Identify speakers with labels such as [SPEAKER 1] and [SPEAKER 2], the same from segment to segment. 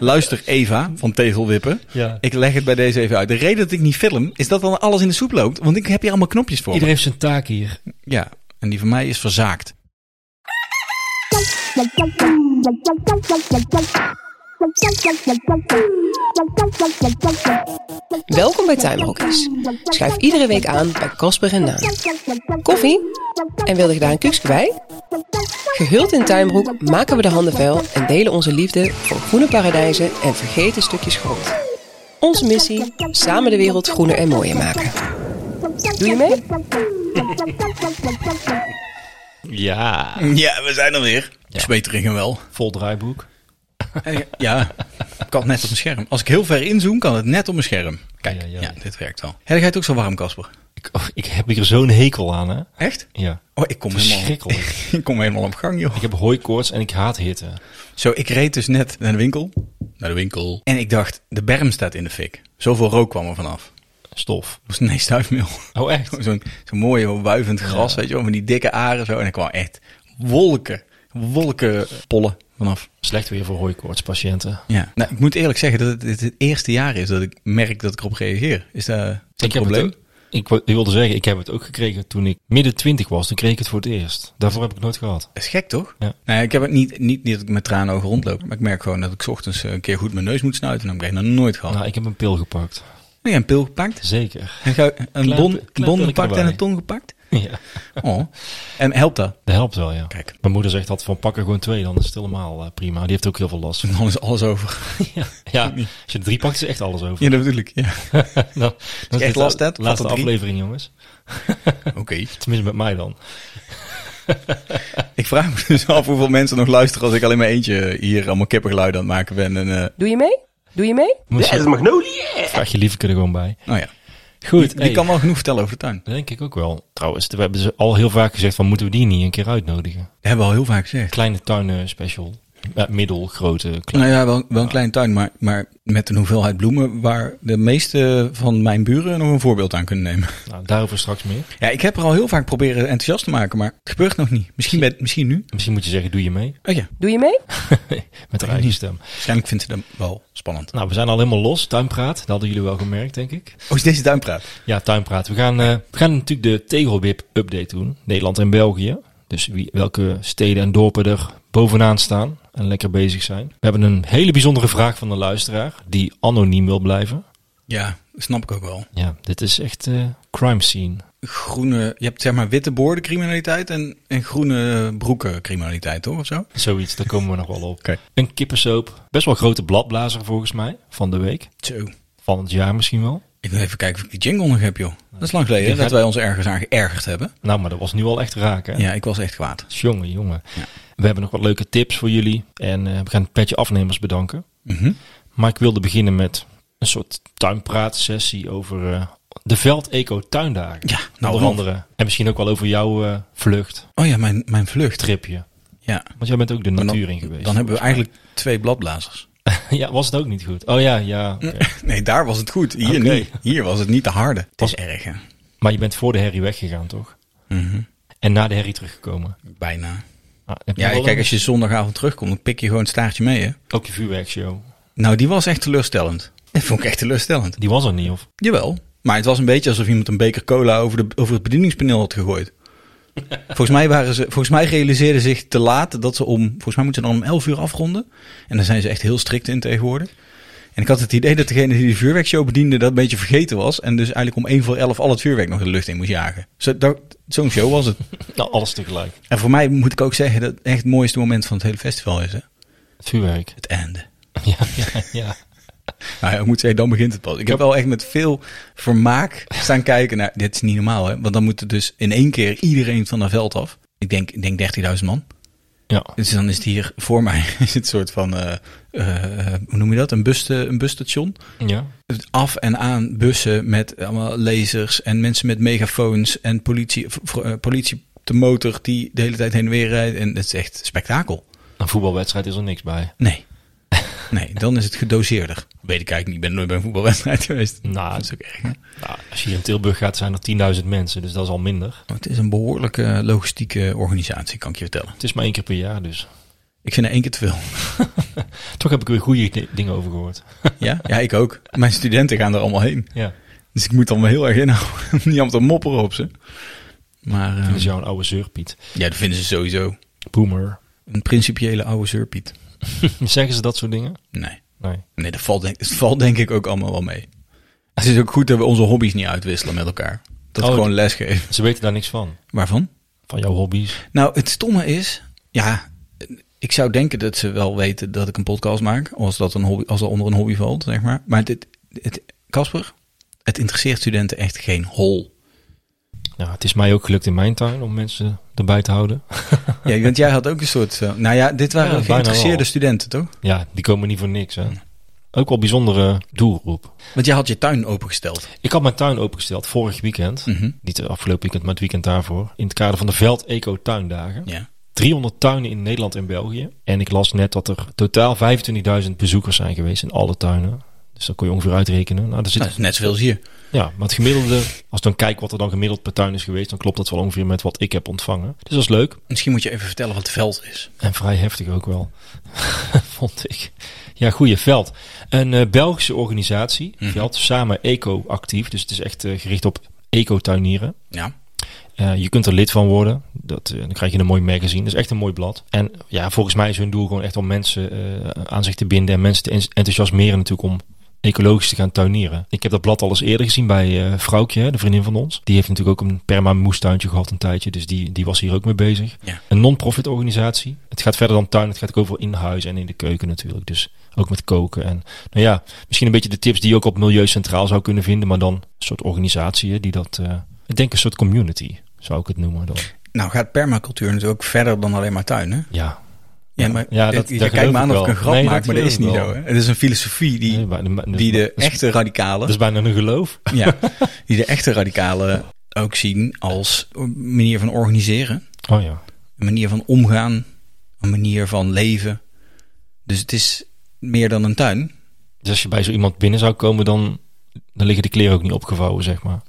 [SPEAKER 1] Luister Eva van Tegelwippen.
[SPEAKER 2] Ja.
[SPEAKER 1] Ik leg het bij deze even uit. De reden dat ik niet film is dat dan alles in de soep loopt. Want ik heb hier allemaal knopjes voor.
[SPEAKER 2] Iedereen heeft zijn taak hier.
[SPEAKER 1] me. Ja, en die van mij is verzaakt.
[SPEAKER 3] Welkom bij Tuinbroekjes. Schuif iedere week aan bij Kasper en Naam.
[SPEAKER 4] Koffie?
[SPEAKER 3] En wilde je daar een kuksje bij? Gehuld in tuinbroek maken we de handen vuil en delen onze liefde voor groene paradijzen en vergeten stukjes grond. Onze missie: samen de wereld groener en mooier maken.
[SPEAKER 4] Doe je mee?
[SPEAKER 2] Ja.
[SPEAKER 1] Ja, we zijn er weer. Zweteringen wel.
[SPEAKER 2] Vol draaiboek.
[SPEAKER 1] En, ja, kan net op mijn scherm. Als ik heel ver inzoom, kan het net op mijn scherm. Kijk,
[SPEAKER 2] Ja,
[SPEAKER 1] ja,
[SPEAKER 2] ja.
[SPEAKER 1] dit werkt wel. Heb jij het ook zo warm, Casper?
[SPEAKER 2] Ik, oh, ik heb hier zo'n hekel aan, hè?
[SPEAKER 1] Echt?
[SPEAKER 2] Ja.
[SPEAKER 1] Oh, ik kom helemaal,
[SPEAKER 2] Verschrikkelijk.
[SPEAKER 1] ik kom helemaal op gang, joh.
[SPEAKER 2] Ik heb hooikoorts en ik haat hitte.
[SPEAKER 1] Zo, ik reed dus net naar de winkel. Naar de winkel. En ik dacht, de berm staat in de fik. Zoveel rook kwam er vanaf.
[SPEAKER 2] Stof.
[SPEAKER 1] Dat was nee, stuifmeel.
[SPEAKER 2] Oh, echt?
[SPEAKER 1] Zo'n zo'n mooie wuivend gras, weet je wel. Van die dikke aren zo. En er kwam echt wolken, wolken pollen vanaf.
[SPEAKER 2] Slecht weer voor hooikoortspatiënten.
[SPEAKER 1] Ja. Nou, ik moet eerlijk zeggen dat het, het het eerste jaar is dat ik merk dat ik erop reageer. Is dat, is dat een
[SPEAKER 2] heb
[SPEAKER 1] probleem?
[SPEAKER 2] Het, ook- ik wou- ik wilde zeggen, ik heb het ook gekregen toen ik midden twintig was. Toen kreeg ik het voor het eerst. Daarvoor heb ik het nooit gehad.
[SPEAKER 1] Dat is gek, toch?
[SPEAKER 2] Ja.
[SPEAKER 1] Nou, ja, ik heb het niet, niet, niet dat ik met traanogen rondloop. Maar ik merk gewoon dat ik 's ochtends eh, een keer goed mijn neus moet snuiten. En dan heb ik dat nooit gehad.
[SPEAKER 2] Nou, ik heb een pil gepakt.
[SPEAKER 1] Nee, een pil gepakt.
[SPEAKER 2] Zeker.
[SPEAKER 1] En ga- Een
[SPEAKER 2] Klein-
[SPEAKER 1] bon,
[SPEAKER 2] klein
[SPEAKER 1] bon
[SPEAKER 2] pilletje
[SPEAKER 1] gepakt en
[SPEAKER 2] erbij.
[SPEAKER 1] een tong gepakt?
[SPEAKER 2] Ja.
[SPEAKER 1] Oh. En helpt dat?
[SPEAKER 2] Dat helpt wel, ja.
[SPEAKER 1] Kijk.
[SPEAKER 2] Mijn moeder zegt altijd van pak er gewoon twee, dan is het helemaal eh, prima. Die heeft ook heel veel last. van.
[SPEAKER 1] Dan is alles over.
[SPEAKER 2] ja. ja, als je er drie pakt is echt alles over.
[SPEAKER 1] Ja, dat bedoel ik. Ja.
[SPEAKER 2] Nou, dat is
[SPEAKER 1] echt
[SPEAKER 2] de
[SPEAKER 1] last hebt, vat
[SPEAKER 2] Laatste
[SPEAKER 1] er drie.
[SPEAKER 2] aflevering, jongens.
[SPEAKER 1] Oké.
[SPEAKER 2] Tenminste met mij dan.
[SPEAKER 1] Ik vraag me dus af hoeveel mensen nog luisteren als ik alleen maar eentje hier allemaal kippengeluiden aan het maken ben. En, eh,
[SPEAKER 3] Doe je mee? Doe je mee?
[SPEAKER 2] Moet je, Vraag je liefde er gewoon bij.
[SPEAKER 1] nou ja,
[SPEAKER 2] Goed,
[SPEAKER 1] die kan wel genoeg vertellen over de tuin.
[SPEAKER 2] denk ik ook wel. Trouwens, we hebben ze al heel vaak gezegd van moeten we die niet een keer uitnodigen.
[SPEAKER 1] Dat hebben we al heel vaak gezegd.
[SPEAKER 2] Kleine tuinen special. Eh, middel, grote, klein.
[SPEAKER 1] Nou ja, wel, wel een kleine tuin, maar, maar met een hoeveelheid bloemen waar de meeste van mijn buren nog een voorbeeld aan kunnen nemen.
[SPEAKER 2] Nou, daarover straks meer.
[SPEAKER 1] Ja, ik heb er al heel vaak proberen enthousiast te maken, maar het gebeurt nog niet. Misschien, bij, misschien nu.
[SPEAKER 2] Misschien moet je zeggen, doe je mee?
[SPEAKER 1] Oh ja,
[SPEAKER 3] Doe je mee?
[SPEAKER 2] Met haar eigen stem.
[SPEAKER 1] waarschijnlijk vindt ze dat wel spannend.
[SPEAKER 2] Nou, we zijn al helemaal los. Tuinpraat, dat hadden jullie wel gemerkt, denk ik.
[SPEAKER 1] Oh, is deze tuinpraat?
[SPEAKER 2] Ja, tuinpraat. We gaan, eh, we gaan natuurlijk de Tegelwip-update doen. Nederland en België. Dus wie, welke steden en dorpen er bovenaan staan en lekker bezig zijn. We hebben een hele bijzondere vraag van de luisteraar die anoniem wil blijven.
[SPEAKER 1] Ja, snap ik ook wel.
[SPEAKER 2] Ja, dit is echt eh crime scene.
[SPEAKER 1] groene, je hebt zeg maar witte boordencriminaliteit en, en groene broekencriminaliteit, toch? Of zo?
[SPEAKER 2] Zoiets, daar komen we nog wel op.
[SPEAKER 1] Oké.
[SPEAKER 2] Een kippensoop. Best wel grote bladblazer volgens mij van de week.
[SPEAKER 1] Zo.
[SPEAKER 2] Van het jaar misschien wel.
[SPEAKER 1] Ik wil even kijken of ik die jingle nog heb, joh. Dat is lang geleden
[SPEAKER 2] Die
[SPEAKER 1] dat
[SPEAKER 2] gaat-
[SPEAKER 1] wij ons ergens aan geërgerd hebben.
[SPEAKER 2] Nou, maar dat was nu al echt raak hè?
[SPEAKER 1] Ja, ik was echt kwaad.
[SPEAKER 2] Jongen, jongen. We hebben nog wat leuke tips voor jullie. En eh, we gaan het petje afnemers bedanken.
[SPEAKER 1] Mhm.
[SPEAKER 2] Maar ik wilde beginnen met een soort tuinpraatsessie over eh, de Veldeco tuindagen.
[SPEAKER 1] Ja, nou,
[SPEAKER 2] Onder
[SPEAKER 1] Rob.
[SPEAKER 2] andere. En misschien ook wel over jouw eh vlucht,
[SPEAKER 1] Oh ja, mijn, mijn vlucht.
[SPEAKER 2] tripje.
[SPEAKER 1] Ja.
[SPEAKER 2] Want jij bent ook de
[SPEAKER 1] Maar dan,
[SPEAKER 2] natuur in geweest.
[SPEAKER 1] dan hebben we eigenlijk twee bladblazers.
[SPEAKER 2] ja, was het ook niet goed? Oh ja, ja. oké.
[SPEAKER 1] Nee, daar was het goed. Hier
[SPEAKER 2] Oké.
[SPEAKER 1] niet. Hier was het niet te harde. Het is erg, hè?
[SPEAKER 2] maar je bent voor de herrie weggegaan, toch?
[SPEAKER 1] Mhm.
[SPEAKER 2] En na de herrie teruggekomen.
[SPEAKER 1] Bijna.
[SPEAKER 2] Ah, heb je
[SPEAKER 1] Ja,
[SPEAKER 2] wel
[SPEAKER 1] kijk,
[SPEAKER 2] een-
[SPEAKER 1] als je zondagavond terugkomt, dan pik je gewoon het staartje mee, hè?
[SPEAKER 2] Ook je vuurwerkshow.
[SPEAKER 1] Nou, die was echt teleurstellend. Dat vond ik echt teleurstellend.
[SPEAKER 2] Die was er niet, of?
[SPEAKER 1] Jawel. Maar het was een beetje alsof iemand een beker cola over, de, over het bedieningspaneel had gegooid. volgens, mij waren ze, volgens mij realiseerden ze zich te laat dat ze om... Volgens mij moeten ze dan om 11 uur afronden. En daar zijn ze echt heel strikt in tegenwoordig. En ik had het idee dat degene die de vuurwerkshow bediende dat een beetje vergeten was. En dus eigenlijk om 1 voor 11 al het vuurwerk nog de lucht in moest jagen. Zo, dat- Zo'n show was het.
[SPEAKER 2] Nou, alles tegelijk.
[SPEAKER 1] En voor mij moet ik ook zeggen dat het echt het mooiste moment van het hele festival is. Hè?
[SPEAKER 2] Het vuurwerk.
[SPEAKER 1] Het einde.
[SPEAKER 2] ja, ja, ja.
[SPEAKER 1] Nou ja, ik moet zeggen, dan begint het pas. Ik heb wel echt met veel vermaak staan kijken naar... Dit is niet normaal, hè? Want dan moet er dus in één keer iedereen van dat veld af. Ik denk, ik denk 13.000 man.
[SPEAKER 2] Ja,
[SPEAKER 1] Dus dan is het hier voor mij is het een soort van... eh, eh, hoe noem je dat? Een, bus, een busstation.
[SPEAKER 2] ja.
[SPEAKER 1] Het Af en aan bussen met allemaal lasers en mensen met megafoons... en politie, v- eh, politie op de motor die de hele tijd heen en weer rijdt. En het is echt spektakel.
[SPEAKER 2] Een voetbalwedstrijd is er niks bij.
[SPEAKER 1] Nee. Nee, dan is het gedoseerder. Weet ik eigenlijk niet. Ik ben nooit bij een voetbalwedstrijd geweest.
[SPEAKER 2] Nou,
[SPEAKER 1] dat is ook erg, hè?
[SPEAKER 2] Nou, als je hier in Tilburg gaat, zijn er 10.000 mensen, dus dat is al minder.
[SPEAKER 1] Het is een behoorlijke logistieke organisatie, kan ik je vertellen.
[SPEAKER 2] Het is maar één keer per jaar, dus.
[SPEAKER 1] Ik vind er één keer te veel.
[SPEAKER 2] Toch heb ik er weer goede di- dingen over gehoord.
[SPEAKER 1] Ja? ja, ik ook. Mijn studenten gaan er allemaal heen.
[SPEAKER 2] Ja.
[SPEAKER 1] Dus ik moet dan wel heel erg inhouden. Niet om te mopperen op ze. Maar eh,
[SPEAKER 2] Dat is jou een oude zeurpiet.
[SPEAKER 1] ja, dat vinden ze sowieso.
[SPEAKER 2] Boomer.
[SPEAKER 1] Een principiële oude zeurpiet.
[SPEAKER 2] Zeggen ze dat soort dingen?
[SPEAKER 1] Nee.
[SPEAKER 2] Nee.
[SPEAKER 1] Nee, dat valt, denk, dat valt denk ik ook allemaal wel mee. Het is ook goed dat we onze hobby's niet uitwisselen met elkaar. Dat we
[SPEAKER 2] Oh,
[SPEAKER 1] gewoon lesgeven.
[SPEAKER 2] Ze weten daar niks van.
[SPEAKER 1] Waarvan?
[SPEAKER 2] Van jouw hobby's.
[SPEAKER 1] Nou, het stomme is, ja, ik zou denken dat ze wel weten dat ik een podcast maak, als dat een hobby, als dat onder een hobby valt, zeg maar. Maar dit, het, Casper, het interesseert studenten echt geen hol.
[SPEAKER 2] Nou, het is mij ook gelukt in mijn tuin om mensen erbij te houden.
[SPEAKER 1] Ja, want jij had ook een soort, eh, nou ja, dit
[SPEAKER 2] Ja,
[SPEAKER 1] waren
[SPEAKER 2] bijna
[SPEAKER 1] geïnteresseerde
[SPEAKER 2] wel.
[SPEAKER 1] studenten, toch?
[SPEAKER 2] Ja, die komen niet voor niks. Hè. Ook wel bijzondere doelgroep.
[SPEAKER 1] Want jij had je tuin opengesteld.
[SPEAKER 2] Ik had mijn tuin opengesteld vorig weekend.
[SPEAKER 1] Mhm.
[SPEAKER 2] Niet het afgelopen weekend, maar het weekend daarvoor. In het kader van de Veld Eco Tuindagen.
[SPEAKER 1] Ja.
[SPEAKER 2] 300 tuinen in Nederland en België. En ik las net dat er totaal 25.000 bezoekers zijn geweest in alle tuinen. Dus dat kon je ongeveer uitrekenen. Nou, daar zit,
[SPEAKER 1] Nou, dat is net zoveel als hier.
[SPEAKER 2] ja, maar het gemiddelde, als ik dan kijk wat er dan gemiddeld per tuin is geweest, dan klopt dat wel ongeveer met wat ik heb ontvangen. Dus dat is leuk.
[SPEAKER 1] Misschien moet je even vertellen wat het veld is.
[SPEAKER 2] En vrij heftig ook wel, vond ik. Ja, goeie veld. Een eh, Belgische organisatie, Veld, samen eco-actief. Dus het is echt eh, gericht op eco-tuinieren.
[SPEAKER 1] Ja.
[SPEAKER 2] Eh, je kunt er lid van worden. Dat, eh, dan krijg je een mooi magazine. Dat is echt een mooi blad. En ja, volgens mij is hun doel gewoon echt om mensen eh, aan zich te binden. En mensen te ens- enthousiasmeren natuurlijk om ecologisch te gaan tuinieren. Ik heb dat blad al eens eerder gezien bij eh Vrouwtje, hè, de vriendin van ons. Die heeft natuurlijk ook een perma moestuintje gehad een tijdje. Dus die, die was hier ook mee bezig.
[SPEAKER 1] Ja.
[SPEAKER 2] Een non-profit organisatie. Het gaat verder dan tuin. Het gaat ook over in huis en in de keuken natuurlijk. Dus ook met koken. En nou ja, misschien een beetje de tips die je ook op Milieu Centraal zou kunnen vinden. Maar dan een soort organisatie hè, die dat... eh, ik denk een soort community zou ik het noemen dan.
[SPEAKER 1] Nou gaat permacultuur natuurlijk ook verder dan alleen maar tuin, hè?
[SPEAKER 2] Ja,
[SPEAKER 1] Ja, maar
[SPEAKER 2] Ja, dat-
[SPEAKER 1] dat, je
[SPEAKER 2] daar
[SPEAKER 1] kijkt me
[SPEAKER 2] geloof
[SPEAKER 1] aan
[SPEAKER 2] ik
[SPEAKER 1] of ik
[SPEAKER 2] wel.
[SPEAKER 1] een grap
[SPEAKER 2] Nee, dat
[SPEAKER 1] maak, maar dat is
[SPEAKER 2] geloof
[SPEAKER 1] niet
[SPEAKER 2] ik
[SPEAKER 1] zo.
[SPEAKER 2] wel.
[SPEAKER 1] Hè? Het is een filosofie die,
[SPEAKER 2] Nee, maar- maar- dus
[SPEAKER 1] die de
[SPEAKER 2] dat is-
[SPEAKER 1] echte
[SPEAKER 2] dat
[SPEAKER 1] radicalen,
[SPEAKER 2] is bijna een geloof.
[SPEAKER 1] ja, die de echte radicalen ook zien als een manier van organiseren,
[SPEAKER 2] Oh ja.
[SPEAKER 1] een manier van omgaan, een manier van leven. Dus het is meer dan een tuin.
[SPEAKER 2] Dus als je bij zo iemand binnen zou komen, dan, dan liggen de kleren ook niet opgevouwen, zeg maar.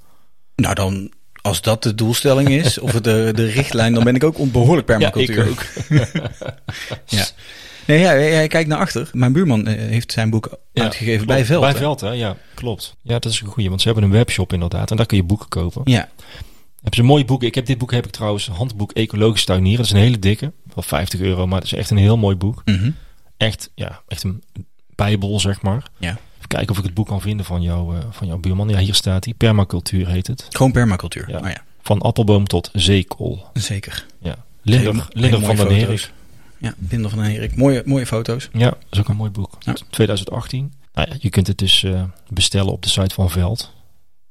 [SPEAKER 1] Nou dan, als dat de doelstelling is, of de, de richtlijn, dan ben ik ook onbehoorlijk permacultuur. Ja. Nee, ja, ja, ja, kijk naar achter. Mijn buurman eh, heeft zijn boek
[SPEAKER 2] Ja,
[SPEAKER 1] uitgegeven
[SPEAKER 2] klopt.
[SPEAKER 1] bij Veld.
[SPEAKER 2] Bij
[SPEAKER 1] hè?
[SPEAKER 2] Veld, hè? Ja, klopt. Ja, dat is een goeie, want ze hebben een webshop inderdaad. En daar kun je boeken kopen.
[SPEAKER 1] Ja,
[SPEAKER 2] Hebben ze mooie boeken. Ik heb dit boek heb ik trouwens, handboek Ecologisch Tuinieren. Dat is een hele dikke, wel 50 euro, maar dat is echt een heel mooi boek.
[SPEAKER 1] mhm.
[SPEAKER 2] Echt, ja, echt een bijbel, zeg maar.
[SPEAKER 1] ja.
[SPEAKER 2] Even kijken of ik het boek kan vinden van, jou, eh, van jouw buurman. Ja, hier staat hij. Permacultuur heet het.
[SPEAKER 1] gewoon permacultuur.
[SPEAKER 2] Ja.
[SPEAKER 1] Nou ja,
[SPEAKER 2] Van appelboom tot zeekool.
[SPEAKER 1] zeker.
[SPEAKER 2] Ja. Linder,
[SPEAKER 1] Hele-
[SPEAKER 2] Linder
[SPEAKER 1] hele mooie
[SPEAKER 2] van den
[SPEAKER 1] foto's.
[SPEAKER 2] Herik.
[SPEAKER 1] Ja, Binder van den Herik. Mooie, mooie foto's.
[SPEAKER 2] Ja, dat is ook een mooi boek.
[SPEAKER 1] Ja.
[SPEAKER 2] 2018. Nou ja, je kunt het dus eh, bestellen op de site van Veld.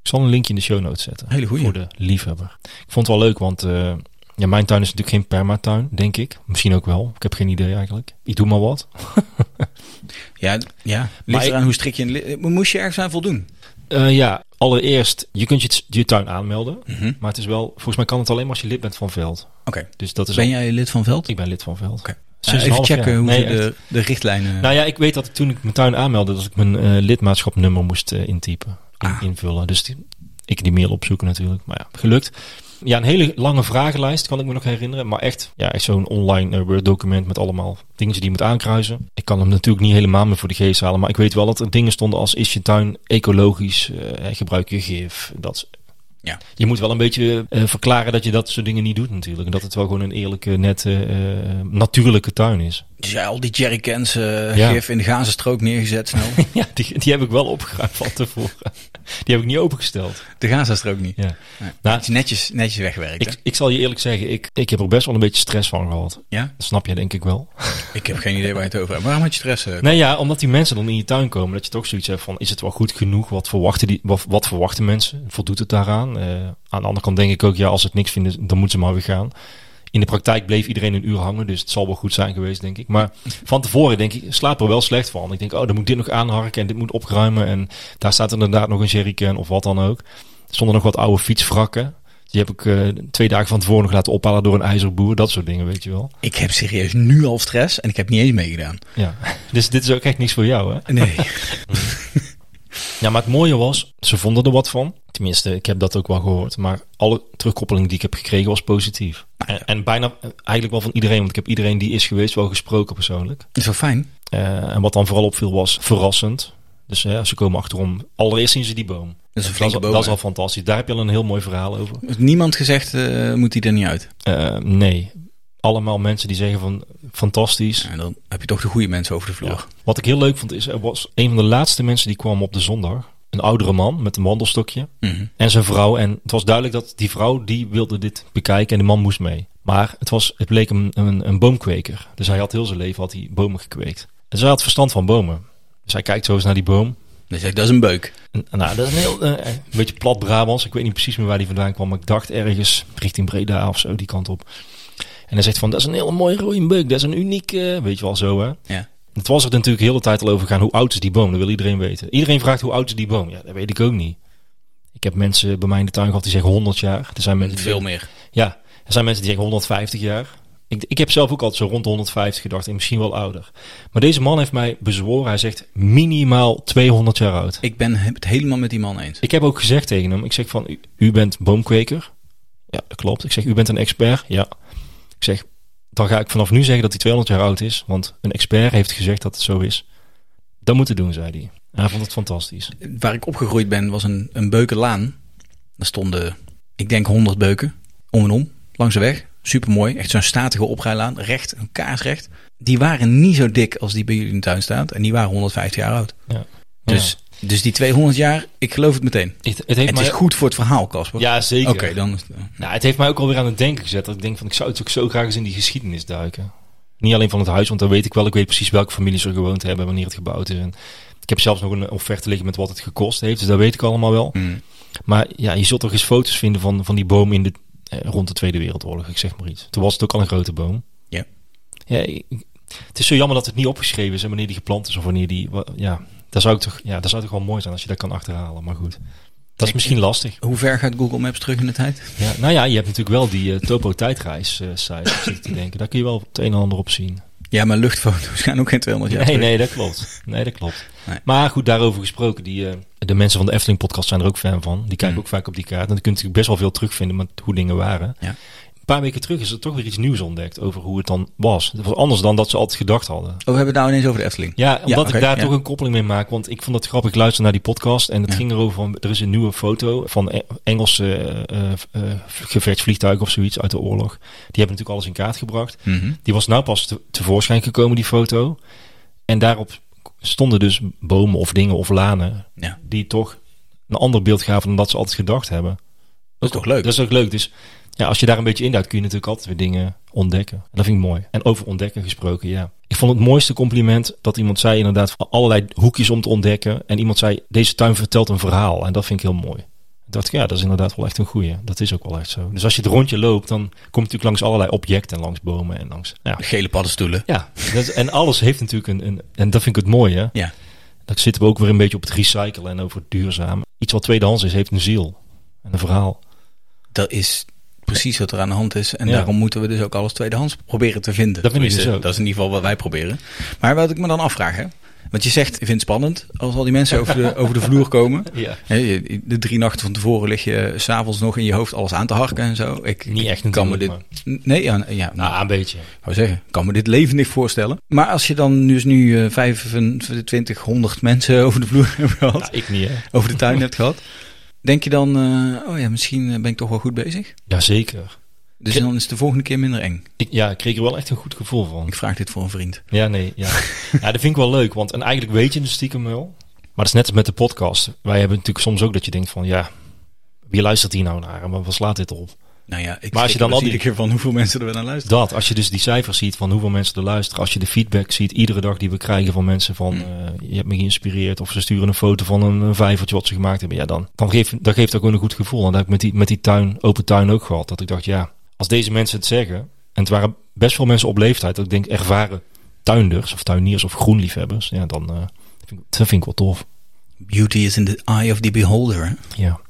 [SPEAKER 2] Ik zal een linkje in de show notes zetten.
[SPEAKER 1] Hele goeie.
[SPEAKER 2] Voor de liefhebber. Ik vond het wel leuk, want eh, ja, mijn tuin is natuurlijk geen permatuin, denk ik. Misschien ook wel. Ik heb geen idee eigenlijk. Ik doe maar wat.
[SPEAKER 1] Ja, ja.
[SPEAKER 2] Maar
[SPEAKER 1] ligt
[SPEAKER 2] ik-
[SPEAKER 1] eraan hoe strik je... een li- eh, Moest je ergens aan voldoen?
[SPEAKER 2] Eh, ja, allereerst, je kunt je, t- je tuin aanmelden.
[SPEAKER 1] Mhm.
[SPEAKER 2] Maar het is wel, volgens mij kan het alleen maar als je lid bent van Veld.
[SPEAKER 1] Oké.
[SPEAKER 2] Dus dat is
[SPEAKER 1] Ben
[SPEAKER 2] al-
[SPEAKER 1] jij lid van Veld?
[SPEAKER 2] Ik ben lid van Veld.
[SPEAKER 1] Oké.
[SPEAKER 2] Sinds
[SPEAKER 1] Ja,
[SPEAKER 2] een
[SPEAKER 1] even
[SPEAKER 2] half
[SPEAKER 1] checken
[SPEAKER 2] jaar.
[SPEAKER 1] hoe
[SPEAKER 2] Nee,
[SPEAKER 1] ze de, de richtlijnen...
[SPEAKER 2] Nou ja, ik weet dat ik toen ik mijn tuin aanmeldde, dat ik mijn eh, lidmaatschapnummer moest eh, intypen, in-
[SPEAKER 1] Ah.
[SPEAKER 2] invullen. Dus die- ik die mail opzoeken natuurlijk, maar ja, gelukt. Ja, een hele lange vragenlijst kan ik me nog herinneren, maar echt, ja, echt zo'n online eh, Word document met allemaal dingen die je moet aankruisen. Ik kan hem natuurlijk niet helemaal meer voor de geest halen, maar ik weet wel dat er dingen stonden als is je tuin ecologisch, eh, gebruik je gif, dat is-
[SPEAKER 1] Ja.
[SPEAKER 2] Je moet wel een beetje eh, verklaren dat je dat soort dingen niet doet natuurlijk. En dat het wel gewoon een eerlijke, nette, eh, natuurlijke tuin is.
[SPEAKER 1] Dus jij al die jerrycans eh
[SPEAKER 2] Ja.
[SPEAKER 1] gif in de Gazastrook neergezet snel.
[SPEAKER 2] Ja, die, die heb ik wel opgeruimd van tevoren. Die heb ik niet opengesteld.
[SPEAKER 1] de Gazastrook niet.
[SPEAKER 2] Ja.
[SPEAKER 1] Nee. Het is
[SPEAKER 2] Nou,
[SPEAKER 1] netjes, netjes weggewerkt,
[SPEAKER 2] ik,
[SPEAKER 1] hè?
[SPEAKER 2] ik zal je eerlijk zeggen, ik, ik heb er best wel een beetje stress van gehad.
[SPEAKER 1] Ja?
[SPEAKER 2] Dat snap je denk ik wel.
[SPEAKER 1] Ik heb geen idee waar je het over hebt. Waarom had je stress? eh?
[SPEAKER 2] Nou ja, omdat die mensen dan in je tuin komen, dat je toch zoiets hebt van, is het wel goed genoeg? Wat verwachten, die, wat, wat verwachten mensen? Voldoet het daaraan? Eh, aan de andere kant denk ik ook, ja, als ze het niks vinden, dan moeten ze maar weer gaan. In de praktijk bleef iedereen een uur hangen, dus het zal wel goed zijn geweest, denk ik. Maar van tevoren denk ik, slaap er wel slecht van. Ik denk, oh, dan moet ik dit nog aanharken en dit moet opruimen. En daar staat inderdaad nog een jerrycan of wat dan ook. Er stonden nog wat oude fietswrakken. Die heb ik eh, twee dagen van tevoren nog laten ophalen door een ijzerboer. Dat soort dingen, weet je wel.
[SPEAKER 1] Ik heb serieus nu al stress en ik heb niet eens meegedaan.
[SPEAKER 2] Ja. Dus dit is ook echt niks voor jou, hè?
[SPEAKER 1] Nee.
[SPEAKER 2] Ja, maar het mooie was, ze vonden er wat van. Tenminste, ik heb dat ook wel gehoord. Maar alle terugkoppeling die ik heb gekregen was positief. En, en bijna eh, eigenlijk wel van iedereen. Want ik heb iedereen die is geweest wel gesproken persoonlijk.
[SPEAKER 1] is wel fijn.
[SPEAKER 2] Eh, en wat dan vooral opviel was verrassend. Dus hè, ze komen achterom. Allereerst zien ze die boom.
[SPEAKER 1] Dat is een flinke
[SPEAKER 2] dat,
[SPEAKER 1] boom.
[SPEAKER 2] dat is al fantastisch. Daar heb je al een heel mooi verhaal over.
[SPEAKER 1] Niemand gezegd, eh, moet die er niet uit.
[SPEAKER 2] Eh, nee. Allemaal mensen die zeggen van fantastisch.
[SPEAKER 1] En Nou, dan heb je toch de goede mensen over de vloer.
[SPEAKER 2] Ja. Wat ik heel leuk vond is, er was een van de laatste mensen die kwam op de zondag. Een oudere man met een wandelstokje
[SPEAKER 1] Mhm.
[SPEAKER 2] en zijn vrouw. En het was duidelijk dat die vrouw die wilde dit bekijken en de man moest mee. Maar het, was, het bleek een, een, een boomkweker. Dus hij had heel zijn leven had hij bomen gekweekt. En zij had verstand van bomen. Dus hij kijkt zo eens naar die boom.
[SPEAKER 1] Dan zeg ik, dat is een beuk.
[SPEAKER 2] En, nou, dat is een heel eh, een beetje plat Brabants. Ik weet niet precies meer waar die vandaan kwam. Maar ik dacht ergens richting Breda of zo, die kant op. En hij zegt van, dat is een hele mooie roeienbeuk. Dat is een uniek, eh, weet je wel zo hè.
[SPEAKER 1] Ja.
[SPEAKER 2] Het was er natuurlijk de hele tijd al over gaan. Hoe oud is die boom? Dat wil iedereen weten. Iedereen vraagt hoe oud is die boom? Ja, dat weet ik ook niet. Ik heb mensen bij mij in de tuin gehad die zeggen 100 jaar. Er zijn mensen die
[SPEAKER 1] Veel meer.
[SPEAKER 2] ja, er zijn mensen die zeggen 150 jaar. Ik, ik heb zelf ook altijd zo rond de 150 gedacht en misschien wel ouder. Maar deze man heeft mij bezworen. Hij zegt minimaal 200 jaar oud.
[SPEAKER 1] Ik ben het helemaal met die man eens.
[SPEAKER 2] Ik heb ook gezegd tegen hem, ik zeg van, u, u bent boomkweker. Ja, dat klopt. Ik zeg, u bent een expert. Ja. Ik zeg, dan ga ik vanaf nu zeggen dat hij 200 jaar oud is. Want een expert heeft gezegd dat het zo is. Dat moet het doen, zei hij. En Hij vond het fantastisch.
[SPEAKER 1] Waar ik opgegroeid ben, was een, een beukenlaan. Daar stonden, ik denk, 100 beuken. Om en om, langs de weg. Supermooi. Echt zo'n statige oprijlaan. Recht, een kaarsrecht. Die waren niet zo dik als die bij jullie in de tuin staat. En die waren 150 jaar oud.
[SPEAKER 2] Ja.
[SPEAKER 1] Dus, dus die 200 jaar, ik geloof het meteen.
[SPEAKER 2] Ja. het, het heeft
[SPEAKER 1] Het
[SPEAKER 2] mij...
[SPEAKER 1] is goed voor het verhaal, Casper.
[SPEAKER 2] Ja,
[SPEAKER 1] Oké,
[SPEAKER 2] zeker.
[SPEAKER 1] dan is het- eh.
[SPEAKER 2] Nou, het heeft mij ook alweer aan het denken gezet. Dat ik denk van, ik zou het ook zo graag eens in die geschiedenis duiken. Niet alleen van het huis, want dan weet ik wel. Ik weet precies welke families er gewoond hebben, wanneer het gebouwd is. En ik heb zelfs nog een offerte liggen met wat het gekost heeft. Dus dat weet ik allemaal wel.
[SPEAKER 1] Hmm.
[SPEAKER 2] Maar ja, je zult toch eens foto's vinden van, van die boom in de, eh, rond de Tweede Wereldoorlog. Ik zeg maar iets. Toen was het ook al een grote boom.
[SPEAKER 1] Ja.
[SPEAKER 2] ja ik- het is zo jammer dat het niet opgeschreven is en wanneer die geplant is of wanneer die... wa- Ja, dat zou, ik toch, ja, dat zou toch wel mooi zijn als je dat kan achterhalen. Maar goed, dat is misschien lastig.
[SPEAKER 1] Hoe ver gaat Google Maps terug in de tijd?
[SPEAKER 2] Ja, nou ja, je hebt natuurlijk wel die eh, topo-tijdreis-site, zit ik te denken. Daar kun je wel het een en ander op zien.
[SPEAKER 1] Ja, maar luchtfoto's gaan ook geen 200 jaar
[SPEAKER 2] nee,
[SPEAKER 1] terug.
[SPEAKER 2] nee, dat klopt. Nee, dat klopt.
[SPEAKER 1] Nee.
[SPEAKER 2] Maar goed, daarover gesproken. Die, eh, de mensen van de Efteling podcast zijn er ook fan van. Die
[SPEAKER 1] Mm.
[SPEAKER 2] kijken ook vaak op die kaart. En dan kun je natuurlijk best wel veel terugvinden met hoe dingen waren.
[SPEAKER 1] Ja.
[SPEAKER 2] Een paar weken terug is er toch weer iets nieuws ontdekt over hoe het dan was. Het was anders dan dat ze altijd gedacht hadden.
[SPEAKER 1] Oh, we hebben het nou ineens over de Efteling.
[SPEAKER 2] Ja, omdat
[SPEAKER 1] oké,
[SPEAKER 2] ik daar
[SPEAKER 1] ja.
[SPEAKER 2] toch een koppeling mee maak. Want ik vond het grappig. Ik luisterde naar die podcast. En het ging erover van... Er is een nieuwe foto van E- Engelse eh eh, eh, gevechtsvliegtuigen of zoiets uit de oorlog. Die hebben natuurlijk alles in kaart gebracht.
[SPEAKER 1] Mhm.
[SPEAKER 2] Die was nou pas te- tevoorschijn gekomen, die foto. En daarop stonden dus bomen of dingen of lanen...
[SPEAKER 1] Ja.
[SPEAKER 2] die toch een ander beeld gaven dan dat ze altijd gedacht hebben.
[SPEAKER 1] Dat is toch leuk?
[SPEAKER 2] Dat is ook leuk. Dus ja, als je daar een beetje induikt, kun je natuurlijk altijd weer dingen ontdekken. En dat vind ik mooi. En over ontdekken gesproken, ja. Ik vond het mooiste compliment dat iemand zei inderdaad van allerlei hoekjes om te ontdekken. En iemand zei, deze tuin vertelt een verhaal. En dat vind ik heel mooi. Ik dacht, ja, dat is inderdaad wel echt een goeie. Dat is ook wel echt zo. Dus als je het rondje loopt, dan kom je natuurlijk langs allerlei objecten. en Langs bomen en langs... nou Ja,
[SPEAKER 1] Gele paddenstoelen.
[SPEAKER 2] ja dat, en alles heeft natuurlijk een, een... En dat vind ik het mooie, hè.
[SPEAKER 1] Ja.
[SPEAKER 2] Dan zitten we ook weer een beetje op het recyclen en over het duurzaam. Iets wat tweedehands is, heeft een ziel. En een verhaal.
[SPEAKER 1] Dat is precies wat er aan de hand is. En
[SPEAKER 2] Ja.
[SPEAKER 1] daarom moeten we dus ook alles tweedehands proberen te vinden.
[SPEAKER 2] Dat vind ik dus
[SPEAKER 1] Tenminste,
[SPEAKER 2] ook.
[SPEAKER 1] Dat is in ieder geval wat wij proberen. Maar wat ik me dan afvraag, hè? Want je zegt, ik vind het spannend als al die mensen over de, over de vloer komen.
[SPEAKER 2] Ja.
[SPEAKER 1] Hè, je- De drie nachten van tevoren lig je s'avonds nog in je hoofd alles aan te harken en zo. Ik,
[SPEAKER 2] Niet echt
[SPEAKER 1] ik kan me dit.
[SPEAKER 2] natuurlijk,
[SPEAKER 1] Nee, ja, ja, nou,
[SPEAKER 2] Nou, een beetje.
[SPEAKER 1] ik wou zeggen, ik kan me dit levendig voorstellen. Maar als je dan dus nu eh 25, 100 mensen over de vloer hebt gehad,
[SPEAKER 2] Nou, ik niet, hè?
[SPEAKER 1] over de tuin hebt gehad, denk je dan, eh, oh ja, misschien eh, ben ik toch wel goed bezig?
[SPEAKER 2] Jazeker.
[SPEAKER 1] Dus
[SPEAKER 2] Ik-
[SPEAKER 1] dan is het de volgende keer minder eng.
[SPEAKER 2] Ik, ja, ik kreeg er wel echt een goed gevoel van.
[SPEAKER 1] Ik vraag dit voor een vriend.
[SPEAKER 2] Ja, nee, ja. ja. Dat vind ik wel leuk, want en eigenlijk weet je het stiekem wel. Maar dat is net als met de podcast. Wij hebben natuurlijk soms ook dat je denkt van, ja, wie luistert hier nou naar? Maar wat slaat dit op?
[SPEAKER 1] Nou ja, ik
[SPEAKER 2] Maar als
[SPEAKER 1] schrik
[SPEAKER 2] je dan
[SPEAKER 1] wel
[SPEAKER 2] al die-
[SPEAKER 1] iedere keer van hoeveel mensen er weer naar luisteren.
[SPEAKER 2] Dat, als je dus die cijfers ziet van hoeveel mensen er luisteren. Als je de feedback ziet, iedere dag die we krijgen van mensen van, eh, je hebt me geïnspireerd. Of ze sturen een foto van een, een vijvertje wat ze gemaakt hebben. Ja, dan, dan geeft, dat geeft ook gewoon een goed gevoel. En dat heb ik met die, met die tuin, open tuin ook gehad. Dat ik dacht, ja, als deze mensen het zeggen. En het waren best veel mensen op leeftijd. Dat ik denk, ervaren tuinders of tuiniers of groenliefhebbers. Ja, dan eh, vind, ik- dat vind ik wel tof.
[SPEAKER 1] Beauty is in the eye of the beholder. hè?
[SPEAKER 2] Ja.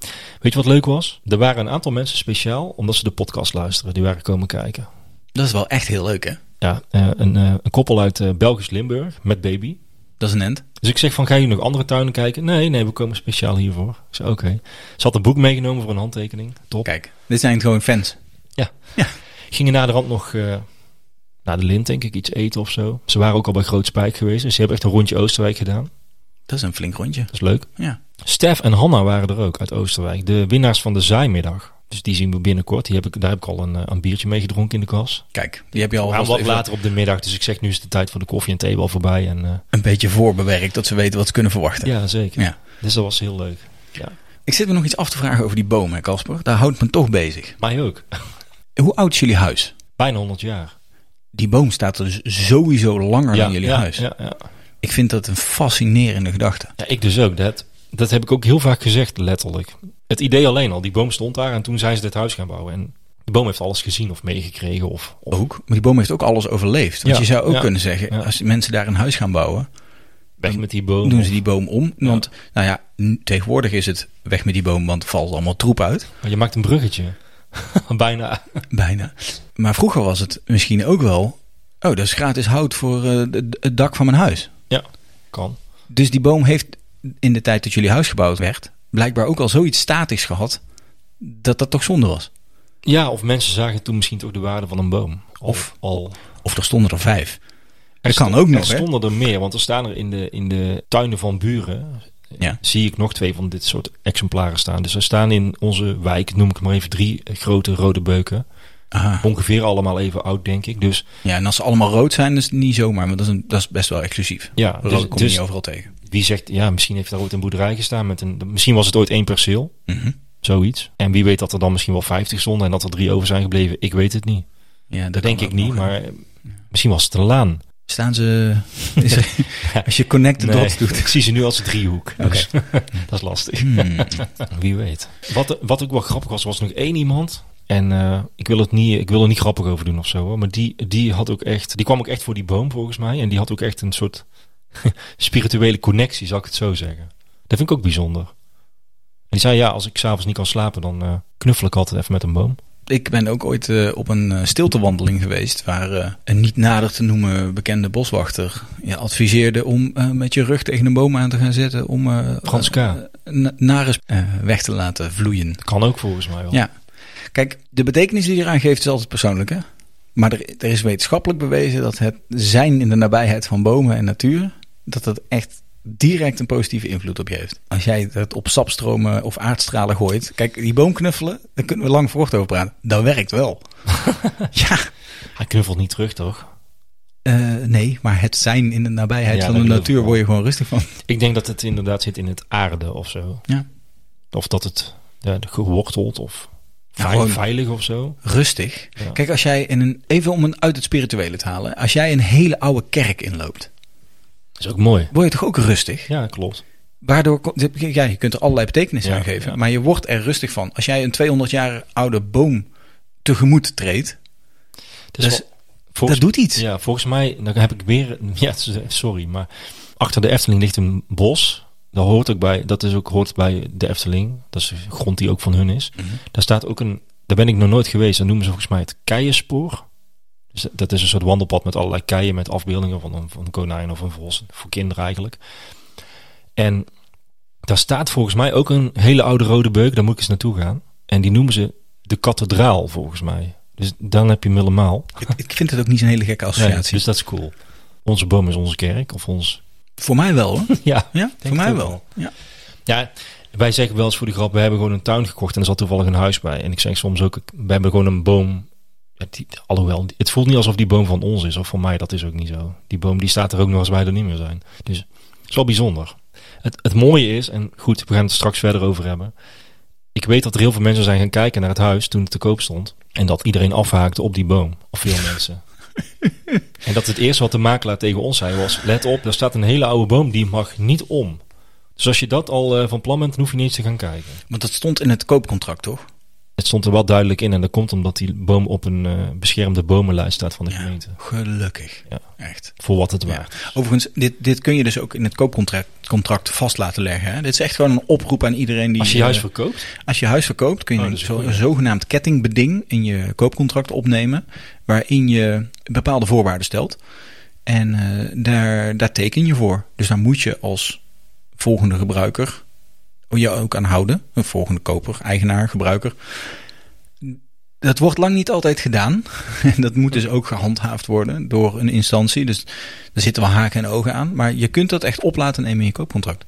[SPEAKER 2] Weet je wat leuk was? Er waren een aantal mensen speciaal, omdat ze de podcast luisteren. Die waren komen kijken.
[SPEAKER 1] Dat is wel echt heel leuk, hè?
[SPEAKER 2] Ja, eh, een, eh, een koppel uit eh, Belgisch Limburg met baby.
[SPEAKER 1] Dat is een end.
[SPEAKER 2] Dus ik zeg van, ga je nog andere tuinen kijken? Nee, nee, we komen speciaal hiervoor. Ik zei, oké. Ze had een boek meegenomen voor een handtekening. Top.
[SPEAKER 1] Kijk, dit zijn gewoon fans.
[SPEAKER 2] Gingen na de rand nog eh, naar de lint, denk ik, iets eten of zo. Ze waren ook al bij Groot Spijk geweest. Dus ze hebben echt een rondje Oosterwijk gedaan.
[SPEAKER 1] Dat is een flink rondje.
[SPEAKER 2] Dat is leuk.
[SPEAKER 1] Ja.
[SPEAKER 2] Stef en Hanna waren er ook uit Oosterwijk. De winnaars van de zaaimiddag. Dus die zien we binnenkort. Die heb ik, daar heb ik al een, eh, een biertje mee gedronken in de kas.
[SPEAKER 1] Kijk, die heb je al
[SPEAKER 2] Maar wat
[SPEAKER 1] even
[SPEAKER 2] later op de middag. Dus ik zeg, nu is de tijd voor de koffie en thee wel voorbij. En, eh,
[SPEAKER 1] een beetje voorbewerkt, dat ze weten wat ze kunnen verwachten.
[SPEAKER 2] ja, zeker.
[SPEAKER 1] Ja.
[SPEAKER 2] Dus dat was heel leuk. Ja.
[SPEAKER 1] Ik zit me nog iets af te vragen over die bomen, hè, Casper. Daar houdt me toch bezig.
[SPEAKER 2] Mij ook.
[SPEAKER 1] Hoe oud is jullie huis?
[SPEAKER 2] Bijna 100 jaar.
[SPEAKER 1] Die boom staat er dus sowieso langer dan jullie
[SPEAKER 2] ja,
[SPEAKER 1] huis.
[SPEAKER 2] Ja, ja.
[SPEAKER 1] Ik vind dat een fascinerende gedachte.
[SPEAKER 2] Ja, ik dus ook. Dat, dat heb ik ook heel vaak gezegd, letterlijk. Het idee alleen al. Die boom stond daar en toen zijn ze dit huis gaan bouwen. En de boom heeft alles gezien of meegekregen. Of, of-
[SPEAKER 1] Ook, maar die boom heeft ook alles overleefd. Want
[SPEAKER 2] Ja,
[SPEAKER 1] je zou ook
[SPEAKER 2] ja,
[SPEAKER 1] kunnen zeggen,
[SPEAKER 2] ja.
[SPEAKER 1] als die mensen daar een huis gaan bouwen,
[SPEAKER 2] weg met die boom.
[SPEAKER 1] doen
[SPEAKER 2] of-
[SPEAKER 1] ze die boom om. Want, nou ja, n- tegenwoordig is het weg met die boom, want er valt allemaal troep uit.
[SPEAKER 2] Maar je maakt een bruggetje. Bijna.
[SPEAKER 1] Bijna. Maar vroeger was het misschien ook wel, oh, dat is gratis hout voor eh, d- het dak van mijn huis.
[SPEAKER 2] Ja, kan.
[SPEAKER 1] Dus die boom heeft in de tijd dat jullie huis gebouwd werd, blijkbaar ook al zoiets statisch gehad, dat dat toch zonde was.
[SPEAKER 2] Ja, of mensen zagen toen misschien toch de waarde van een boom. Of al.
[SPEAKER 1] Of er stonden er vijf.
[SPEAKER 2] Er
[SPEAKER 1] Dat kan
[SPEAKER 2] sto-
[SPEAKER 1] ook
[SPEAKER 2] Dus Er
[SPEAKER 1] nog, hè?
[SPEAKER 2] stonden er meer, want er staan er in de, in de tuinen van buren.
[SPEAKER 1] Ja.
[SPEAKER 2] Zie ik nog twee van dit soort exemplaren staan. Dus er staan in onze wijk, noem ik maar even, drie eh, grote rode beuken.
[SPEAKER 1] Aha.
[SPEAKER 2] Ongeveer allemaal even oud, denk ik. Dus
[SPEAKER 1] Ja, en als ze allemaal rood zijn, is het niet zomaar, maar dat is, een, dat is best wel exclusief.
[SPEAKER 2] ja,
[SPEAKER 1] Rood
[SPEAKER 2] dus,
[SPEAKER 1] kom je
[SPEAKER 2] dus
[SPEAKER 1] niet overal tegen.
[SPEAKER 2] wie zegt, ja, misschien heeft daar ooit een boerderij gestaan. Met een, misschien was het ooit één perceel,
[SPEAKER 1] Mhm.
[SPEAKER 2] zoiets. En wie weet dat er dan misschien wel vijftig stonden en dat er drie over zijn gebleven. Ik weet het niet.
[SPEAKER 1] Ja,
[SPEAKER 2] Dat denk
[SPEAKER 1] kan
[SPEAKER 2] ik
[SPEAKER 1] ook
[SPEAKER 2] niet,
[SPEAKER 1] nog, hè.
[SPEAKER 2] maar eh, misschien was het een laan.
[SPEAKER 1] Staan ze... is er- als je connect the dots
[SPEAKER 2] Nee,
[SPEAKER 1] doet.
[SPEAKER 2] ik zie ze nu als een driehoek. Dus dat is lastig.
[SPEAKER 1] Hmm.
[SPEAKER 2] Wie weet. Wat, wat ook wel grappig was, was nog één iemand. En eh, ik, wil het niet, ik wil er niet grappig over doen of zo. hoor, Maar die, die, had ook echt, die kwam ook echt voor die boom volgens mij. En die had ook echt een soort spirituele connectie, zou ik het zo zeggen. Dat vind ik ook bijzonder. En die zei, ja, als ik s'avonds niet kan slapen, dan eh, knuffel ik altijd even met een boom.
[SPEAKER 1] Ik ben ook ooit eh, op een eh, stiltewandeling geweest... waar eh, een niet nader te noemen bekende boswachter... Je adviseerde om eh, met je rug tegen een boom aan te gaan zitten... om eh
[SPEAKER 2] Frans K.
[SPEAKER 1] eh, na- nare sp- eh, weg te laten vloeien.
[SPEAKER 2] Dat kan ook volgens mij wel.
[SPEAKER 1] Ja. Kijk, de betekenis die je eraan geeft is altijd persoonlijk, hè? Maar er, er is wetenschappelijk bewezen dat het zijn in de nabijheid van bomen en natuur... dat dat echt direct een positieve invloed op je heeft. Als jij het op sapstromen of aardstralen gooit... Kijk, die boom knuffelen, daar kunnen we lang voor kort over praten. Dat werkt wel. ja,
[SPEAKER 2] Hij knuffelt niet terug, toch?
[SPEAKER 1] eh, nee, maar het zijn in de nabijheid
[SPEAKER 2] Ja,
[SPEAKER 1] van de
[SPEAKER 2] dat bedoel ik
[SPEAKER 1] natuur...
[SPEAKER 2] wel.
[SPEAKER 1] word je gewoon rustig van.
[SPEAKER 2] Ik denk dat het inderdaad zit in het aarde of zo.
[SPEAKER 1] Ja.
[SPEAKER 2] Of dat het ja, geworteld of
[SPEAKER 1] Ja,
[SPEAKER 2] veil-
[SPEAKER 1] gewoon-
[SPEAKER 2] veilig of zo.
[SPEAKER 1] Rustig.
[SPEAKER 2] Ja.
[SPEAKER 1] Kijk, als jij in een... Even om een, uit het spirituele te halen. Als jij een hele oude kerk inloopt...
[SPEAKER 2] Dat is ook mooi.
[SPEAKER 1] word je toch ook rustig?
[SPEAKER 2] Ja, klopt.
[SPEAKER 1] Waardoor, kom- ja, je kunt er allerlei betekenis
[SPEAKER 2] Ja,
[SPEAKER 1] aan geven,
[SPEAKER 2] ja.
[SPEAKER 1] maar je wordt er rustig van. Als jij een 200 jaar oude boom tegemoet treedt,
[SPEAKER 2] Het
[SPEAKER 1] Dus
[SPEAKER 2] wel- volgens,
[SPEAKER 1] dat doet iets.
[SPEAKER 2] ja, volgens mij, dan heb ik weer... Ja, sorry, maar achter de Efteling ligt een bos. Dat hoort ook bij, dat is ook, hoort bij de Efteling. Dat is de grond die ook van hun is. Daar staat ook een... Daar ben ik nog nooit geweest. Dat noemen ze volgens mij het keienspoor. Dus dat- dat is een soort wandelpad met allerlei keien, met afbeeldingen van een, van een konijn of een vos. Voor kinderen eigenlijk. En daar staat volgens mij ook een hele oude rode beuk. Daar moet ik eens naartoe gaan. En die noemen ze de kathedraal, volgens mij. Dus dan heb je hem helemaal.
[SPEAKER 1] Ik, ik vind het ook niet zo'n hele gekke
[SPEAKER 2] Nee,
[SPEAKER 1] associatie.
[SPEAKER 2] dus dat is cool. Onze boom is onze kerk of ons.
[SPEAKER 1] Voor mij wel, hoor.
[SPEAKER 2] Ja.
[SPEAKER 1] Ja, voor
[SPEAKER 2] het
[SPEAKER 1] mij
[SPEAKER 2] ook
[SPEAKER 1] wel. Ja.
[SPEAKER 2] ja, wij zeggen wel eens voor de grap: we hebben gewoon een tuin gekocht en er zat toevallig een huis bij. En ik zeg soms ook: we hebben gewoon een boom. Ja, die- alhoewel, het voelt niet alsof die boom van ons is, of van mij, dat is ook niet zo. Die boom die staat er ook nog als wij er niet meer zijn. Dus het is wel bijzonder. Het, het mooie is, en goed, we gaan het straks verder over hebben. Ik weet dat er heel veel mensen zijn gaan kijken naar het huis toen het te koop stond. En dat iedereen afhaakte op die boom. Of veel mensen. En dat het eerste wat de makelaar tegen ons zei was: let op, daar staat een hele oude boom, die mag niet om. Dus als je dat al eh, van plan bent, dan hoef je niet eens te gaan kijken.
[SPEAKER 1] Want dat stond in het koopcontract, toch?
[SPEAKER 2] Het stond er wel duidelijk in en dat komt omdat die boom op een eh, beschermde bomenlijst staat van de
[SPEAKER 1] Ja,
[SPEAKER 2] gemeente.
[SPEAKER 1] gelukkig.
[SPEAKER 2] Ja.
[SPEAKER 1] Echt.
[SPEAKER 2] Voor wat het
[SPEAKER 1] Ja.
[SPEAKER 2] waard.
[SPEAKER 1] Overigens, dit, dit kun je dus ook in het koopcontract contract vast laten leggen. Hè? Dit is echt gewoon een oproep aan iedereen die...
[SPEAKER 2] Als je je huis
[SPEAKER 1] eh,
[SPEAKER 2] verkoopt,
[SPEAKER 1] Als je huis verkoopt, kun je
[SPEAKER 2] Oh,
[SPEAKER 1] een,
[SPEAKER 2] dat is
[SPEAKER 1] zo-
[SPEAKER 2] goed, ja.
[SPEAKER 1] een zogenaamd kettingbeding in je koopcontract opnemen. Waarin je bepaalde voorwaarden stelt. En eh, daar, daar teken je voor. Dus daar moet je als volgende gebruiker je ook aan houden. Een volgende koper, eigenaar, gebruiker. Dat wordt lang niet altijd gedaan. En dat moet dus ook gehandhaafd worden door een instantie. Dus daar zitten wel haken en ogen aan. Maar je kunt dat echt op laten nemen in je koopcontract.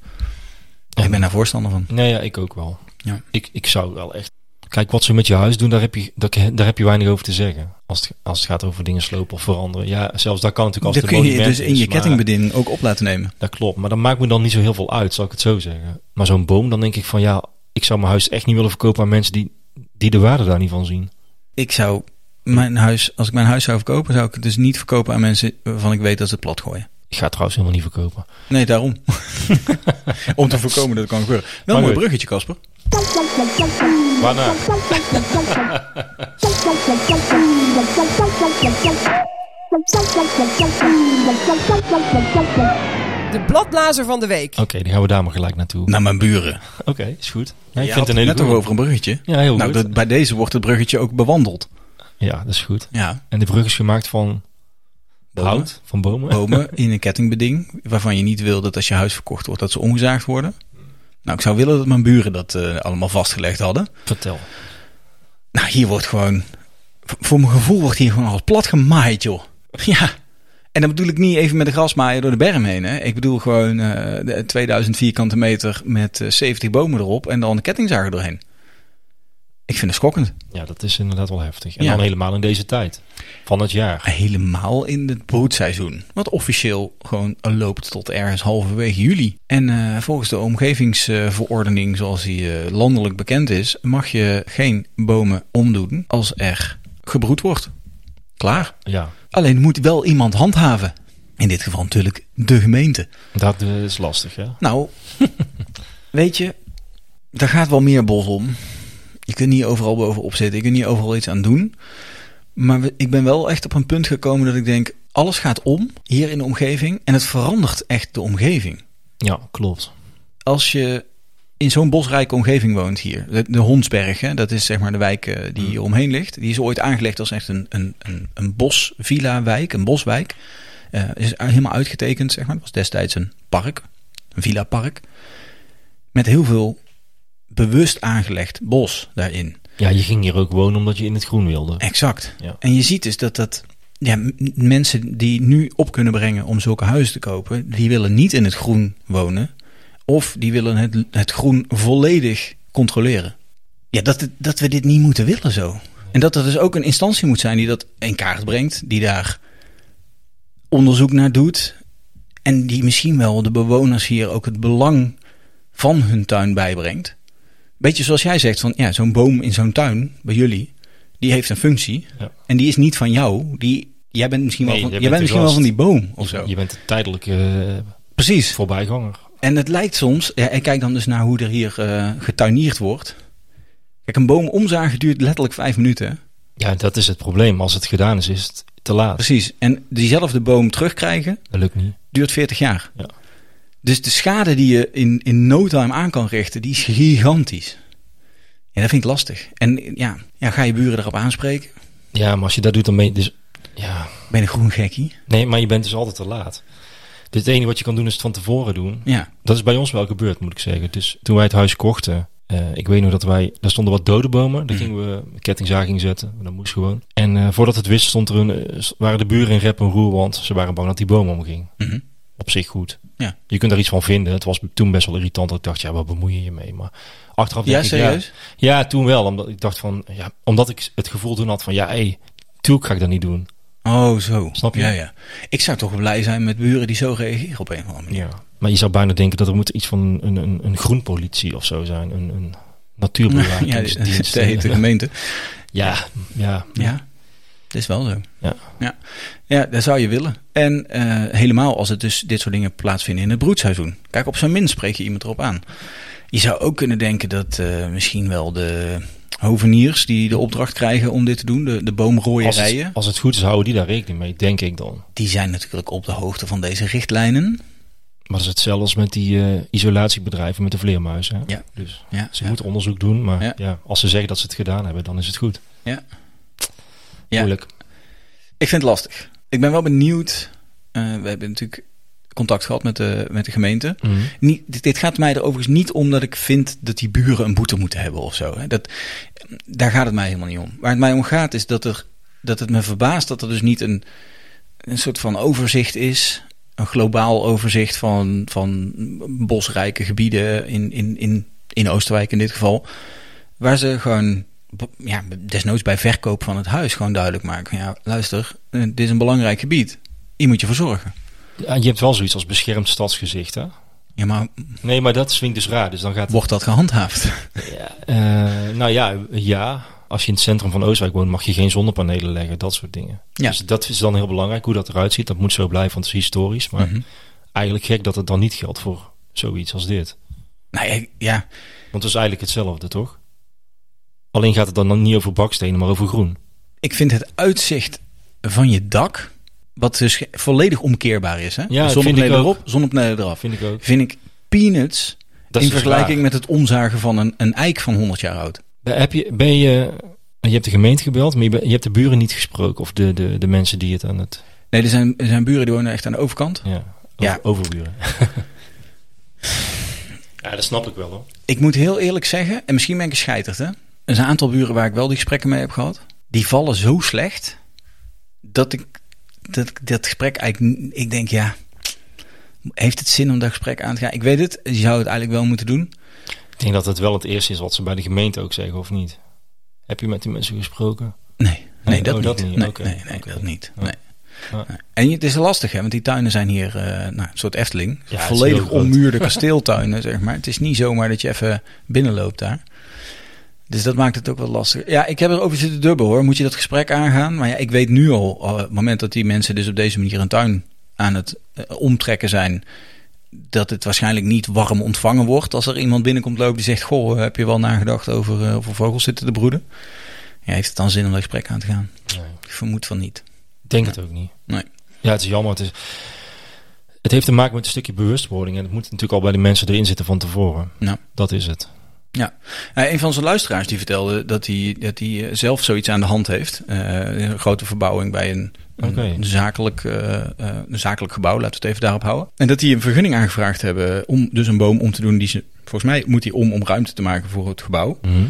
[SPEAKER 1] Ik ben daar voorstander van.
[SPEAKER 2] Nou ja, ik ook wel.
[SPEAKER 1] Ja.
[SPEAKER 2] Ik, ik zou wel echt... Kijk, wat ze met je huis doen, daar heb je, daar, daar heb je weinig over te zeggen. Als het, als het gaat over dingen slopen of veranderen. Ja, zelfs daar kan natuurlijk
[SPEAKER 1] Dat
[SPEAKER 2] altijd
[SPEAKER 1] kun je dus in je
[SPEAKER 2] ketting
[SPEAKER 1] kettingbediening ook op laten nemen.
[SPEAKER 2] Dat klopt, maar dat maakt me dan niet zo heel veel uit, zal ik het zo zeggen. Maar zo'n boom, dan denk ik van ja, ik zou mijn huis echt niet willen verkopen aan mensen die, die de waarde daar niet van zien.
[SPEAKER 1] Ik zou mijn huis, als ik mijn huis zou verkopen, zou ik het dus niet verkopen aan mensen waarvan ik weet dat ze het plat gooien.
[SPEAKER 2] Ik ga het trouwens helemaal niet verkopen.
[SPEAKER 1] Nee, daarom. Om te voorkomen dat het kan gebeuren. Wel een
[SPEAKER 2] Maar
[SPEAKER 1] mooi
[SPEAKER 2] goed.
[SPEAKER 1] bruggetje, Casper.
[SPEAKER 4] à.
[SPEAKER 2] Waarna?
[SPEAKER 3] De bladblazer van de week.
[SPEAKER 2] Oké, dan gaan we daar maar gelijk naartoe.
[SPEAKER 1] Naar mijn buren.
[SPEAKER 2] Oké, is goed. Ja, ik
[SPEAKER 1] Je
[SPEAKER 2] vind
[SPEAKER 1] Nou. had
[SPEAKER 2] het een hele
[SPEAKER 1] net nog
[SPEAKER 2] goeie.
[SPEAKER 1] over een bruggetje.
[SPEAKER 2] Ja, heel
[SPEAKER 1] nou,
[SPEAKER 2] goed.
[SPEAKER 1] dat, bij deze wordt het bruggetje ook bewandeld.
[SPEAKER 2] Ja, dat is goed.
[SPEAKER 1] Ja,
[SPEAKER 2] En de brug is gemaakt van
[SPEAKER 1] Bomen.
[SPEAKER 2] hout, van bomen.
[SPEAKER 1] bomen in een kettingbeding waarvan je niet wil dat als je huis verkocht wordt dat ze omgezaagd worden. Nou, ik zou willen dat mijn buren dat eh, allemaal vastgelegd hadden.
[SPEAKER 2] Vertel.
[SPEAKER 1] Nou, hier wordt gewoon. v- Voor mijn gevoel wordt hier gewoon alles plat gemaaid, joh. Ja. En dan bedoel ik niet even met de grasmaaier door de berm heen. Hè. Ik bedoel gewoon eh, de 2000 vierkante meter met eh, 70 bomen erop en dan de kettingzager doorheen. Ik vind het schokkend.
[SPEAKER 2] Ja, dat is inderdaad wel heftig. En
[SPEAKER 1] Ja.
[SPEAKER 2] dan helemaal in deze tijd van het jaar.
[SPEAKER 1] Helemaal in het broedseizoen. Wat officieel gewoon loopt tot ergens halverwege juli. En eh, volgens de omgevingsverordening, zoals die eh, landelijk bekend is, mag je geen bomen omdoen als er gebroed wordt. Klaar.
[SPEAKER 2] Ja,
[SPEAKER 1] Alleen moet wel iemand handhaven. In dit geval natuurlijk de gemeente.
[SPEAKER 2] dat eh, is lastig, hè?
[SPEAKER 1] Nou, weet je, daar gaat wel meer bos om. Je kunt niet overal bovenop zitten. Je kunt niet overal iets aan doen. Maar we- ik ben wel echt op een punt gekomen dat ik denk... alles gaat om hier in de omgeving. En het verandert echt de omgeving.
[SPEAKER 2] Ja, klopt.
[SPEAKER 1] Als je in zo'n bosrijke omgeving woont hier... de, de Hondsberg, hè, dat is zeg maar de wijk eh, die hier omheen ligt... die is ooit aangelegd als echt een, een, een, een bosvilla-wijk, een boswijk. Eh, is helemaal uitgetekend, zeg maar. Het was destijds een park, een villa-park. Met heel veel bewust aangelegd bos daarin.
[SPEAKER 2] Ja, je ging hier ook wonen omdat je in het groen wilde.
[SPEAKER 1] Exact.
[SPEAKER 2] Ja.
[SPEAKER 1] En je ziet dus dat dat... Ja, m- mensen die nu op kunnen brengen om zulke huizen te kopen... die willen niet in het groen wonen. Of die willen het, het groen volledig controleren. Ja, dat, het- dat we dit niet moeten willen zo. En dat er dus ook een instantie moet zijn die dat in kaart brengt. Die daar onderzoek naar doet. En die misschien wel de bewoners hier ook het belang van hun tuin bijbrengt. Beetje zoals jij zegt van ja, zo'n boom in zo'n tuin bij jullie, die heeft een functie.
[SPEAKER 2] Ja.
[SPEAKER 1] En die is niet van jou. Die, jij bent misschien wel,
[SPEAKER 2] Nee,
[SPEAKER 1] van,
[SPEAKER 2] jij
[SPEAKER 1] jij
[SPEAKER 2] bent
[SPEAKER 1] bent
[SPEAKER 2] de
[SPEAKER 1] misschien wel van
[SPEAKER 2] gast.
[SPEAKER 1] die boom of zo.
[SPEAKER 2] Je bent een tijdelijke eh,
[SPEAKER 1] Precies.
[SPEAKER 2] voorbijganger.
[SPEAKER 1] En het lijkt soms, ja, en kijk dan dus naar hoe er hier eh getuinierd wordt. Kijk, een boom omzagen duurt letterlijk vijf minuten. hè?
[SPEAKER 2] Ja, dat is het probleem. Als het gedaan is, is het te laat.
[SPEAKER 1] Precies. En diezelfde boom terugkrijgen
[SPEAKER 2] Dat lukt niet.
[SPEAKER 1] duurt 40 jaar.
[SPEAKER 2] Ja.
[SPEAKER 1] Dus de schade die je in, in no time aan kan richten, die is gigantisch. Ja, dat vind ik lastig. En ja, ja ga je buren erop aanspreken?
[SPEAKER 2] Ja, maar als je dat doet, dan ben je dus... Ja,
[SPEAKER 1] Ben je een groen gekkie?
[SPEAKER 2] nee, maar je bent dus altijd te laat. Dus het enige wat je kan doen, is het van tevoren doen.
[SPEAKER 1] Ja.
[SPEAKER 2] Dat is bij ons wel gebeurd, moet ik zeggen. Dus toen wij het huis kochten, eh, ik weet nog dat wij... Daar stonden wat dode bomen.
[SPEAKER 1] Mm.
[SPEAKER 2] Daar gingen we een kettingzaging zetten. Dat moest gewoon. En eh, voordat het wist, stond er een, eh, waren de buren in rep en roer, want ze waren bang dat die boom omging.
[SPEAKER 1] Mhm.
[SPEAKER 2] Op zich goed.
[SPEAKER 1] Ja.
[SPEAKER 2] Je kunt daar iets van vinden. Het was toen best wel irritant. Ik dacht, ja, wat bemoei je je mee? Maar achteraf denk
[SPEAKER 1] Ja,
[SPEAKER 2] ik,
[SPEAKER 1] serieus?
[SPEAKER 2] Ja, toen wel. Omdat ik dacht van, ja, omdat ik het gevoel toen had van, ja, hé, natuurlijk ga ik dat niet doen.
[SPEAKER 1] Oh, zo.
[SPEAKER 2] Snap je?
[SPEAKER 1] Ja, ja. Ik zou toch blij zijn met buren die zo reageren op een of andere manier.
[SPEAKER 2] Ja. Maar je zou bijna denken dat er moet iets van een, een, een groenpolitie of zo zijn. Een, een natuurbewakingsdienst.
[SPEAKER 1] dus de hete gemeente.
[SPEAKER 2] ja, ja,
[SPEAKER 1] Ja, dat is wel zo.
[SPEAKER 2] Ja.
[SPEAKER 1] ja. Ja, dat zou je willen. En eh, helemaal als het dus dit soort dingen plaatsvinden in het broedseizoen. Kijk, op zijn minst spreek je iemand erop aan. Je zou ook kunnen denken dat eh, misschien wel de hoveniers die de opdracht krijgen om dit te doen, de, de
[SPEAKER 2] Als, het,
[SPEAKER 1] boomrooierijen,
[SPEAKER 2] als het goed is, houden die daar rekening mee, denk ik dan. Maar
[SPEAKER 1] die zijn natuurlijk op de hoogte van deze richtlijnen.
[SPEAKER 2] dat is hetzelfde als met die eh, isolatiebedrijven met de vleermuizen. hè?
[SPEAKER 1] Ja.
[SPEAKER 2] Dus
[SPEAKER 1] Ja,
[SPEAKER 2] ze
[SPEAKER 1] ja.
[SPEAKER 2] moeten onderzoek doen, maar
[SPEAKER 1] Ja.
[SPEAKER 2] ja. als ze zeggen dat ze het gedaan hebben, dan is het goed.
[SPEAKER 1] Ja. Ja.
[SPEAKER 2] Moeilijk.
[SPEAKER 1] Ik vind het lastig. Ik ben wel benieuwd eh, we hebben natuurlijk contact gehad met de, met de gemeente.
[SPEAKER 2] Mhm.
[SPEAKER 1] Niet, dit, dit gaat mij er overigens niet om dat ik vind dat die buren een boete moeten hebben of zo. Hè. Dat, daar gaat het mij helemaal niet om. Waar het mij om gaat is dat, er, dat het me verbaast dat er dus niet een, een soort van overzicht is. Een globaal overzicht van, van bosrijke gebieden in, in, in, in Oosterwijk in dit geval. Waar ze gewoon, ja, desnoods bij verkoop van het huis gewoon duidelijk maken. van, Ja, luister, eh, dit is een belangrijk gebied. Hier moet je voor zorgen.
[SPEAKER 2] Ja, je hebt wel zoiets als beschermd stadsgezicht, hè?
[SPEAKER 1] Ja, maar
[SPEAKER 2] Nee, maar dat swingt dus raar. Dus dan gaat
[SPEAKER 1] wordt dat gehandhaafd?
[SPEAKER 2] Eh, nou ja, ja, als je in het centrum van Oostwijk woont, mag je geen zonnepanelen leggen, dat soort dingen.
[SPEAKER 1] Ja.
[SPEAKER 2] Dus dat is dan heel belangrijk, hoe dat eruit ziet. Dat moet zo blijven, want het is historisch. Maar
[SPEAKER 1] Mhm.
[SPEAKER 2] eigenlijk gek dat het dan niet geldt voor zoiets als dit.
[SPEAKER 1] Nou ja, ja,
[SPEAKER 2] Want het is eigenlijk hetzelfde, toch? Alleen gaat het dan niet over bakstenen, maar over groen.
[SPEAKER 1] ik vind het uitzicht van je dak, wat dus ge- volledig omkeerbaar is. Hè?
[SPEAKER 2] Ja, dat vind
[SPEAKER 1] zonnepanelen
[SPEAKER 2] ik ook.
[SPEAKER 1] erop, zonnepanelen eraf.
[SPEAKER 2] Vind ik ook.
[SPEAKER 1] Vind ik peanuts
[SPEAKER 2] Dat
[SPEAKER 1] in
[SPEAKER 2] is dus
[SPEAKER 1] vergelijking
[SPEAKER 2] raar.
[SPEAKER 1] met het omzagen van een, een eik van 100 jaar oud.
[SPEAKER 2] Daar Eh, Heb je, ben je, je hebt de gemeente gebeld, maar je, ben- je hebt de buren niet gesproken. Of de, de, de mensen die het aan het...
[SPEAKER 1] Nee, er zijn, er zijn buren die wonen echt aan de overkant.
[SPEAKER 2] Ja, over,
[SPEAKER 1] Ja.
[SPEAKER 2] overburen. ja, dat snap ik wel hoor.
[SPEAKER 1] Ik moet heel eerlijk zeggen, en misschien ben ik gescheiterd, hè? Er zijn een aantal buren waar ik wel die gesprekken mee heb gehad. Die vallen zo slecht dat ik dat, ik dat gesprek eigenlijk. n- Ik denk, ja, heeft het zin om dat gesprek aan te gaan? Ik weet het, je zou het eigenlijk wel moeten doen.
[SPEAKER 2] Ik denk dat het wel het eerste is wat ze bij de gemeente ook zeggen, of niet? Heb je met die mensen gesproken?
[SPEAKER 1] Nee, nee,
[SPEAKER 2] Nee,
[SPEAKER 1] dat,
[SPEAKER 2] oh,
[SPEAKER 1] niet.
[SPEAKER 2] dat niet.
[SPEAKER 1] Nee,
[SPEAKER 2] Oké,
[SPEAKER 1] nee, nee,
[SPEAKER 2] oké.
[SPEAKER 1] dat niet.
[SPEAKER 2] Ja.
[SPEAKER 1] Nee.
[SPEAKER 2] Ja.
[SPEAKER 1] Nee. En het is lastig, hè, want die tuinen zijn hier eh, nou, een soort Efteling.
[SPEAKER 2] Ja, het is heel
[SPEAKER 1] Volledig
[SPEAKER 2] groot.
[SPEAKER 1] ommuurde kasteeltuinen, zeg maar. Het is niet zomaar dat je even binnenloopt daar. Dus dat maakt het ook wat lastig. Ja, ik heb erover zitten dubbel hoor. Moet je dat gesprek aangaan? Maar ja, ik weet nu al, eh, op het moment dat die mensen dus op deze manier een tuin aan het eh, omtrekken zijn, dat het waarschijnlijk niet warm ontvangen wordt als er iemand binnenkomt lopen die zegt: Goh, heb je wel nagedacht over eh, of er vogels zitten te broeden? Ja, heeft het dan zin om dat gesprek aan te gaan?
[SPEAKER 2] Nee.
[SPEAKER 1] Ik vermoed van niet.
[SPEAKER 2] Ik denk het ook niet.
[SPEAKER 1] Nee.
[SPEAKER 2] Ja, het is jammer. Het, is, het heeft te maken met een stukje bewustwording. En het moet natuurlijk al bij de mensen erin zitten van tevoren.
[SPEAKER 1] Ja.
[SPEAKER 2] Dat is het.
[SPEAKER 1] Ja, Eh, een van zijn luisteraars die vertelde dat hij, dat hij eh, zelf zoiets aan de hand heeft. Eh, een grote verbouwing bij een, een
[SPEAKER 2] Oké.
[SPEAKER 1] zakelijk, eh, eh, een zakelijk gebouw, laten we het even daarop houden. En dat die een vergunning aangevraagd hebben om dus een boom om te doen. Die ze, volgens mij moet die om om ruimte te maken voor het gebouw.
[SPEAKER 2] Mhm.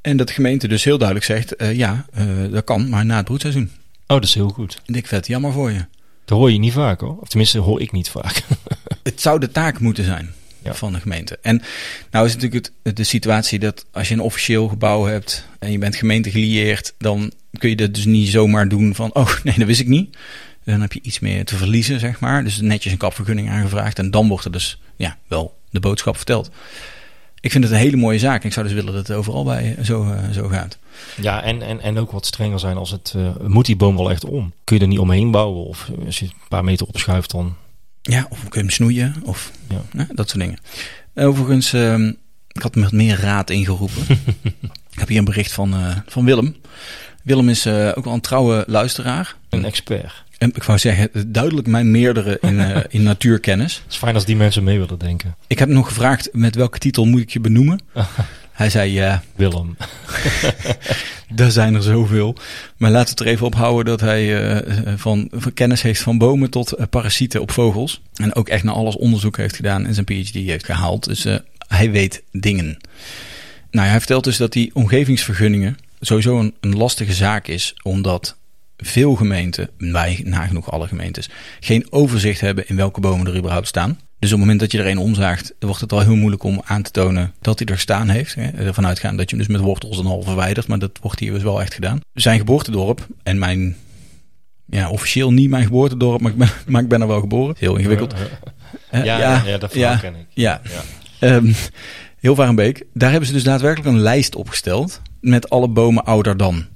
[SPEAKER 1] En dat de gemeente dus heel duidelijk zegt, eh, ja, eh, dat kan, maar na het broedseizoen.
[SPEAKER 2] Oh, dat is heel goed.
[SPEAKER 1] En ik vet, jammer voor je.
[SPEAKER 2] Dat hoor je niet vaak hoor. Of tenminste, hoor ik niet vaak.
[SPEAKER 1] het zou de taak moeten zijn
[SPEAKER 2] Ja.
[SPEAKER 1] van de gemeente. En nou is natuurlijk het, de situatie dat als je een officieel gebouw hebt en je bent gemeente gelieerd, dan kun je dat dus niet zomaar doen van, oh nee, dat wist ik niet. Dan heb je iets meer te verliezen, zeg maar. Dus netjes een kapvergunning aangevraagd en dan wordt er dus ja, wel de boodschap verteld. Ik vind het een hele mooie zaak. Ik zou dus willen dat het overal bij eh, zo, eh, zo gaat.
[SPEAKER 2] Ja, en, en, en ook wat strenger zijn als het... eh, moet die boom wel echt om? Kun je er niet omheen bouwen? Of eh, als je het een paar meter opschuift dan...
[SPEAKER 1] Ja, of kun je hem snoeien, of
[SPEAKER 2] Ja.
[SPEAKER 1] hè, dat soort dingen. Overigens, ehm, ik had met meer raad ingeroepen. ik heb hier een bericht van, eh, van Willem. Willem is eh, ook wel een trouwe luisteraar.
[SPEAKER 2] Een expert.
[SPEAKER 1] En ik wou zeggen, duidelijk mijn meerdere in, eh, in natuurkennis.
[SPEAKER 2] Het is fijn als die mensen mee willen denken.
[SPEAKER 1] Ik heb hem nog gevraagd, met welke titel moet ik je benoemen? Hij zei, eh, ja,
[SPEAKER 2] Willem.
[SPEAKER 1] daar zijn er zoveel. Maar laten we het er even op houden dat hij eh, eh, van, van kennis heeft van bomen tot eh, parasieten op vogels. En ook echt naar alles onderzoek heeft gedaan en zijn PhD heeft gehaald. Dus eh, hij weet dingen. Nou, hij vertelt dus dat die omgevingsvergunningen sowieso een, een lastige zaak is, omdat veel gemeenten, wij nagenoeg alle gemeentes, geen overzicht hebben in welke bomen er überhaupt staan. Dus op het moment dat je er een omzaagt, wordt het al heel moeilijk om aan te tonen dat hij er staan heeft. hè. Ervan uitgaan dat je hem dus met wortels en al verwijdert, maar dat wordt hier dus wel echt gedaan. Zijn geboortedorp en mijn, ja, officieel niet mijn geboortedorp, maar ik ben, maar ik ben er wel geboren. Heel ingewikkeld.
[SPEAKER 2] Ja,
[SPEAKER 1] Eh,
[SPEAKER 2] ja, ja, dat verhaal
[SPEAKER 1] ja.
[SPEAKER 2] ken ik.
[SPEAKER 1] Ja. Ehm Hilvarenbeek, daar hebben ze dus daadwerkelijk een lijst opgesteld met alle bomen ouder dan.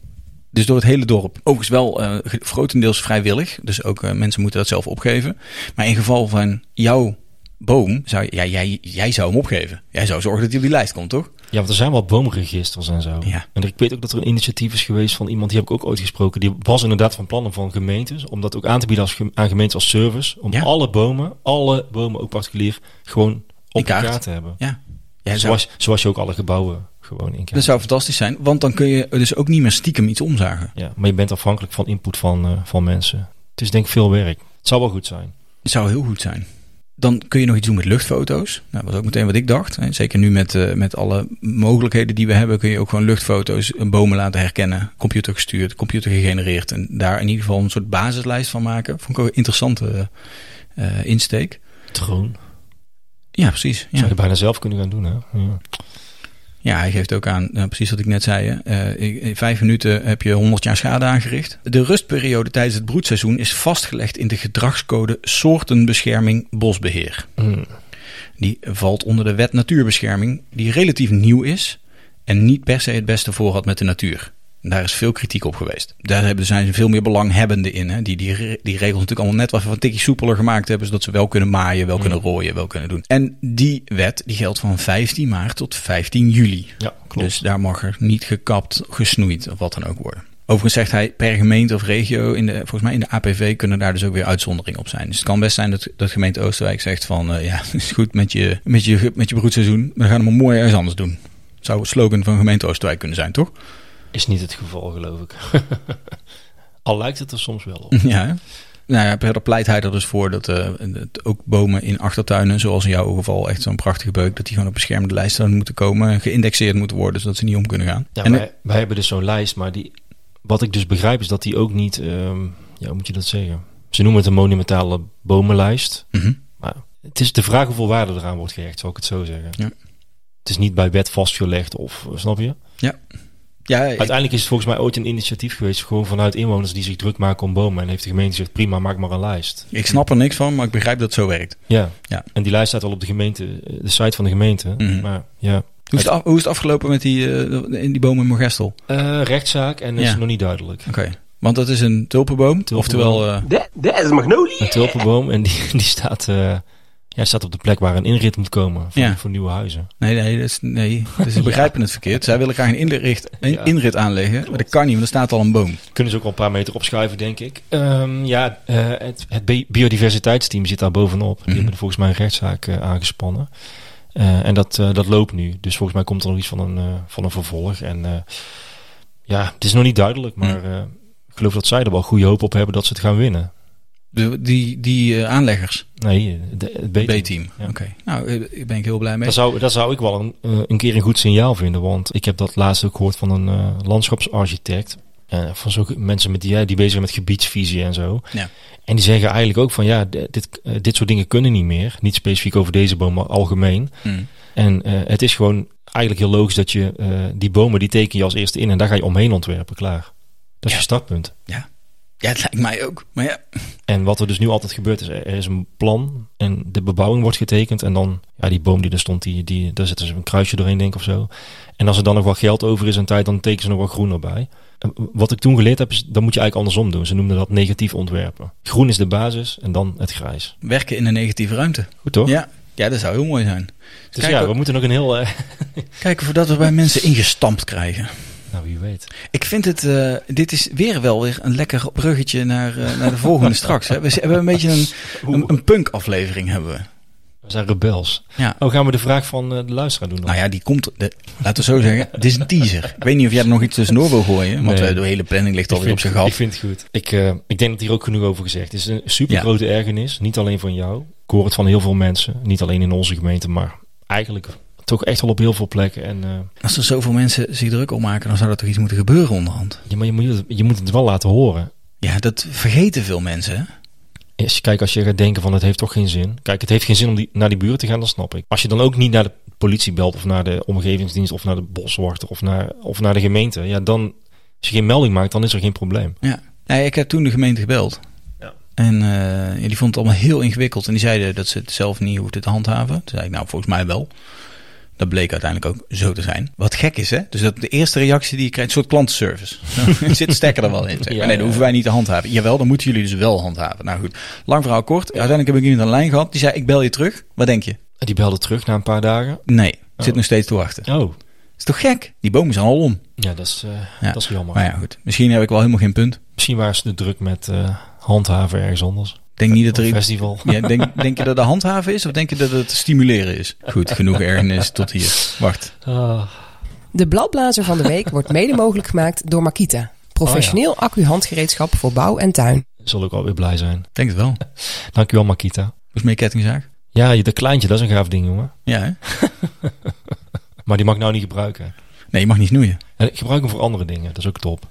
[SPEAKER 1] Dus door het hele dorp. Overigens wel eh, ge- grotendeels vrijwillig. Dus ook eh, mensen moeten dat zelf opgeven. Maar in geval van jouw boom, zou, je- ja, jij, jij zou hem opgeven. Jij zou zorgen dat hij op die lijst komt, toch?
[SPEAKER 2] Ja, want er zijn wel boomregisters en zo.
[SPEAKER 1] Ja.
[SPEAKER 2] En ik weet ook dat er een initiatief is geweest van iemand, die heb ik ook ooit gesproken. Die was inderdaad van plannen van gemeentes om dat ook aan te bieden als, gem- aan gemeentes als service. Om
[SPEAKER 1] Ja.
[SPEAKER 2] alle bomen, alle bomen ook particulier, gewoon op
[SPEAKER 1] kaart.
[SPEAKER 2] elkaar te hebben.
[SPEAKER 1] Ja. Dus- Jij zou,
[SPEAKER 2] zoals, zoals je ook alle gebouwen gewoon in
[SPEAKER 1] dat
[SPEAKER 2] kaart.
[SPEAKER 1] zou fantastisch zijn, want dan kun je dus ook niet meer stiekem iets omzagen.
[SPEAKER 2] Ja, maar je bent afhankelijk van input van, eh, van mensen. Het is denk ik veel werk. Het zou wel goed zijn.
[SPEAKER 1] Het zou heel goed zijn. Dan kun je nog iets doen met luchtfoto's. Nou, dat was ook meteen wat ik dacht. En Zeker nu met, eh, met alle mogelijkheden die we hebben, kun je ook gewoon luchtfoto's eh, bomen laten herkennen. Computer gestuurd, computer gegenereerd. En daar in ieder geval een soort basislijst van maken. Vond ik ook een interessante eh, insteek.
[SPEAKER 2] Troon.
[SPEAKER 1] Ja, precies.
[SPEAKER 2] Zou
[SPEAKER 1] Ja.
[SPEAKER 2] je bijna zelf kunnen gaan doen, hè? Ja.
[SPEAKER 1] Ja, hij geeft ook aan, nou, precies wat ik net zei. hè. Eh, ik- in vijf minuten heb je 100 jaar schade aangericht. De rustperiode tijdens het broedseizoen is vastgelegd in de gedragscode soortenbescherming bosbeheer.
[SPEAKER 2] Hmm.
[SPEAKER 1] Die valt onder de wet natuurbescherming, die relatief nieuw is en niet per se het beste voor had met de natuur. En daar is veel kritiek op geweest. Daar hebben- zijn ze veel meer belanghebbenden in. Hè? Die, die, re- die regels natuurlijk allemaal net wat van tikkie soepeler gemaakt hebben, zodat ze wel kunnen maaien, wel kunnen rooien, wel kunnen doen. En die wet die geldt van 15 maart tot 15 juli.
[SPEAKER 2] Ja, klopt.
[SPEAKER 1] Dus daar mag er niet gekapt, gesnoeid of wat dan ook worden. Overigens zegt hij per gemeente of regio, in de, volgens mij in de APV kunnen daar dus ook weer uitzonderingen op zijn. Dus het kan best zijn dat, dat gemeente Oosterwijk zegt van eh, ja, het is goed met je, met je, met je broedseizoen, maar we gaan hem maar mooi ergens anders doen. Zou het slogan van gemeente Oosterwijk kunnen zijn, toch?
[SPEAKER 2] Is niet het geval, geloof ik. Al lijkt het er soms wel op.
[SPEAKER 1] Ja. hè? Nou ja, verder pleit hij er dus voor dat eh, dat ook bomen in achtertuinen, zoals in jouw geval echt zo'n prachtige beuk, dat die gewoon op beschermde lijst zouden moeten komen, geïndexeerd moeten worden, zodat ze niet om kunnen gaan.
[SPEAKER 2] Ja,
[SPEAKER 1] En-
[SPEAKER 2] wij, wij hebben dus zo'n lijst, maar die, wat ik dus begrijp is dat die ook niet, ehm, ja, hoe moet je dat zeggen? Ze noemen het een monumentale bomenlijst.
[SPEAKER 1] Mhm.
[SPEAKER 2] Maar het is de vraag hoeveel waarde eraan wordt gehecht, zal ik het zo zeggen.
[SPEAKER 1] Ja.
[SPEAKER 2] Het is niet bij wet vastgelegd of, eh, snap je?
[SPEAKER 1] ja, ik-
[SPEAKER 2] Uiteindelijk is het volgens mij ooit een initiatief geweest, gewoon vanuit inwoners die zich druk maken om bomen. En heeft de gemeente gezegd, prima, maak maar een lijst.
[SPEAKER 1] ik snap er niks van, maar ik begrijp dat het zo werkt.
[SPEAKER 2] Ja.
[SPEAKER 1] Ja.
[SPEAKER 2] En die lijst staat al op de gemeente, eh, de site van de gemeente.
[SPEAKER 1] Mhm.
[SPEAKER 2] Maar ja,
[SPEAKER 1] Hoe is, het af- hoe is het afgelopen met die, eh, in die boom in Mogestel? Oké,
[SPEAKER 2] Eh, rechtszaak en dat
[SPEAKER 1] Ja.
[SPEAKER 2] is nog niet duidelijk.
[SPEAKER 1] want dat is een tulpenboom,
[SPEAKER 2] Tulpenboom.
[SPEAKER 1] oftewel... eh,
[SPEAKER 2] Een tulpenboom en die, die staat, eh, ja, staat op de plek waar een inrit moet komen voor,
[SPEAKER 1] Ja.
[SPEAKER 2] voor nieuwe huizen.
[SPEAKER 1] nee, nee, dat is, nee, dus ze begrijpen het verkeerd. Zij willen graag een inrit, een
[SPEAKER 2] Ja.
[SPEAKER 1] inrit aanleggen, maar dat kan niet, want er staat al een boom.
[SPEAKER 2] Kunnen ze ook al een paar meter opschuiven, denk ik. Ehm, ja, eh, het, het bi- biodiversiteitsteam zit daar bovenop. Die
[SPEAKER 1] Mhm.
[SPEAKER 2] hebben volgens mij een rechtszaak eh, aangespannen. Eh, en dat, eh, dat loopt nu. Dus volgens mij komt er nog iets van een, eh, van een vervolg. En eh, ja, het is nog niet duidelijk,
[SPEAKER 1] Mhm.
[SPEAKER 2] maar eh, ik geloof dat zij er wel goede hoop op hebben dat ze het gaan winnen.
[SPEAKER 1] De, die die eh, aanleggers,
[SPEAKER 2] Nee, de, het B-team.
[SPEAKER 1] B-team.
[SPEAKER 2] Ja.
[SPEAKER 1] Oké, nou, eh, daar ben ik heel blij mee.
[SPEAKER 2] Daar zou, daar zou ik wel een, eh, een keer een goed signaal vinden. Want ik heb dat laatst ook gehoord van een eh, landschapsarchitect. eh, van zulke mensen met die, ja, die bezig zijn met gebiedsvisie en zo.
[SPEAKER 1] Ja.
[SPEAKER 2] En die zeggen eigenlijk ook van ja, d- dit, eh, dit soort dingen kunnen niet meer. Niet specifiek over deze boom, maar algemeen.
[SPEAKER 1] Mm.
[SPEAKER 2] En eh, het is gewoon eigenlijk heel logisch dat je eh, die bomen, die teken je als eerste in. En daar ga je omheen ontwerpen, klaar. Dat is je startpunt.
[SPEAKER 1] Ja, het lijkt mij ook. Maar ja,
[SPEAKER 2] En wat er dus nu altijd gebeurt is, er er is een plan en de bebouwing wordt getekend. En dan, ja, die boom die er stond, die, die, daar zetten ze een kruisje doorheen, denk ik of zo. En als er dan nog wat geld over is en tijd, dan tekenen ze nog wat groen erbij. En Wat ik toen geleerd heb, is dan moet je eigenlijk andersom doen. Ze noemden dat negatief ontwerpen. Groen is de basis en dan het grijs.
[SPEAKER 1] werken in een negatieve ruimte.
[SPEAKER 2] Goed toch?
[SPEAKER 1] Ja. ja, dat zou heel mooi zijn.
[SPEAKER 2] dus
[SPEAKER 1] kijk
[SPEAKER 2] ja, we
[SPEAKER 1] ook-
[SPEAKER 2] moeten nog een heel... eh,
[SPEAKER 1] Kijken voordat we bij mensen ingestampt krijgen.
[SPEAKER 2] nou, wie weet.
[SPEAKER 1] Ik vind het, eh, dit is weer wel weer een lekker bruggetje naar, eh, naar de volgende straks. Hè. We z- hebben een beetje een, een, een punk aflevering hebben we.
[SPEAKER 2] We zijn rebels.
[SPEAKER 1] Ja.
[SPEAKER 2] Oh, gaan we de vraag van eh, de luisteraar doen dan?
[SPEAKER 1] Nou ja, die komt, de, laten we zo zeggen, dit is een teaser. Ik weet niet of jij er nog iets tussendoor wil gooien, want
[SPEAKER 2] Nee.
[SPEAKER 1] eh, de hele planning ligt alweer op
[SPEAKER 2] vind-
[SPEAKER 1] zijn
[SPEAKER 2] Ik
[SPEAKER 1] gat.
[SPEAKER 2] vind het goed. Ik, eh, ik denk dat hier ook genoeg over gezegd is. Het is een super grote ergernis. Niet alleen van jou. Ik hoor het van heel veel mensen. Niet alleen in onze gemeente, maar eigenlijk toch echt al op heel veel plekken. En, eh,
[SPEAKER 1] Als er zoveel mensen zich druk om maken, dan zou er toch iets moeten gebeuren onderhand.
[SPEAKER 2] ja, maar je moet, het- je moet het wel laten horen.
[SPEAKER 1] Ja, dat vergeten veel mensen. Hè?
[SPEAKER 2] Als je, kijk, als je gaat denken van het heeft toch geen zin. Kijk, het heeft geen zin om die, naar die buren te gaan, dan snap ik. Als je dan ook niet naar de politie belt of naar de omgevingsdienst of naar de boswachter of naar, of naar de gemeente. Ja, dan als je geen melding maakt, dan is er geen probleem.
[SPEAKER 1] Ja. Nee, ik heb toen de gemeente gebeld.
[SPEAKER 2] Ja.
[SPEAKER 1] En eh, ja, die vond het allemaal heel ingewikkeld. En die zeiden dat ze het zelf niet hoefden te handhaven. Toen zei ik, nou, volgens mij wel. Dat bleek uiteindelijk ook zo te zijn. Wat gek is, hè? Dus dat de eerste reactie die je krijgt, een soort klantenservice. Er zit stekker er wel in. zeg maar.
[SPEAKER 2] Ja,
[SPEAKER 1] nee,
[SPEAKER 2] ja.
[SPEAKER 1] dat hoeven wij niet te handhaven. Jawel, dan moeten jullie dus wel handhaven. Nou goed, lang verhaal kort. Uiteindelijk heb ik iemand aan de lijn gehad. Die zei, ik bel je terug. Wat denk je?
[SPEAKER 2] Die belde terug na een paar dagen.
[SPEAKER 1] Nee, ik
[SPEAKER 2] Oh.
[SPEAKER 1] zit nog steeds te wachten.
[SPEAKER 2] Oh,
[SPEAKER 1] Is toch gek? Die bomen zijn al om.
[SPEAKER 2] ja, dat is, eh,
[SPEAKER 1] Ja.
[SPEAKER 2] Dat is jammer.
[SPEAKER 1] Maar ja, goed. Misschien heb ik wel helemaal geen punt.
[SPEAKER 2] Misschien waren ze de druk met eh, handhaven ergens anders.
[SPEAKER 1] Ik denk niet dat
[SPEAKER 2] Een
[SPEAKER 1] er iets...
[SPEAKER 2] festival.
[SPEAKER 1] Ja, denk, denk je dat het handhaven is of denk je dat het stimuleren is? Goed, genoeg ergernis tot hier. Wacht.
[SPEAKER 3] De bladblazer van de week wordt mede mogelijk gemaakt door Makita. Professioneel accu-handgereedschap voor bouw en tuin.
[SPEAKER 2] zal ook alweer blij zijn.
[SPEAKER 1] Denk het wel.
[SPEAKER 2] Dankjewel, Makita.
[SPEAKER 1] Volgens mij kettingzaag.
[SPEAKER 2] Ja, je- dat kleintje, dat is een gaaf ding, jongen.
[SPEAKER 1] Ja, hè?
[SPEAKER 2] Maar die mag ik nou niet gebruiken.
[SPEAKER 1] Nee, je mag niet snoeien.
[SPEAKER 2] En ik gebruik hem voor andere dingen, dat is ook top.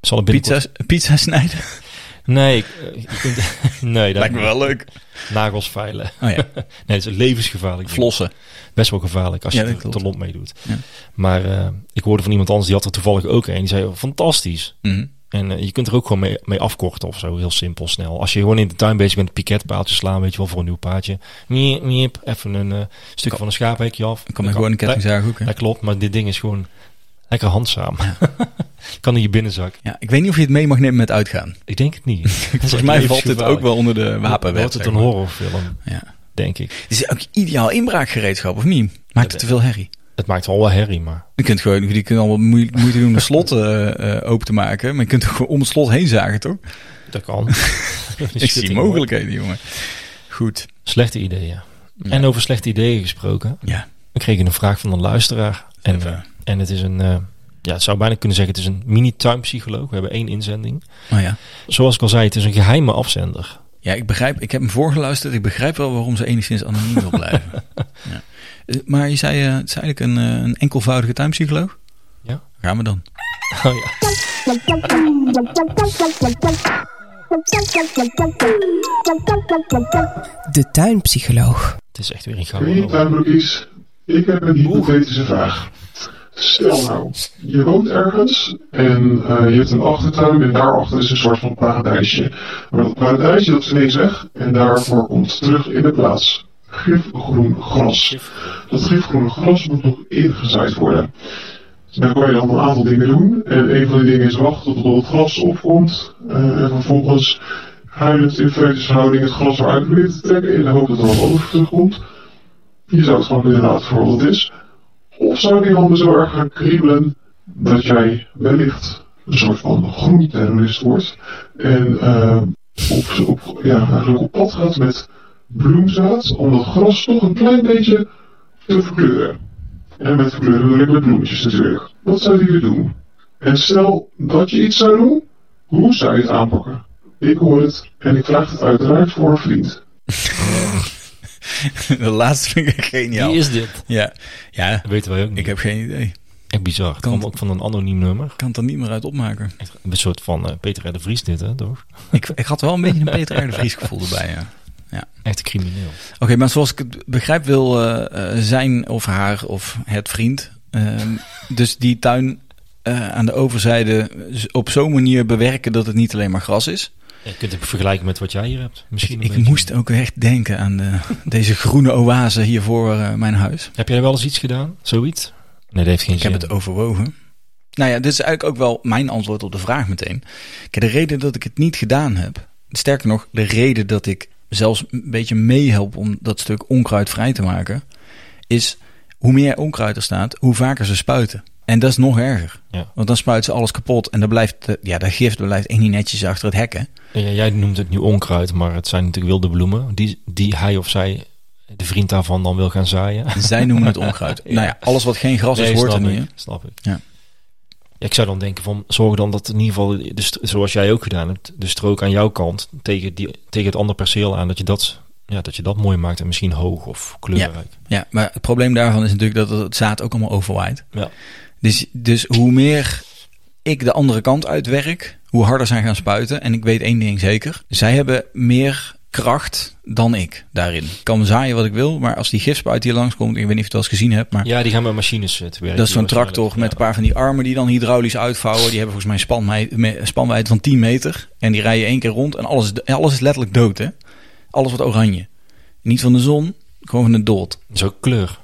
[SPEAKER 2] Zal het binnenkort...
[SPEAKER 1] Pizza, pizza snijden.
[SPEAKER 2] Nee, ik, eh, je kunt- nee, dat
[SPEAKER 1] leuk.
[SPEAKER 2] Nagels veilen.
[SPEAKER 1] Oh ja,
[SPEAKER 2] Nee, het is levensgevaarlijk.
[SPEAKER 1] flossen.
[SPEAKER 2] Best wel gevaarlijk als
[SPEAKER 1] Ja,
[SPEAKER 2] je
[SPEAKER 1] dat
[SPEAKER 2] er
[SPEAKER 1] klopt.
[SPEAKER 2] te lomp mee doet.
[SPEAKER 1] Ja.
[SPEAKER 2] Maar eh, ik hoorde van iemand anders, die had er toevallig ook een. Die zei, oh, fantastisch.
[SPEAKER 1] Mhm.
[SPEAKER 2] En eh, je kunt er ook gewoon mee, mee afkorten of zo. Heel simpel, snel. Als je gewoon in de tuin bezig bent, piketpaaltjes slaan, weet je wel, voor een nieuw paadje. Miep, miep, even een eh stuk van een schaaphekje af.
[SPEAKER 1] Dan kan men gewoon een
[SPEAKER 2] Dat-
[SPEAKER 1] kettingzaag ook. hè?
[SPEAKER 2] Dat klopt, maar dit ding is gewoon lekker handzaam. kan in je binnenzak.
[SPEAKER 1] Ja, ik weet niet of je het mee mag nemen met uitgaan.
[SPEAKER 2] Ik denk het niet.
[SPEAKER 1] Volgens mij valt dit ook wel onder de wapenwet.
[SPEAKER 2] Wordt het
[SPEAKER 1] zeg
[SPEAKER 2] een
[SPEAKER 1] maar.
[SPEAKER 2] horrorfilm,
[SPEAKER 1] Ja.
[SPEAKER 2] denk ik.
[SPEAKER 1] Het is ook ideaal inbraakgereedschap, of niet? Maakt het te veel herrie.
[SPEAKER 2] Het maakt wel wel herrie, maar...
[SPEAKER 1] Je kunt gewoon, die kunnen allemaal moe- moeite doen om de slot eh, eh, open te maken. Maar je kunt ook gewoon om het slot heen zagen, toch?
[SPEAKER 2] Dat kan.
[SPEAKER 1] Ik zie mogelijkheden, jongen. Goed.
[SPEAKER 2] Slechte ideeën. En over slechte ideeën gesproken.
[SPEAKER 1] Ja.
[SPEAKER 2] We kregen een vraag van een luisteraar. En,
[SPEAKER 1] Even.
[SPEAKER 2] eh, en het is een... eh, ja, het zou bijna kunnen zeggen, het is een mini-tuinpsycholoog. We hebben één inzending.
[SPEAKER 1] Nou ja.
[SPEAKER 2] Zoals ik al zei, het is een geheime afzender.
[SPEAKER 1] Ja, ik begrijp. Ik heb hem voorgeluisterd. Ik begrijp wel waarom ze enigszins anoniem wil blijven. ja. Eh, Maar je zei, eh, het is eigenlijk een, eh, een enkelvoudige tuinpsycholoog.
[SPEAKER 2] Ja.
[SPEAKER 1] Gaan we dan.
[SPEAKER 2] Oh ja.
[SPEAKER 3] De tuinpsycholoog.
[SPEAKER 2] Het is echt weer een
[SPEAKER 5] Hey
[SPEAKER 2] gouden ouwe.
[SPEAKER 5] tuinbroekies, ik heb een hypothetische vraag. Stel nou, je woont ergens en eh, je hebt een achtertuin en daarachter is een soort van paradijsje. Maar dat paradijsje dat is ineens weg en daarvoor komt terug in de plaats gifgroen gras. Dat gifgroene gras moet nog ingezaaid worden. Daar kan je dan een aantal dingen doen en een van die dingen is wachten tot het gras opkomt eh, en vervolgens huilend in feutushouding het gras eruit proberen te trekken in de hoop dat er wat over terugkomt. Je zou het gewoon inderdaad voor wat het is. Of zou die handen zo erg gaan kriebelen dat jij wellicht een soort van groen terrorist wordt. En eh, op, op, ja, eigenlijk op pad gaat met bloemzaad om dat gras toch een klein beetje te verkleuren. En met verkleuren bedoel ik met bloemetjes natuurlijk. Wat zouden jullie doen? En stel dat je iets zou doen, hoe zou je het aanpakken? Ik hoor het en ik vraag het uiteraard voor een vriend.
[SPEAKER 1] De laatste vind ik echt geniaal.
[SPEAKER 2] Wie is dit?
[SPEAKER 1] Ja. ja,
[SPEAKER 2] Dat weten wij ook niet.
[SPEAKER 1] ik heb geen idee. Ik
[SPEAKER 2] Echt bizar. Het
[SPEAKER 1] Kan-
[SPEAKER 2] kwam ook van een anoniem nummer.
[SPEAKER 1] kan het er niet meer uit opmaken.
[SPEAKER 2] Echt een soort van eh, Peter R. de Vries dit, hè? Toch?
[SPEAKER 1] Ik, ik had wel een beetje een Peter R. de Vries gevoel erbij, ja.
[SPEAKER 2] Echt een crimineel.
[SPEAKER 1] Oké, maar zoals ik het begrijp wil eh, eh, zijn of haar of het vriend. ehm, dus die tuin eh, aan de overzijde z- op zo'n manier bewerken dat het niet alleen maar gras is.
[SPEAKER 2] Ja, Je kunt het vergelijken met wat jij hier hebt. Misschien een
[SPEAKER 1] Ik
[SPEAKER 2] beetje.
[SPEAKER 1] moest ook echt denken aan de, deze groene oase hier voor eh, mijn huis.
[SPEAKER 2] Heb jij wel eens iets gedaan? Zoiets? Nee, dat heeft geen
[SPEAKER 1] Ik heb
[SPEAKER 2] zin.
[SPEAKER 1] het overwogen. Nou ja, dit is eigenlijk ook wel mijn antwoord op de vraag meteen. Kijk, de reden dat ik het niet gedaan heb, sterker nog, de reden dat ik zelfs een beetje meehelp om dat stuk onkruid vrij te maken, is hoe meer onkruid er staat, hoe vaker ze spuiten. En dat is nog erger.
[SPEAKER 2] Ja.
[SPEAKER 1] Want dan spuiten ze alles kapot en dan blijft, de- ja, dat gift blijft echt niet netjes achter het hek, hè?
[SPEAKER 2] Ja, jij noemt het nu onkruid, maar het zijn natuurlijk wilde bloemen die, die hij of zij, de vriend daarvan, dan wil gaan zaaien.
[SPEAKER 1] Zij noemen het onkruid. Nou ja, alles wat geen gras is,
[SPEAKER 2] Nee,
[SPEAKER 1] hoort er
[SPEAKER 2] snap
[SPEAKER 1] niet.
[SPEAKER 2] ik,
[SPEAKER 1] hè?
[SPEAKER 2] Snap ik.
[SPEAKER 1] Ja.
[SPEAKER 2] Ja, ik zou dan denken van, zorg dan dat in ieder geval, de st- zoals jij ook gedaan hebt, de strook aan jouw kant tegen, die, tegen het andere perceel aan, dat je dat, ja, dat je dat mooi maakt en misschien hoog of kleurrijk.
[SPEAKER 1] Ja, maar het probleem daarvan is natuurlijk dat het zaad ook allemaal overwaait.
[SPEAKER 2] Ja.
[SPEAKER 1] Dus, dus hoe meer ik de andere kant uitwerk, hoe harder zij gaan spuiten. En ik weet één ding zeker. Zij hebben meer kracht dan ik daarin. Ik kan zaaien wat ik wil, maar als die gifspuit hier langskomt... Ik weet niet of je het wel eens gezien hebt, maar...
[SPEAKER 2] Ja, die gaan met machines eh, te werken.
[SPEAKER 1] Dat is zo'n
[SPEAKER 2] waarschijnlijk.
[SPEAKER 1] tractor met
[SPEAKER 2] Ja.
[SPEAKER 1] een paar van die armen die dan hydraulisch uitvouwen. Die hebben volgens mij een spanmei- me- spanwijdte van 10 meter. En die rijden één keer rond en alles, is- alles is letterlijk dood, hè? Alles wordt oranje. Niet van de zon, gewoon van de dood.
[SPEAKER 2] Dat is ook kleur.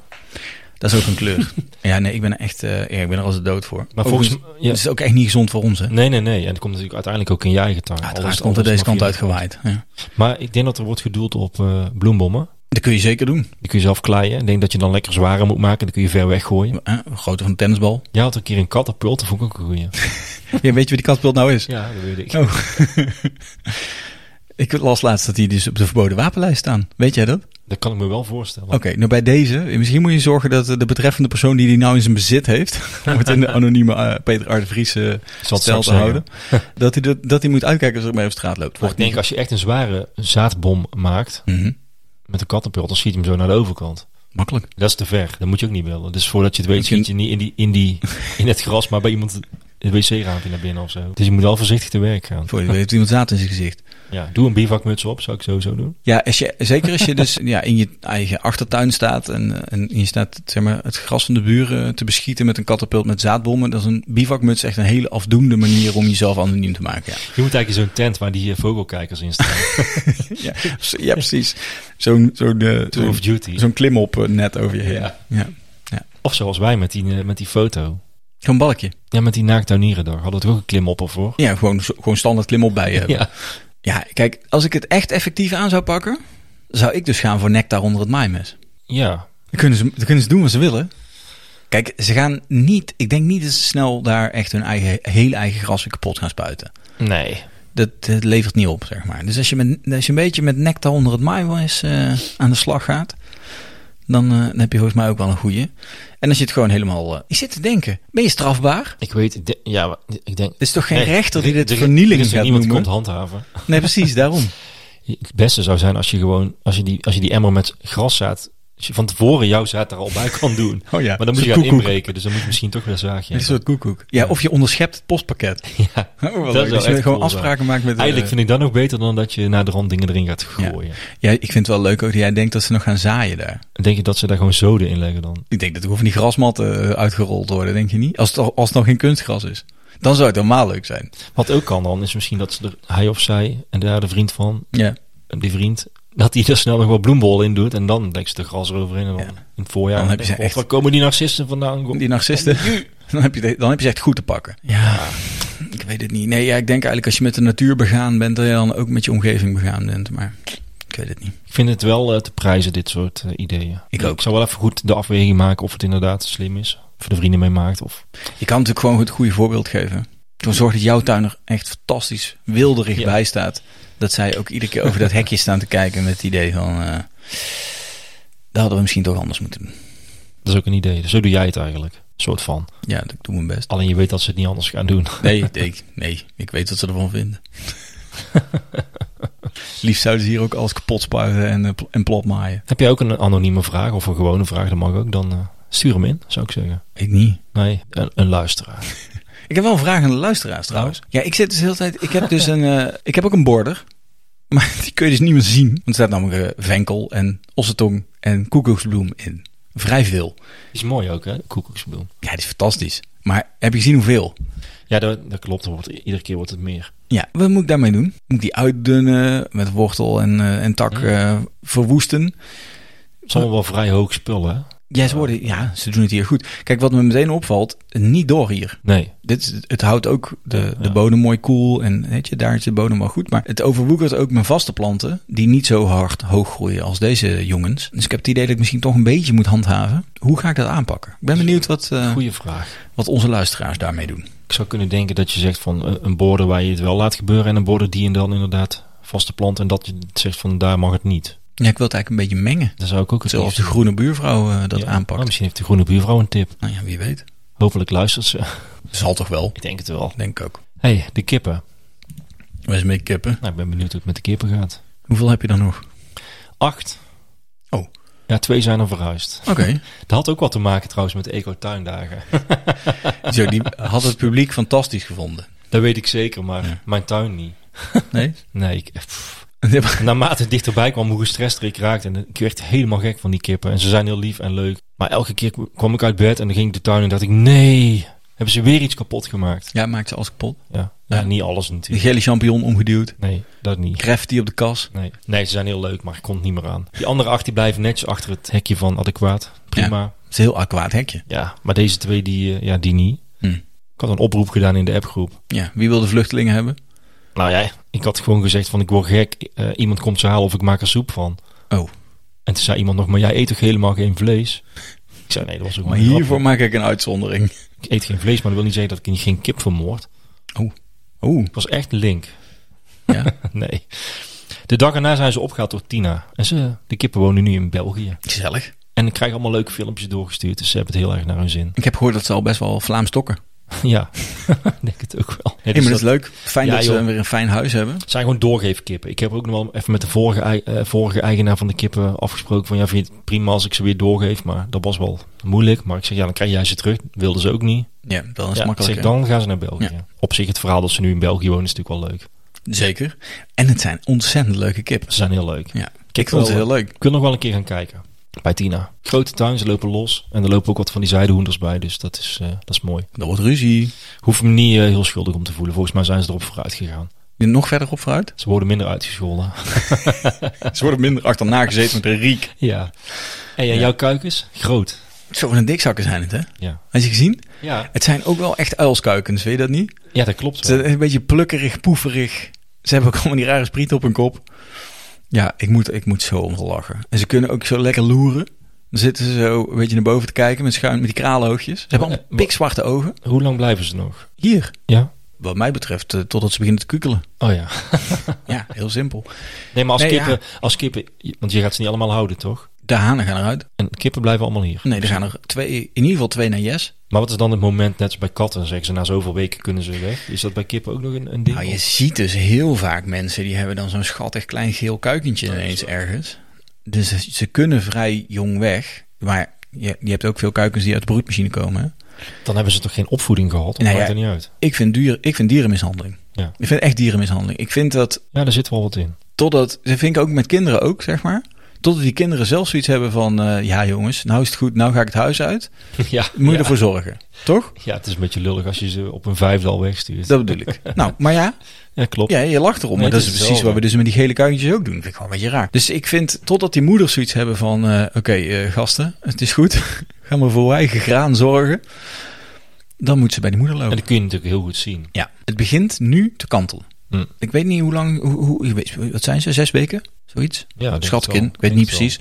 [SPEAKER 1] Dat is ook een kleur. ja, nee, ik ben er echt eh, ja, ik ben er als de dood voor.
[SPEAKER 2] Maar volgens
[SPEAKER 1] Overigens,
[SPEAKER 2] ja.
[SPEAKER 1] het Oh, is ook echt niet gezond voor ons, hè?
[SPEAKER 2] Nee, nee, nee. En dat komt natuurlijk uiteindelijk ook in je eigen tuin.
[SPEAKER 1] Uiteraard
[SPEAKER 2] Alles-
[SPEAKER 1] komt er
[SPEAKER 2] alles
[SPEAKER 1] deze
[SPEAKER 2] mag
[SPEAKER 1] kant
[SPEAKER 2] je-
[SPEAKER 1] uit gewaaid. Ja.
[SPEAKER 2] Maar ik denk dat er wordt gedoeld op eh, bloembommen.
[SPEAKER 1] Dat kun je zeker doen.
[SPEAKER 2] Die kun je zelf kleien. Ik denk dat je dan lekker zware moet maken. Die kun je ver weggooien.
[SPEAKER 1] Hè? Groter van een tennisbal.
[SPEAKER 2] Jij had een keer een katapult. Dat vond ik ook een goeie.
[SPEAKER 1] ja, weet je wat die katapult nou is?
[SPEAKER 2] Ja, dat weet ik.
[SPEAKER 1] Oh. Ik las laatst dat die dus op de verboden wapenlijst staan. Weet jij dat?
[SPEAKER 2] Dat kan ik me wel voorstellen.
[SPEAKER 1] Oké, nou bij deze. Misschien moet je zorgen dat eh, de betreffende persoon die die nou in zijn bezit heeft. om het in de anonieme eh, Peter R. de Vries eh,
[SPEAKER 2] Ik zal het
[SPEAKER 1] stijl
[SPEAKER 2] straks
[SPEAKER 1] te
[SPEAKER 2] zeggen.
[SPEAKER 1] houden. dat, hij dat, dat hij moet uitkijken als er mee op straat loopt.
[SPEAKER 2] Maar ik denk, als je echt een zware zaadbom maakt
[SPEAKER 1] Mhm.
[SPEAKER 2] met een kattenpult, dan schiet je hem zo naar de overkant.
[SPEAKER 1] Makkelijk.
[SPEAKER 2] Dat is te ver. Dat moet je ook niet willen. Dus voordat je het weet,
[SPEAKER 1] Misschien-
[SPEAKER 2] schiet je niet in, die, in, die, in het gras, maar bij iemand het wc-raampje naar binnen of zo. Dus je moet wel voorzichtig te werk gaan.
[SPEAKER 1] Voor je weet heeft iemand zaad in zijn gezicht.
[SPEAKER 2] Ja, doe een bivakmuts op, zou ik sowieso doen.
[SPEAKER 1] Ja, als je, zeker als je dus ja, in je eigen achtertuin staat en, eh, en je staat zeg maar, het gras van de buren te beschieten met een katapult met zaadbommen. Dat is een bivakmuts echt een hele afdoende manier om jezelf anoniem te maken. Ja,
[SPEAKER 2] Je moet eigenlijk in zo'n tent waar die eh, vogelkijkers in staan.
[SPEAKER 1] ja, ja precies. Zo'n zo'n eh,
[SPEAKER 2] Tour of
[SPEAKER 1] zo'n-
[SPEAKER 2] Duty.
[SPEAKER 1] zo'n klimop eh, net over je heen. Ja.
[SPEAKER 2] Ja.
[SPEAKER 1] Ja.
[SPEAKER 2] Of zoals wij met die, eh, met die foto.
[SPEAKER 1] Zo'n balkje.
[SPEAKER 2] Ja, met die naaktuinierendag hadden we toch ook een klimopper voor?
[SPEAKER 1] Ja, gewoon, zo- gewoon standaard klimop bij je. Ja.
[SPEAKER 2] Ja,
[SPEAKER 1] kijk, als ik het echt effectief aan zou pakken, zou ik dus gaan voor nectar onder het maaimes.
[SPEAKER 2] ja.
[SPEAKER 1] Dan kunnen, ze, dan kunnen ze doen wat ze willen. Kijk, ze gaan niet, ik denk niet dat ze snel daar echt hun eigen, hele eigen gras weer kapot gaan spuiten.
[SPEAKER 2] Nee.
[SPEAKER 1] Dat, dat levert niet op, zeg maar. Dus als je, met, als je een beetje met nectar onder het maaiwijs eh, aan de slag gaat, dan, eh, dan heb je volgens mij ook wel een goeie. En als je het gewoon helemaal... eh ik zit te denken, ben je strafbaar?
[SPEAKER 2] Ik weet, ik denk- ja, maar ik denk...
[SPEAKER 1] Er is toch geen
[SPEAKER 2] Nee,
[SPEAKER 1] rechter die
[SPEAKER 2] er-
[SPEAKER 1] dit
[SPEAKER 2] er-
[SPEAKER 1] vernieling
[SPEAKER 2] er is toch
[SPEAKER 1] gaat
[SPEAKER 2] niemand
[SPEAKER 1] noemen?
[SPEAKER 2] komt handhaven.
[SPEAKER 1] Nee, precies, daarom.
[SPEAKER 2] Het beste zou zijn als je gewoon, als je die, als je die emmer met graszaad, als je van tevoren jouw zaad er al bij kan doen.
[SPEAKER 1] Oh ja,
[SPEAKER 2] Maar dan moet
[SPEAKER 1] zo'n
[SPEAKER 2] je gaan
[SPEAKER 1] koekoek.
[SPEAKER 2] inbreken, dus dan moet je misschien toch weer een zaagje
[SPEAKER 1] Een soort koekoek. Ja, of je onderschept het postpakket.
[SPEAKER 2] hebben. Ja.
[SPEAKER 1] Oh, wel leuk.
[SPEAKER 2] Dat zou
[SPEAKER 1] Dus je
[SPEAKER 2] echt
[SPEAKER 1] gewoon
[SPEAKER 2] cool zijn.
[SPEAKER 1] afspraken maakt met... de-
[SPEAKER 2] Eigenlijk vind ik dat nog beter dan dat je naar de rand dingen erin gaat gooien.
[SPEAKER 1] eh, Ja, ik vind het wel leuk ook dat jij denkt dat ze nog gaan zaaien daar.
[SPEAKER 2] Denk je dat ze daar gewoon zoden in leggen dan?
[SPEAKER 1] Ik denk dat er hoeven die grasmatten eh, uitgerold worden, denk je niet? Als het, al- als het nog geen kunstgras is. Dan zou het helemaal leuk zijn.
[SPEAKER 2] Wat ook kan dan, is misschien dat ze er, hij of zij, en daar de vriend van,
[SPEAKER 1] Ja.
[SPEAKER 2] die vriend, dat hij er snel nog wel bloembollen in doet en dan denkt ze de gras eroverheen en dan in het voorjaar.
[SPEAKER 1] Dan heb je
[SPEAKER 2] denk
[SPEAKER 1] ze
[SPEAKER 2] ik,
[SPEAKER 1] echt-
[SPEAKER 2] "God, Waar komen die narcisten vandaan?
[SPEAKER 1] Die narcisten, dan heb, je, de- dan heb je ze echt goed te pakken. Ja, ik weet het niet. Nee, ja, ik denk eigenlijk als je met de natuur begaan bent, dat je dan ook met je omgeving begaan bent. Maar ik weet het niet.
[SPEAKER 2] Ik vind het wel eh, te prijzen, dit soort eh, ideeën.
[SPEAKER 1] Ik ook.
[SPEAKER 2] Ik zou wel even goed de afweging maken of het inderdaad slim is. Of je er vrienden mee maakt. Of...
[SPEAKER 1] Je kan natuurlijk gewoon het goede voorbeeld geven. Gewoon zorg dat jouw tuin er echt fantastisch wilderig
[SPEAKER 2] Ja.
[SPEAKER 1] bij staat. Dat zij ook iedere keer over dat hekje staan te kijken met het idee van... eh, dat hadden we misschien toch anders moeten doen.
[SPEAKER 2] Dat is ook een idee. Dus zo doe jij het eigenlijk. Een soort van.
[SPEAKER 1] Ja, dat- ik doe mijn best.
[SPEAKER 2] Alleen je weet dat ze het niet anders gaan doen.
[SPEAKER 1] Nee, ik, nee, ik weet wat ze ervan vinden. Liefst zouden ze hier ook alles kapot spuiten en, eh, pl- en plat maaien.
[SPEAKER 2] Heb jij ook een anonieme vraag of een gewone vraag? Dat mag ook. Dan eh, stuur hem in, zou ik zeggen.
[SPEAKER 1] Ik niet.
[SPEAKER 2] Nee, een, een luisteraar.
[SPEAKER 1] Ik heb wel een vraag aan de luisteraars trouwens. Ja, ik zit dus de hele tijd. Ik heb dus een. eh, ik heb ook een border. Maar die kun je dus niet meer zien. Want er staat namelijk eh, venkel en ossetong en koekoeksbloem in. Vrij veel.
[SPEAKER 2] Is mooi ook, hè? Koekoeksbloem.
[SPEAKER 1] Ja, die is fantastisch. Maar heb je gezien hoeveel?
[SPEAKER 2] Ja, dat, dat klopt. Er wordt- iedere keer wordt het meer.
[SPEAKER 1] Ja, wat moet ik daarmee doen? Moet ik die uitdunnen met wortel en, eh, en tak eh, verwoesten?
[SPEAKER 2] Het is allemaal wel vrij hoog spul, hè?
[SPEAKER 1] Ja ze, worden, ja, ze doen het hier goed. Kijk, wat me meteen opvalt, niet door hier.
[SPEAKER 2] Nee.
[SPEAKER 1] Dit, is- het houdt ook de,
[SPEAKER 2] Ja,
[SPEAKER 1] de
[SPEAKER 2] ja.
[SPEAKER 1] bodem mooi koel en weet je, daar is de bodem wel goed. Maar het overwoekert ook mijn vaste planten, die niet zo hard hoog groeien als deze jongens. Dus ik heb het idee dat ik misschien toch een beetje moet handhaven. Hoe ga ik dat aanpakken? Ik ben benieuwd wat, eh,
[SPEAKER 2] Goeie vraag.
[SPEAKER 1] wat onze luisteraars daarmee doen.
[SPEAKER 2] Ik zou kunnen denken dat je zegt van eh, een border waar je het wel laat gebeuren en een border die je dan inderdaad vaste plant en dat je zegt van daar mag het niet.
[SPEAKER 1] Ja, ik wil het eigenlijk een beetje mengen.
[SPEAKER 2] Dan zou ik ook het
[SPEAKER 1] Zoals de
[SPEAKER 2] liefst-
[SPEAKER 1] groene buurvrouw eh, dat
[SPEAKER 2] Ja.
[SPEAKER 1] aanpakt.
[SPEAKER 2] Oh, misschien heeft de groene buurvrouw een tip.
[SPEAKER 1] Nou ja, wie weet.
[SPEAKER 2] Hopelijk luistert ze.
[SPEAKER 1] Zal toch wel,
[SPEAKER 2] ik denk het wel.
[SPEAKER 1] denk ik ook.
[SPEAKER 2] hey, de kippen.
[SPEAKER 1] Waar is mee kippen?
[SPEAKER 2] Nou, ik ben benieuwd hoe het met de kippen gaat.
[SPEAKER 1] Hoeveel heb je dan nog?
[SPEAKER 2] Acht.
[SPEAKER 1] Oh.
[SPEAKER 2] Ja, twee zijn al verhuisd.
[SPEAKER 1] Oké.
[SPEAKER 2] Dat had ook wat te maken trouwens met de eco-tuindagen.
[SPEAKER 1] Zo, die had het publiek fantastisch gevonden.
[SPEAKER 2] Dat weet ik zeker, maar
[SPEAKER 1] Ja.
[SPEAKER 2] mijn tuin niet.
[SPEAKER 1] Nee?
[SPEAKER 2] Nee, ik... pff. Naarmate het dichterbij kwam, hoe gestrest ik raakte. En ik werd helemaal gek van die kippen. En ze zijn heel lief en leuk. Maar elke keer kwam ik uit bed en dan ging ik de tuin en dacht ik... Nee, hebben ze weer iets kapot gemaakt.
[SPEAKER 1] Ja, maakt ze alles kapot.
[SPEAKER 2] Ja, ja niet alles
[SPEAKER 1] De
[SPEAKER 2] natuurlijk.
[SPEAKER 1] gele champignon omgeduwd.
[SPEAKER 2] Nee, dat niet.
[SPEAKER 1] Kreft die op de kas.
[SPEAKER 2] Nee. nee, ze zijn heel leuk, maar ik kon het niet meer aan. Die andere acht die blijven netjes achter het hekje van adequaat. Prima. Ja,
[SPEAKER 1] Het is een heel aquaat hekje.
[SPEAKER 2] maar deze twee die, eh, ja, die niet.
[SPEAKER 1] Hm.
[SPEAKER 2] Ik had een oproep gedaan in de appgroep.
[SPEAKER 1] Ja, wie wil de vluchtelingen hebben?
[SPEAKER 2] Nou ja, ik had gewoon gezegd van ik word gek. eh, iemand komt ze halen of ik maak er soep van.
[SPEAKER 1] Oh,
[SPEAKER 2] En toen zei iemand nog, maar jij eet toch helemaal geen vlees? Ik zei nee, dat was ook
[SPEAKER 1] maar
[SPEAKER 2] een grapje.
[SPEAKER 1] hiervoor maak ik een uitzondering.
[SPEAKER 2] Ik eet geen vlees, maar dat wil niet zeggen dat ik geen kip vermoord.
[SPEAKER 1] Oeh,
[SPEAKER 2] Ik was echt link.
[SPEAKER 1] ja.
[SPEAKER 2] nee. De dag erna zijn ze opgehaald door Tina. En ze, de kippen wonen nu in België.
[SPEAKER 1] Gezellig.
[SPEAKER 2] En krijgen allemaal leuke filmpjes doorgestuurd. Dus ze hebben het heel erg naar hun zin.
[SPEAKER 1] Ik heb gehoord dat ze al best wel Vlaams stokken.
[SPEAKER 2] ja, ik denk het ook wel. Nee,
[SPEAKER 1] Hey,
[SPEAKER 2] dus
[SPEAKER 1] maar
[SPEAKER 2] dat
[SPEAKER 1] dat is leuk. Fijn
[SPEAKER 2] Ja,
[SPEAKER 1] dat ze
[SPEAKER 2] joh.
[SPEAKER 1] weer een fijn huis hebben.
[SPEAKER 2] zijn gewoon doorgeefkippen. Ik heb ook nog wel even met de vorige, ei- eh, vorige eigenaar van de kippen afgesproken. Van ja, vind je het prima als ik ze weer doorgeef? Maar dat was wel moeilijk. Maar ik zeg ja, dan krijg jij ze terug. Wilden ze ook niet.
[SPEAKER 1] Ja, dat is
[SPEAKER 2] Ja, ik
[SPEAKER 1] makkelijk.
[SPEAKER 2] zeg,
[SPEAKER 1] hè?
[SPEAKER 2] dan gaan ze naar België.
[SPEAKER 1] Ja.
[SPEAKER 2] Op zich het verhaal dat ze nu in België wonen is natuurlijk wel leuk.
[SPEAKER 1] Zeker. En het zijn ontzettend leuke kippen.
[SPEAKER 2] Ze zijn heel leuk.
[SPEAKER 1] Ja, ik
[SPEAKER 2] Kijk
[SPEAKER 1] vond het
[SPEAKER 2] wel,
[SPEAKER 1] heel leuk.
[SPEAKER 2] Ik wil nog wel een keer gaan kijken. Bij Tina. Grote tuin, ze lopen los. En er lopen ook wat van die zijdehoenders bij. Dus dat is, eh, dat is mooi.
[SPEAKER 1] Dat wordt ruzie.
[SPEAKER 2] Hoef me niet eh, heel schuldig om te voelen. Volgens mij zijn ze erop vooruit gegaan.
[SPEAKER 1] Nog verder op vooruit.
[SPEAKER 2] Ze worden minder uitgescholden.
[SPEAKER 1] Ze worden minder achterna gezeten met een riek.
[SPEAKER 2] ja. En ja, jouw kuikens? Groot.
[SPEAKER 1] Zo een dikzakken zijn het, hè?
[SPEAKER 2] Ja.
[SPEAKER 1] Had je gezien?
[SPEAKER 2] Ja,
[SPEAKER 1] Het zijn ook wel echt uilskuikens, weet je dat niet?
[SPEAKER 2] ja dat klopt.
[SPEAKER 1] Ze
[SPEAKER 2] wel.
[SPEAKER 1] zijn een beetje plukkerig, poeverig. Ze hebben ook allemaal die rare spriet op hun kop. Ja, ik moet, ik moet zo om ze lachen. En ze kunnen ook zo lekker loeren. Dan zitten ze zo een beetje naar boven te kijken met schuin, met die kraalhoogjes. Ze hebben allemaal
[SPEAKER 2] Eh, wa-
[SPEAKER 1] pikzwarte ogen.
[SPEAKER 2] Hoe lang blijven ze nog?
[SPEAKER 1] Hier.
[SPEAKER 2] Ja.
[SPEAKER 1] Wat mij betreft, eh, totdat ze beginnen te kukelen.
[SPEAKER 2] Oh ja.
[SPEAKER 1] Ja, heel simpel.
[SPEAKER 2] Nee, maar als,
[SPEAKER 1] Nee,
[SPEAKER 2] kippen, als kippen... Want je gaat ze niet allemaal houden, toch?
[SPEAKER 1] De hanen gaan eruit.
[SPEAKER 2] En kippen blijven allemaal hier.
[SPEAKER 1] Nee, er gaan er twee, in ieder geval twee naar Yes.
[SPEAKER 2] Maar wat is dan het moment, net als bij katten, zeggen ze na zoveel weken kunnen ze weg. Is dat bij kippen ook nog een, een ding?
[SPEAKER 1] Nou, je ziet dus heel vaak mensen die hebben dan zo'n schattig klein geel kuikentje ineens ergens. Dus ze kunnen vrij jong weg. Maar je, je hebt ook veel kuikens die uit de broedmachine komen. hè?
[SPEAKER 2] Dan hebben ze toch geen opvoeding gehad? Dat
[SPEAKER 1] Nou
[SPEAKER 2] maakt
[SPEAKER 1] ja.
[SPEAKER 2] er niet uit.
[SPEAKER 1] Ik vind, dier, ik vind dierenmishandeling.
[SPEAKER 2] Ja.
[SPEAKER 1] Ik vind echt dierenmishandeling. Ik vind dat
[SPEAKER 2] Ja, daar zit wel wat in.
[SPEAKER 1] totdat, dat vind ik ook met kinderen ook, zeg maar. Totdat die kinderen zelf zoiets hebben van, eh, ja jongens, nou is het goed, nou ga ik het huis uit.
[SPEAKER 2] ja,
[SPEAKER 1] Moet je
[SPEAKER 2] ja.
[SPEAKER 1] ervoor zorgen, toch?
[SPEAKER 2] ja, het is een beetje lullig als je ze op een vijfde al wegstuurt.
[SPEAKER 1] Dat bedoel ik. nou, maar ja,
[SPEAKER 2] Ja, klopt.
[SPEAKER 1] Ja, je lacht erom.
[SPEAKER 2] Nee,
[SPEAKER 1] maar dat
[SPEAKER 2] het
[SPEAKER 1] is
[SPEAKER 2] is
[SPEAKER 1] precies
[SPEAKER 2] hetzelfde.
[SPEAKER 1] wat we dus met die gele kuikentjes ook doen. Vind ik gewoon een beetje raar. Dus ik vind, totdat die moeders zoiets hebben van... eh, Oké, eh, gasten, het is goed. Ga maar voor uw eigen graan zorgen. Dan moet ze bij die moeder
[SPEAKER 2] En
[SPEAKER 1] lopen.
[SPEAKER 2] dat kun je natuurlijk heel goed zien.
[SPEAKER 1] Ja, het begint nu te kantelen.
[SPEAKER 2] Hm.
[SPEAKER 1] Ik weet niet hoe lang... Hoe, hoe, je weet- wat zijn ze? Zes weken? Zoiets?
[SPEAKER 2] Ja, denk
[SPEAKER 1] Schat ik
[SPEAKER 2] het wel.
[SPEAKER 1] in. Ik weet
[SPEAKER 2] Denk
[SPEAKER 1] niet
[SPEAKER 2] het
[SPEAKER 1] precies.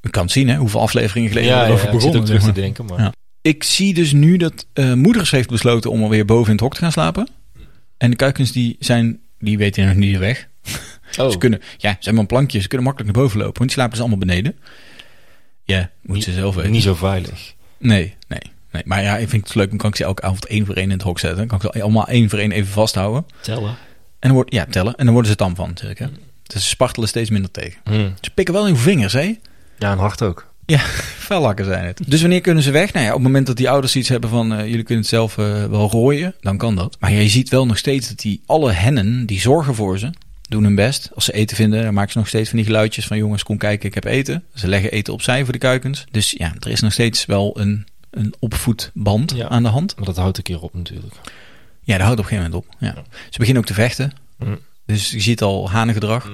[SPEAKER 1] Je kan het zien, hè? Hoeveel afleveringen
[SPEAKER 2] Ja,
[SPEAKER 1] geleden
[SPEAKER 2] ja,
[SPEAKER 1] we
[SPEAKER 2] ja,
[SPEAKER 1] erover
[SPEAKER 2] ik zit ook
[SPEAKER 1] begonnen.
[SPEAKER 2] terug
[SPEAKER 1] zeg
[SPEAKER 2] te
[SPEAKER 1] maar.
[SPEAKER 2] denken, maar...
[SPEAKER 1] Ja. Ik zie dus nu dat eh, moeders heeft besloten om alweer boven in het hok te gaan slapen. En de kuikens die zijn... Die weten nog niet de weg.
[SPEAKER 2] Oh,
[SPEAKER 1] Ze kunnen, ja, ze hebben een plankje, ze kunnen makkelijk naar boven lopen, want die slapen dus allemaal beneden. Ja, moeten ze zelf weten.
[SPEAKER 2] niet zo veilig.
[SPEAKER 1] Nee, nee, nee. Maar ja, ik vind het leuk, dan kan ik ze elke avond één voor één in het hok zetten. Dan kan ik ze allemaal één voor één even vasthouden.
[SPEAKER 2] Tellen.
[SPEAKER 1] En dan, wordt, ja, tellen. En dan worden ze tam van, natuurlijk. Hè? Dus ze spartelen steeds minder tegen.
[SPEAKER 2] Hm.
[SPEAKER 1] Ze pikken wel in hun vingers, hè?
[SPEAKER 2] Ja, en hard ook.
[SPEAKER 1] Ja, vuilakken zijn het. Dus wanneer kunnen ze weg? Nou ja, op het moment dat die ouders iets hebben van... eh, jullie kunnen het zelf eh, wel rooien, dan kan dat. Maar je ziet wel nog steeds dat die alle hennen, die zorgen voor ze... doen hun best. Als ze eten vinden, dan maken ze nog steeds van die geluidjes van... jongens, kom kijken, ik heb eten. Ze leggen eten opzij voor de kuikens. Dus ja, er is nog steeds wel een, een opvoedband
[SPEAKER 2] Ja.
[SPEAKER 1] aan de hand.
[SPEAKER 2] Maar dat houdt een keer op natuurlijk.
[SPEAKER 1] Ja, dat houdt op een gegeven moment op. Ja. Ze beginnen ook te vechten.
[SPEAKER 2] Mm.
[SPEAKER 1] Dus je ziet al hanengedrag.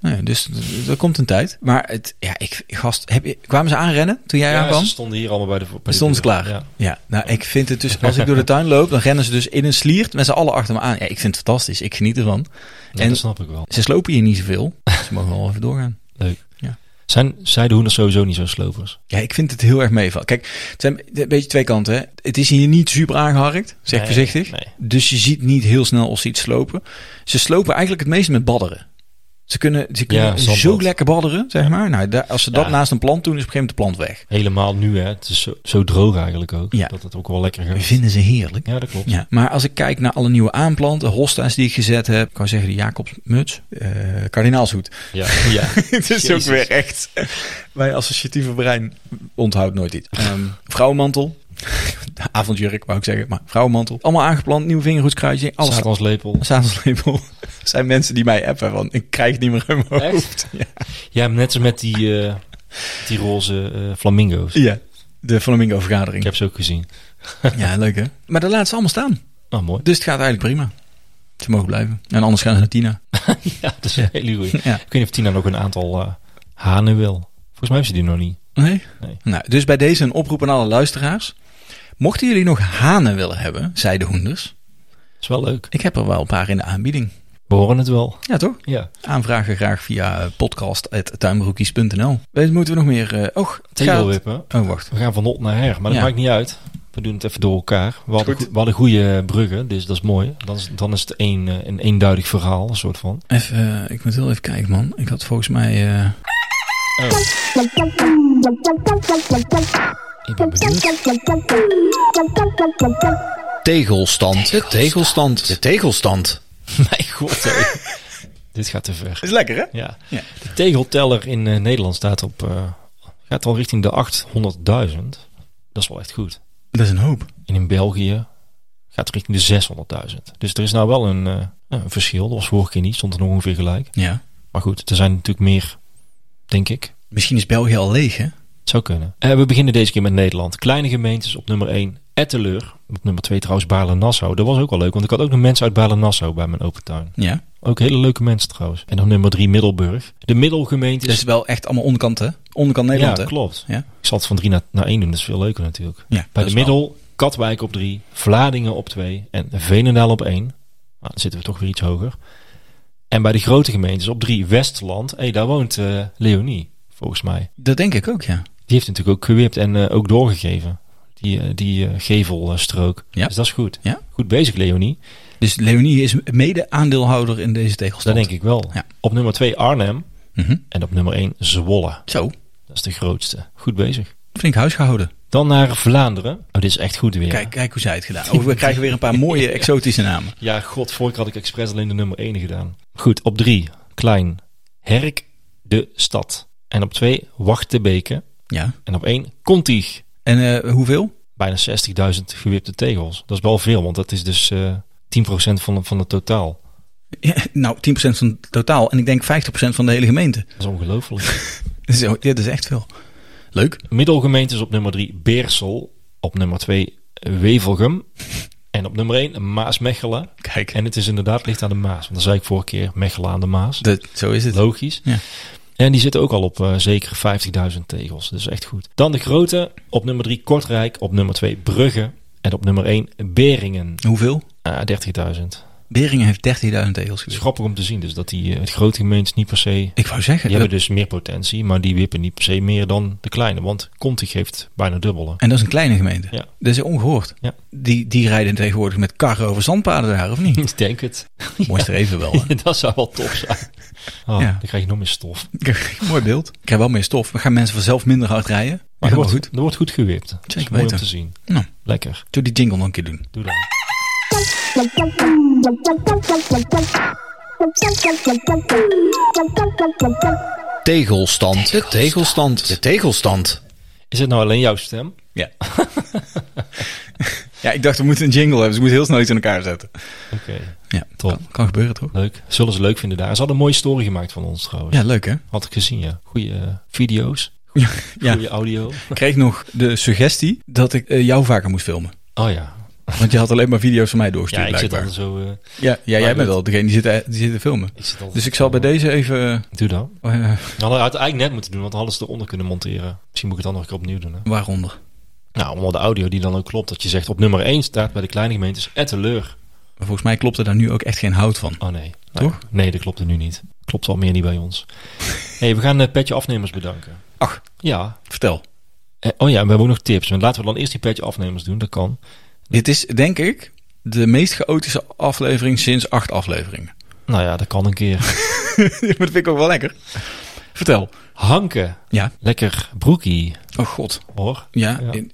[SPEAKER 1] Nou ja, dus d- er komt een tijd. Maar het, ja, ik, gast, heb, je- kwamen ze aanrennen toen jij
[SPEAKER 2] ja,
[SPEAKER 1] aankwam?
[SPEAKER 2] ze stonden hier allemaal bij de... Bij de
[SPEAKER 1] Dan stonden ze
[SPEAKER 2] deur.
[SPEAKER 1] klaar. Ja.
[SPEAKER 2] Ja.
[SPEAKER 1] nou, ik vind het dus, als ik door de tuin loop, dan rennen ze dus in een sliert met z'n allen achter me aan. Ja, ik vind het fantastisch. Ik geniet ervan.
[SPEAKER 2] en...
[SPEAKER 1] En-
[SPEAKER 2] Dat snap ik wel.
[SPEAKER 1] Ze slopen hier niet zoveel. Dus Ze mogen wel even doorgaan.
[SPEAKER 2] Leuk.
[SPEAKER 1] Ja.
[SPEAKER 2] Zijn zijdehoenders sowieso niet zo slopers?
[SPEAKER 1] Ja, ik vind het heel erg meevallen. Kijk, het zijn een beetje twee kanten. Hè. Het is hier niet super aangeharkt, zeg
[SPEAKER 2] Nee,
[SPEAKER 1] voorzichtig.
[SPEAKER 2] nee.
[SPEAKER 1] Dus je ziet niet heel snel of ze iets slopen. Ze slopen eigenlijk het meest met badderen. Ze kunnen, ze kunnen
[SPEAKER 2] zandbad.
[SPEAKER 1] zo lekker badderen, zeg maar. Nou, daar, als ze dat
[SPEAKER 2] Ja.
[SPEAKER 1] naast een plant doen, is op een gegeven moment de plant weg.
[SPEAKER 2] Helemaal nu, hè. Het is zo, zo droog eigenlijk ook.
[SPEAKER 1] Ja.
[SPEAKER 2] Dat het ook wel lekker
[SPEAKER 1] We
[SPEAKER 2] gaat.
[SPEAKER 1] vinden ze heerlijk.
[SPEAKER 2] Ja, dat klopt.
[SPEAKER 1] Ja, maar als ik kijk naar alle nieuwe aanplanten, hosta's die ik gezet heb, ik kan zeggen de Jacobsmuts, eh kardinaalshoed.
[SPEAKER 2] Ja, ja.
[SPEAKER 1] Het is ook weer echt. Mijn associatieve brein onthoudt nooit iets. Ehm, vrouwenmantel, avondjurk wou ik zeggen, maar vrouwenmantel. Allemaal aangeplant, nieuw vingerhoedskruidje, alles.
[SPEAKER 2] Satanslepel.
[SPEAKER 1] Zadelslepel. Er zijn mensen die mij appen, want ik krijg het niet meer uit mijn
[SPEAKER 2] Echt?
[SPEAKER 1] hoofd. Ja.
[SPEAKER 2] Ja, net als met die, eh, die roze eh, flamingo's.
[SPEAKER 1] ja, de
[SPEAKER 2] Ik
[SPEAKER 1] Flamingo-vergadering.
[SPEAKER 2] heb ze ook gezien.
[SPEAKER 1] Ja, leuk hè? Maar daar laten ze allemaal staan.
[SPEAKER 2] Oh, mooi.
[SPEAKER 1] Dus het gaat eigenlijk prima. Ze mogen blijven. En anders gaan ze naar Tina.
[SPEAKER 2] Ja, dat is een hele goeie.
[SPEAKER 1] Ja.
[SPEAKER 2] Ik weet niet of Tina nog een aantal eh, hanen wil. Volgens mij heeft ze die nog niet.
[SPEAKER 1] Nee?
[SPEAKER 2] Nee.
[SPEAKER 1] Nou, dus bij deze een oproep aan alle luisteraars. Mochten jullie nog hanen willen hebben, zei de hoenders.
[SPEAKER 2] Dat is wel leuk.
[SPEAKER 1] Ik heb er wel een paar in de aanbieding.
[SPEAKER 2] We horen het wel.
[SPEAKER 1] Ja, toch?
[SPEAKER 2] Ja.
[SPEAKER 1] Aanvragen graag via podcast.tuinbroekies.nl. Weet moeten we nog meer... eh och, het gaat-
[SPEAKER 2] Tegelwippen.
[SPEAKER 1] Oh, wacht.
[SPEAKER 2] We gaan van hot naar her, maar dat
[SPEAKER 1] Ja.
[SPEAKER 2] maakt niet uit. We doen het even door elkaar. We hadden,
[SPEAKER 1] Goed.
[SPEAKER 2] go- we hadden goede bruggen, dus dat is mooi. Dan is, dan is het een, eh, een eenduidig verhaal, een soort van.
[SPEAKER 1] Even, eh, ik moet heel even kijken, man. Ik had volgens mij... eh,
[SPEAKER 2] Ik ben benieuwd.
[SPEAKER 6] Tegelstand.
[SPEAKER 1] De tegelstand.
[SPEAKER 6] De tegelstand.
[SPEAKER 2] Mijn god, hé. dit gaat te ver.
[SPEAKER 1] Is lekker, hè?
[SPEAKER 2] Ja.
[SPEAKER 1] Ja.
[SPEAKER 2] De tegelteller in eh, Nederland staat op, eh, gaat al richting de 800.000. Dat is wel echt goed.
[SPEAKER 1] Dat is een hoop.
[SPEAKER 2] En in België gaat het richting de 600.000. Dus er is nou wel een, eh, ja, een verschil. Dat was vorige keer niet, stond er nog ongeveer gelijk.
[SPEAKER 1] Ja.
[SPEAKER 2] Maar goed, er zijn natuurlijk meer, denk ik.
[SPEAKER 1] Misschien is België al leeg, hè?
[SPEAKER 2] Het zou kunnen. Eh, we beginnen deze keer met Nederland. Kleine gemeentes op nummer 1, Etteleur. Op nummer 2 trouwens Baarle-Nassau. Dat was ook wel leuk, want ik had ook nog mensen uit Baarle-Nassau bij mijn open tuin.
[SPEAKER 1] Ja.
[SPEAKER 2] Ook hele leuke mensen trouwens. En dan nummer 3 Middelburg. De middelgemeentes...
[SPEAKER 1] Dat is wel echt allemaal onderkant, hè? Onderkant Nederland,
[SPEAKER 2] ja,
[SPEAKER 1] hè?
[SPEAKER 2] klopt.
[SPEAKER 1] Ja.
[SPEAKER 2] Ik zal het van 3 naar, naar 1 doen, dat is veel leuker natuurlijk.
[SPEAKER 1] Ja,
[SPEAKER 2] Bij
[SPEAKER 1] dat
[SPEAKER 2] de
[SPEAKER 1] is wel-
[SPEAKER 2] middel, Katwijk op 3, Vlaardingen op 2 en Veenendaal op 1. Nou, dan zitten we toch weer iets hoger. En bij de grote gemeentes op 3, Westland. Hé, daar woont eh, Leonie, volgens mij.
[SPEAKER 1] Dat denk ik ook, ja.
[SPEAKER 2] Die heeft natuurlijk ook gewipt en eh, ook doorgegeven. Die, eh, die eh, gevelstrook.
[SPEAKER 1] Ja.
[SPEAKER 2] Dus dat is goed.
[SPEAKER 1] Ja.
[SPEAKER 2] Goed bezig, Leonie.
[SPEAKER 1] Dus Leonie is mede-aandeelhouder in deze
[SPEAKER 2] Dat
[SPEAKER 1] tegelstand.
[SPEAKER 2] denk ik wel.
[SPEAKER 1] Ja.
[SPEAKER 2] Op nummer 2 Arnhem.
[SPEAKER 1] Mhm.
[SPEAKER 2] En op nummer 1 Zwolle.
[SPEAKER 1] Zo,
[SPEAKER 2] Dat is de grootste. Goed bezig.
[SPEAKER 1] flink huisgehouden.
[SPEAKER 2] Dan naar Vlaanderen. Oh, dit is echt goed weer.
[SPEAKER 1] Kijk, kijk hoe zij het gedaan. Oh, we krijgen weer een paar mooie exotische namen.
[SPEAKER 2] Ja, god, vorige keer had ik expres alleen de nummer 1 gedaan. Goed, op 3 Klein Herk de Stad. En op 2 Wachtebeke.
[SPEAKER 1] Ja.
[SPEAKER 2] En op 1 Contig.
[SPEAKER 1] En eh, hoeveel?
[SPEAKER 2] Bijna 60.000 gewipte tegels. Dat is wel veel, want dat is dus eh 10% van, van het totaal.
[SPEAKER 1] Ja, nou, 10% van het totaal. En ik denk 50% van de hele gemeente.
[SPEAKER 2] Dat is ongelooflijk.
[SPEAKER 1] Zo, dit is echt veel. Leuk.
[SPEAKER 2] Middelgemeentes op nummer 3 Beersel. Op nummer 2 Wevelgem. En op nummer 1 Maasmechelen.
[SPEAKER 1] Kijk.
[SPEAKER 2] En het is inderdaad ligt aan de Maas. Want dan zei ik vorige keer Mechelen aan de Maas.
[SPEAKER 1] Dat, zo is het.
[SPEAKER 2] Logisch.
[SPEAKER 1] Ja.
[SPEAKER 2] En die zitten ook al op eh, zeker 50.000 tegels. Dus echt goed. Dan de grote. Op nummer 3 Kortrijk. Op nummer 2 Brugge. En op nummer 1 Beringen.
[SPEAKER 1] Hoeveel?
[SPEAKER 2] Ah, 30.000.
[SPEAKER 1] Beringen heeft 13.000 tegels
[SPEAKER 2] Het is
[SPEAKER 1] gewipt.
[SPEAKER 2] grappig om te zien. Dus dat die, eh, het grote gemeentes niet per se...
[SPEAKER 1] Ik wou zeggen.
[SPEAKER 2] Die hebben
[SPEAKER 1] dat-
[SPEAKER 2] dus meer potentie. Maar die wippen niet per se meer dan de kleine. Want Conti geeft bijna dubbele.
[SPEAKER 1] En dat is een kleine gemeente.
[SPEAKER 2] Ja.
[SPEAKER 1] Dat is ongehoord.
[SPEAKER 2] Ja.
[SPEAKER 1] Die, die rijden tegenwoordig met karren over zandpaden daar, of niet?
[SPEAKER 2] Ik denk het.
[SPEAKER 1] Mooiste even wel. hè?
[SPEAKER 2] dat zou wel top zijn. Oh,
[SPEAKER 1] Ja.
[SPEAKER 2] Dan krijg je nog meer stof.
[SPEAKER 1] Mooi beeld. Ik krijg wel meer stof. We gaan mensen vanzelf minder hard rijden. Maar
[SPEAKER 2] Maar er
[SPEAKER 1] helemaal
[SPEAKER 2] wordt,
[SPEAKER 1] goed.
[SPEAKER 2] er wordt goed gewipt. Dat is
[SPEAKER 1] Zeker
[SPEAKER 2] mooi om
[SPEAKER 1] weten.
[SPEAKER 2] te zien.
[SPEAKER 1] Nou,
[SPEAKER 2] Lekker.
[SPEAKER 1] doe die jingle nog een keer doen.
[SPEAKER 2] Doe dat.
[SPEAKER 6] Tegelstand. De tegelstand. De tegelstand.
[SPEAKER 2] Is het nou alleen jouw stem?
[SPEAKER 1] Ja. ja, ik dacht we moeten een jingle hebben. Dus we moeten heel snel iets in elkaar zetten.
[SPEAKER 2] Oké.
[SPEAKER 1] Ja,
[SPEAKER 2] Top.
[SPEAKER 1] Kan, kan gebeuren toch?
[SPEAKER 2] Leuk. Zullen ze leuk vinden daar. Ze hadden een mooie story gemaakt van ons trouwens.
[SPEAKER 1] Ja, leuk hè?
[SPEAKER 2] Had ik gezien, ja. Goeie eh, video's.
[SPEAKER 1] Ja,
[SPEAKER 2] Goeie audio.
[SPEAKER 1] Ik kreeg nog de suggestie dat ik eh, jou vaker moest filmen.
[SPEAKER 2] Oh ja.
[SPEAKER 1] Want je had alleen maar video's van mij doorgestuurd
[SPEAKER 2] Ja, ik zit
[SPEAKER 1] blijkbaar.
[SPEAKER 2] dan zo... eh,
[SPEAKER 1] Ja, ja jij
[SPEAKER 2] Maar
[SPEAKER 1] bent
[SPEAKER 2] goed.
[SPEAKER 1] wel degene die zit, eh, die zit te filmen.
[SPEAKER 2] ik zit altijd-
[SPEAKER 1] Dus ik zal bij deze even...
[SPEAKER 2] Doe dat. We
[SPEAKER 1] eh,
[SPEAKER 2] hadden het eigenlijk net moeten doen, want dan hadden ze eronder kunnen monteren. Misschien moet ik het dan nog een keer opnieuw doen. Hè?
[SPEAKER 1] waaronder?
[SPEAKER 2] Nou, omdat de audio die dan ook klopt. Dat je zegt op nummer 1 staat bij de kleine gemeentes Etteleur.
[SPEAKER 1] Volgens mij klopt er daar nu ook echt geen hout van.
[SPEAKER 2] Oh nee. Nou,
[SPEAKER 1] Toch?
[SPEAKER 2] Nee, dat klopt er nu niet. Klopt al meer niet bij ons. hey, we gaan eh, Petje Afnemers bedanken.
[SPEAKER 1] Ach.
[SPEAKER 2] Ja.
[SPEAKER 1] Vertel.
[SPEAKER 2] Eh, oh ja, en we hebben ook nog tips. Maar Laten we dan eerst die Petje Afnemers doen. Dat kan.
[SPEAKER 1] Dit is, denk ik, de meest chaotische aflevering sinds acht afleveringen.
[SPEAKER 2] Nou ja, dat kan een keer.
[SPEAKER 1] maar dat vind ik ook wel lekker. Vertel.
[SPEAKER 2] Hanken.
[SPEAKER 1] Ja.
[SPEAKER 2] Lekker broekie,
[SPEAKER 1] Oh god.
[SPEAKER 2] hoor.
[SPEAKER 1] Ja.
[SPEAKER 2] Ja.
[SPEAKER 1] in-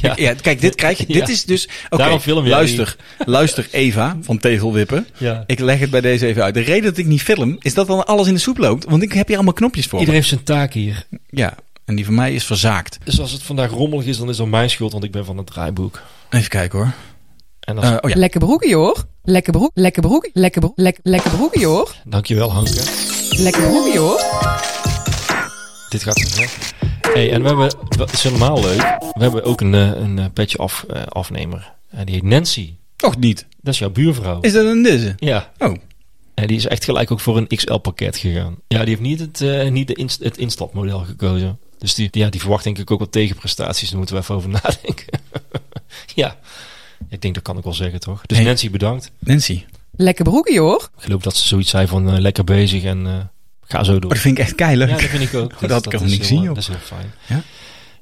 [SPEAKER 2] Ja.
[SPEAKER 1] Ja. kijk, dit krijg je. Dit
[SPEAKER 2] Ja.
[SPEAKER 1] is dus... Oké,
[SPEAKER 2] Daarom film jij
[SPEAKER 1] luister. Luister Eva van Tegelwippen.
[SPEAKER 2] Ja.
[SPEAKER 1] Ik leg het bij deze even uit. De reden dat ik niet film, is dat dan alles in de soep loopt. Want ik heb hier allemaal knopjes voor. me.
[SPEAKER 2] Iedereen heeft zijn taak hier.
[SPEAKER 1] Ja, en die van mij is verzaakt.
[SPEAKER 2] Dus als het vandaag rommelig is, dan is dat mijn schuld, want ik ben van het draaiboek.
[SPEAKER 1] Even kijken hoor.
[SPEAKER 2] En als...
[SPEAKER 1] Eh, oh ja.
[SPEAKER 7] Lekker broekje hoor. Lekker broek, lekker broek, lekker broek, lek- lekker broekje hoor.
[SPEAKER 2] Dankjewel, Hanke.
[SPEAKER 7] Lekker broekje hoor.
[SPEAKER 2] Dit gaat zo ver. Hey, en we hebben, dat is helemaal leuk, we hebben ook een, eh, een eh, petje af, eh, afnemer. En die heet Nancy.
[SPEAKER 1] Toch niet.
[SPEAKER 2] Dat is jouw buurvrouw.
[SPEAKER 1] Is dat een deze?
[SPEAKER 2] Ja.
[SPEAKER 1] Oh,
[SPEAKER 2] En die is echt gelijk ook voor een XL-pakket gegaan. Ja, die heeft niet het, eh, niet de inst- het instapmodel gekozen. Dus die, die- ja, die verwacht denk ik ook wat tegenprestaties. Daar moeten we even over nadenken. ja, ik denk dat kan ik wel zeggen, toch? Dus
[SPEAKER 1] Hey.
[SPEAKER 2] Nancy, bedankt.
[SPEAKER 1] Nancy.
[SPEAKER 7] Lekker broekje hoor.
[SPEAKER 2] Ik geloof dat ze zoiets zei van eh, lekker bezig en eh, ga zo
[SPEAKER 1] Oh,
[SPEAKER 2] door.
[SPEAKER 1] dat vind ik echt keilig.
[SPEAKER 2] Ja, dat vind ik ook.
[SPEAKER 1] dat kan ik
[SPEAKER 2] is
[SPEAKER 1] niet
[SPEAKER 2] heel,
[SPEAKER 1] zien,
[SPEAKER 2] eh,
[SPEAKER 1] joh.
[SPEAKER 2] Dat is heel fijn.
[SPEAKER 1] Ja.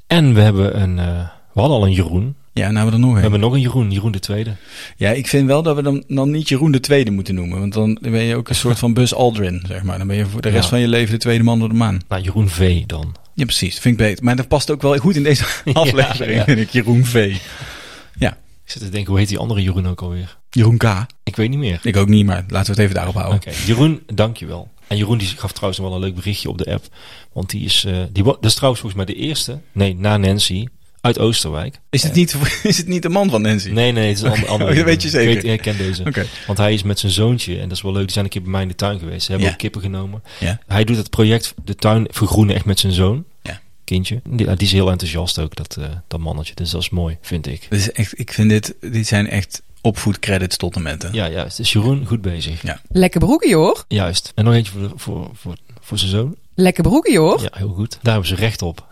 [SPEAKER 2] En we hebben een, eh, we hadden al een Jeroen.
[SPEAKER 1] Ja, nou hebben we er nog
[SPEAKER 2] We
[SPEAKER 1] een.
[SPEAKER 2] hebben nog een Jeroen, Jeroen de Tweede.
[SPEAKER 1] Ja, ik vind wel dat we dan, dan niet Jeroen de Tweede moeten noemen. Want dan ben je ook een soort van Buzz Aldrin, zeg maar. Dan ben je voor de rest
[SPEAKER 2] Ja.
[SPEAKER 1] van je leven de tweede man door de maan.
[SPEAKER 2] Nou, Jeroen V dan.
[SPEAKER 1] Ja, precies. Vind ik beter. Maar dat past ook wel goed in deze
[SPEAKER 2] Ja,
[SPEAKER 1] aflevering,
[SPEAKER 2] ja.
[SPEAKER 1] vind ik. Jeroen V.
[SPEAKER 2] Ik zit te denken, hoe heet die andere Jeroen ook alweer?
[SPEAKER 1] Jeroen K.
[SPEAKER 2] Ik weet niet meer.
[SPEAKER 1] Ik ook niet, maar laten we het even daarop houden.
[SPEAKER 2] Oké, Jeroen, dankjewel. En Jeroen die gaf trouwens nog wel een leuk berichtje op de app. Want die is, eh, die, wo- dat is trouwens volgens mij de eerste, nee, na Nancy, uit Oosterwijk.
[SPEAKER 1] Is, het niet, is het niet de man van Nancy?
[SPEAKER 2] Nee, nee, het is een ander.
[SPEAKER 1] oh, dat weet je zeker?
[SPEAKER 2] Ik, weet, ik ken deze.
[SPEAKER 1] Oké.
[SPEAKER 2] Want hij is met zijn zoontje, en dat is wel leuk, die zijn een keer bij mij in de tuin geweest. Ze hebben
[SPEAKER 1] Ja.
[SPEAKER 2] ook kippen genomen.
[SPEAKER 1] Ja.
[SPEAKER 2] Hij doet het project de tuin vergroenen echt met zijn zoon.
[SPEAKER 1] Ja.
[SPEAKER 2] Kindje. Die, die is heel enthousiast ook, dat, eh, dat mannetje. Dus dat is mooi, vind ik.
[SPEAKER 1] Dit is echt, ik vind dit, dit zijn echt opvoedcredits tot en met. hè.
[SPEAKER 2] Ja, juist. Dus Jeroen, goed bezig.
[SPEAKER 7] Lekker broekje hoor.
[SPEAKER 2] Juist. En nog eentje voor, de- voor, voor, voor zijn zoon.
[SPEAKER 7] Lekker broekje hoor.
[SPEAKER 2] Ja, heel goed. Daar hebben ze recht op.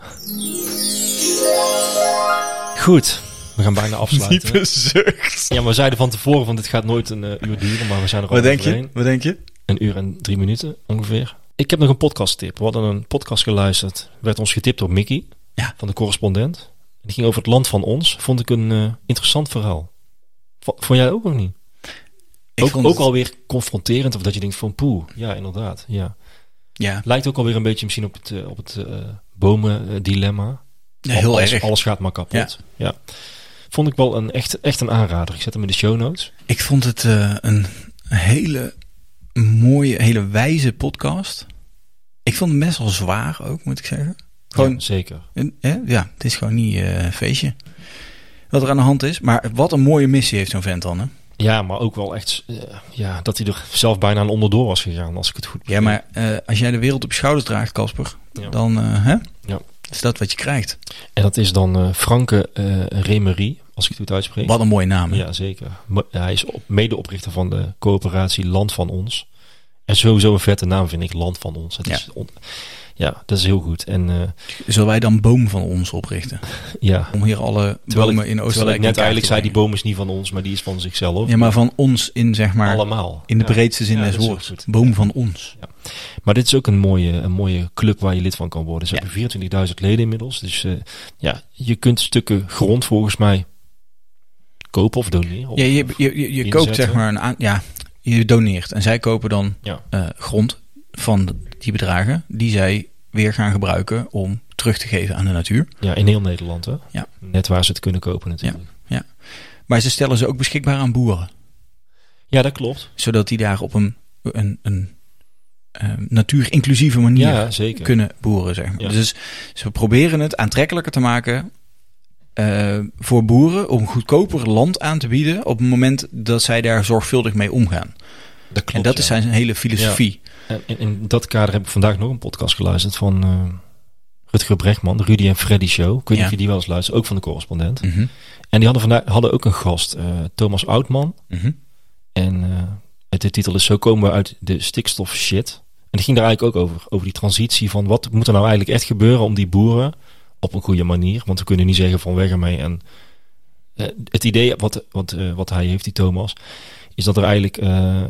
[SPEAKER 2] Goed. We gaan bijna afsluiten.
[SPEAKER 1] Diepe zucht.
[SPEAKER 2] Ja, maar we zeiden van tevoren van dit gaat nooit een eh, uur duren, maar we zijn er al
[SPEAKER 1] Wat denk
[SPEAKER 2] overheen.
[SPEAKER 1] je? Wat denk je?
[SPEAKER 2] Een uur en drie minuten ongeveer. Ik heb nog een podcasttip. We hadden een podcast geluisterd. Werd ons getipt door Mickey
[SPEAKER 1] Ja.
[SPEAKER 2] van de correspondent. Die ging over het land van ons. Vond ik een eh, interessant verhaal. Vo- Vond jij ook of niet?
[SPEAKER 1] Ik
[SPEAKER 2] ook
[SPEAKER 1] vond
[SPEAKER 2] ook
[SPEAKER 1] het-
[SPEAKER 2] alweer confronterend. Of dat je denkt van poeh. Ja, inderdaad. Ja.
[SPEAKER 1] Ja,
[SPEAKER 2] Lijkt ook alweer een beetje misschien op het, eh, op het eh, bomen eh, dilemma.
[SPEAKER 1] ja heel
[SPEAKER 2] alles,
[SPEAKER 1] erg.
[SPEAKER 2] Alles gaat maar kapot. Ja. Vond ik wel een, echt, echt een aanrader. Ik zet hem in de show notes.
[SPEAKER 1] Ik vond het eh, een hele mooie, hele wijze podcast. Ik vond het best wel zwaar ook, moet ik zeggen. Gewoon,
[SPEAKER 2] Ja, zeker.
[SPEAKER 1] En, hè, ja, het is gewoon niet eh, een feestje. Wat er aan de hand is. Maar wat een mooie missie heeft zo'n vent dan. Hè?
[SPEAKER 2] Ja, maar ook wel echt eh, ja, dat hij er zelf bijna aan onderdoor was gegaan, als ik het goed
[SPEAKER 1] Ja, maar eh, als jij de wereld op je schouders draagt, Casper,
[SPEAKER 2] Ja.
[SPEAKER 1] dan eh, hè?
[SPEAKER 2] Ja.
[SPEAKER 1] is dat wat je krijgt.
[SPEAKER 2] En dat is dan eh, Franke eh, Remery, als ik het goed uitspreek.
[SPEAKER 1] Wat een mooie naam. hè?
[SPEAKER 2] Ja, zeker. Mo- Hij is op- medeoprichter van de coöperatie Land van Ons. En sowieso een vette naam vind ik, Land van Ons. Het
[SPEAKER 1] Ja.
[SPEAKER 2] Is on- ja, dat is heel goed. En eh,
[SPEAKER 1] Zullen wij dan boom van ons oprichten?
[SPEAKER 2] ja,
[SPEAKER 1] Om hier alle
[SPEAKER 2] terwijl
[SPEAKER 1] bomen
[SPEAKER 2] ik,
[SPEAKER 1] in
[SPEAKER 2] terwijl
[SPEAKER 1] Oostenrijk... in kaart
[SPEAKER 2] ik net
[SPEAKER 1] te
[SPEAKER 2] eigenlijk zei, die
[SPEAKER 1] brengen.
[SPEAKER 2] boom is niet van ons, maar die is van zichzelf.
[SPEAKER 1] Ja, maar van ons in, zeg maar,
[SPEAKER 2] Allemaal.
[SPEAKER 1] in de
[SPEAKER 2] Ja.
[SPEAKER 1] breedste zin
[SPEAKER 2] Ja,
[SPEAKER 1] des
[SPEAKER 2] dat is ook
[SPEAKER 1] woords.
[SPEAKER 2] goed.
[SPEAKER 1] Boom van ons.
[SPEAKER 2] Maar dit is ook een mooie, een mooie club waar je lid van kan worden. Ze
[SPEAKER 1] Ja.
[SPEAKER 2] hebben 24.000 leden inmiddels. Dus eh, ja, je kunt stukken grond volgens mij kopen of doneren. Of-
[SPEAKER 1] Ja, je, je, je, je koopt
[SPEAKER 2] inzetten.
[SPEAKER 1] zeg maar een aan, ja, je doneert en zij kopen dan
[SPEAKER 2] Ja.
[SPEAKER 1] eh, grond van die bedragen die zij weer gaan gebruiken om terug te geven aan de natuur.
[SPEAKER 2] ja, in heel Nederland. Hè?
[SPEAKER 1] Ja.
[SPEAKER 2] Net waar ze het kunnen kopen natuurlijk. Ja,
[SPEAKER 1] Maar ze stellen ze ook beschikbaar aan boeren,
[SPEAKER 2] dat klopt.
[SPEAKER 1] zodat die daar op een, een, een eh, natuurinclusieve manier
[SPEAKER 2] Ja, zeker.
[SPEAKER 1] kunnen boeren. Zeg maar.
[SPEAKER 2] Ja.
[SPEAKER 1] Dus ze proberen het aantrekkelijker te maken eh, voor boeren om goedkoper land aan te bieden op het moment dat zij daar zorgvuldig mee omgaan.
[SPEAKER 2] dat klopt.
[SPEAKER 1] en dat
[SPEAKER 2] ja.
[SPEAKER 1] is zijn hele filosofie.
[SPEAKER 2] En in, in dat kader heb ik vandaag nog een podcast geluisterd van eh Rutger Brechtman, de Rudy en Freddy Show. Ik weet niet
[SPEAKER 1] Ja.
[SPEAKER 2] of je die wel eens luistert, ook van de correspondent.
[SPEAKER 1] Mhm,
[SPEAKER 2] En die hadden, vandaag, hadden ook een gast, eh, Thomas Oudman.
[SPEAKER 1] mhm.
[SPEAKER 2] En eh, de titel is Zo komen we uit de stikstof shit. En het ging daar eigenlijk ook over. Over die transitie van wat moet er nou eigenlijk echt gebeuren om die boeren op een goede manier. Want we kunnen niet zeggen van weg ermee. En eh, het idee wat, wat, eh, wat hij heeft, die Thomas, is dat er eigenlijk eh,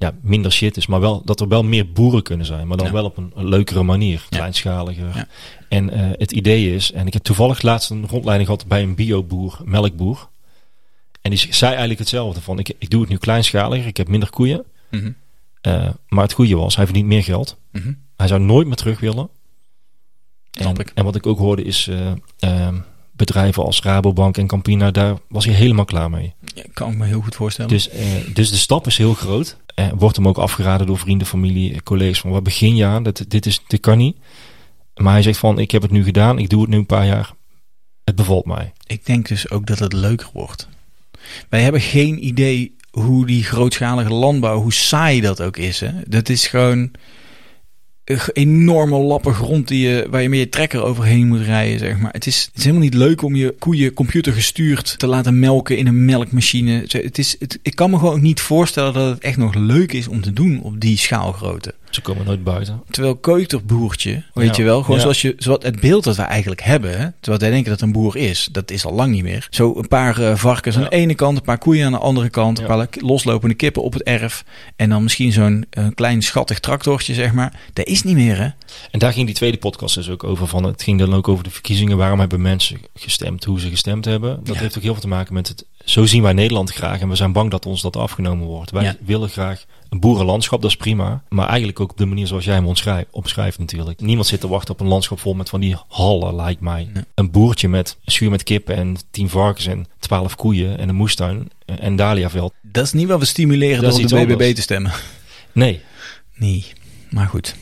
[SPEAKER 2] ja, minder shit is. Maar wel dat er wel meer boeren kunnen zijn. Maar dan
[SPEAKER 1] Ja.
[SPEAKER 2] wel op een leukere manier.
[SPEAKER 1] Ja.
[SPEAKER 2] Kleinschaliger.
[SPEAKER 1] Ja.
[SPEAKER 2] En eh, het idee is, en ik heb toevallig laatst een rondleiding gehad bij een bioboer, melkboer. En die zei eigenlijk hetzelfde van ik, ik doe het nu kleinschaliger, ik heb minder koeien.
[SPEAKER 1] Mhm.
[SPEAKER 2] Eh, maar het goede was, hij verdient meer geld.
[SPEAKER 1] Mhm.
[SPEAKER 2] Hij zou nooit meer terug willen. En,
[SPEAKER 1] Snap ik.
[SPEAKER 2] en wat ik ook hoorde is eh, eh, bedrijven als Rabobank en Campina, daar was hij helemaal klaar mee.
[SPEAKER 1] Ja, kan ik me heel goed voorstellen.
[SPEAKER 2] Dus, eh, dus de stap is heel groot. Eh, wordt hem ook afgeraden door vrienden, familie, eh, collega's. Van waar begin je aan? Dat, dit, is, dit kan niet. Maar hij zegt van ik heb het nu gedaan, ik doe het nu een paar jaar. Het bevalt mij.
[SPEAKER 1] ik denk dus ook dat het leuker wordt. Wij hebben geen idee hoe die grootschalige landbouw, hoe saai dat ook is. Hè? Dat is gewoon een g- enorme lappen grond die je, waar je met je trekker overheen moet rijden. Zeg maar. het, is, het is helemaal niet leuk om je koeien computergestuurd te laten melken in een melkmachine. Zo, Het is, het, ik kan me gewoon niet voorstellen dat het echt nog leuk is om te doen op die schaalgrootte.
[SPEAKER 2] Ze komen nooit buiten.
[SPEAKER 1] Terwijl keuterboertje, weet je
[SPEAKER 2] Ja.
[SPEAKER 1] wel, gewoon
[SPEAKER 2] Ja.
[SPEAKER 1] zoals je, zoals het beeld dat we eigenlijk hebben, hè, terwijl wij denken dat een boer is, dat is al lang niet meer. Zo een paar eh, varkens aan de ene kant, een paar koeien aan de andere kant,
[SPEAKER 2] Ja.
[SPEAKER 1] een paar le- loslopende kippen op het erf en dan misschien zo'n eh, klein schattig tractortje, zeg maar. Dat is niet meer, hè?
[SPEAKER 2] En daar ging die tweede podcast dus ook over van. Het ging dan ook over de verkiezingen. Waarom hebben mensen gestemd? Hoe ze gestemd hebben. Dat
[SPEAKER 1] Ja.
[SPEAKER 2] heeft ook heel veel te maken met het... Zo zien wij Nederland graag. En we zijn bang dat ons dat afgenomen wordt. Wij
[SPEAKER 1] Ja.
[SPEAKER 2] willen graag een boerenlandschap. Dat is prima. Maar eigenlijk ook op de manier zoals jij hem omschrijft, omschrijft natuurlijk. Niemand zit te wachten op een landschap vol met van die hallen, lijkt mij. Een boertje met een schuur met kippen en tien varkens en twaalf koeien en een moestuin en een dahliaveld.
[SPEAKER 1] Dat is niet wat we stimuleren
[SPEAKER 2] Dat
[SPEAKER 1] door
[SPEAKER 2] is
[SPEAKER 1] op de
[SPEAKER 2] iets
[SPEAKER 1] BBB
[SPEAKER 2] anders.
[SPEAKER 1] te stemmen.
[SPEAKER 2] Nee.
[SPEAKER 1] Nee, maar goed.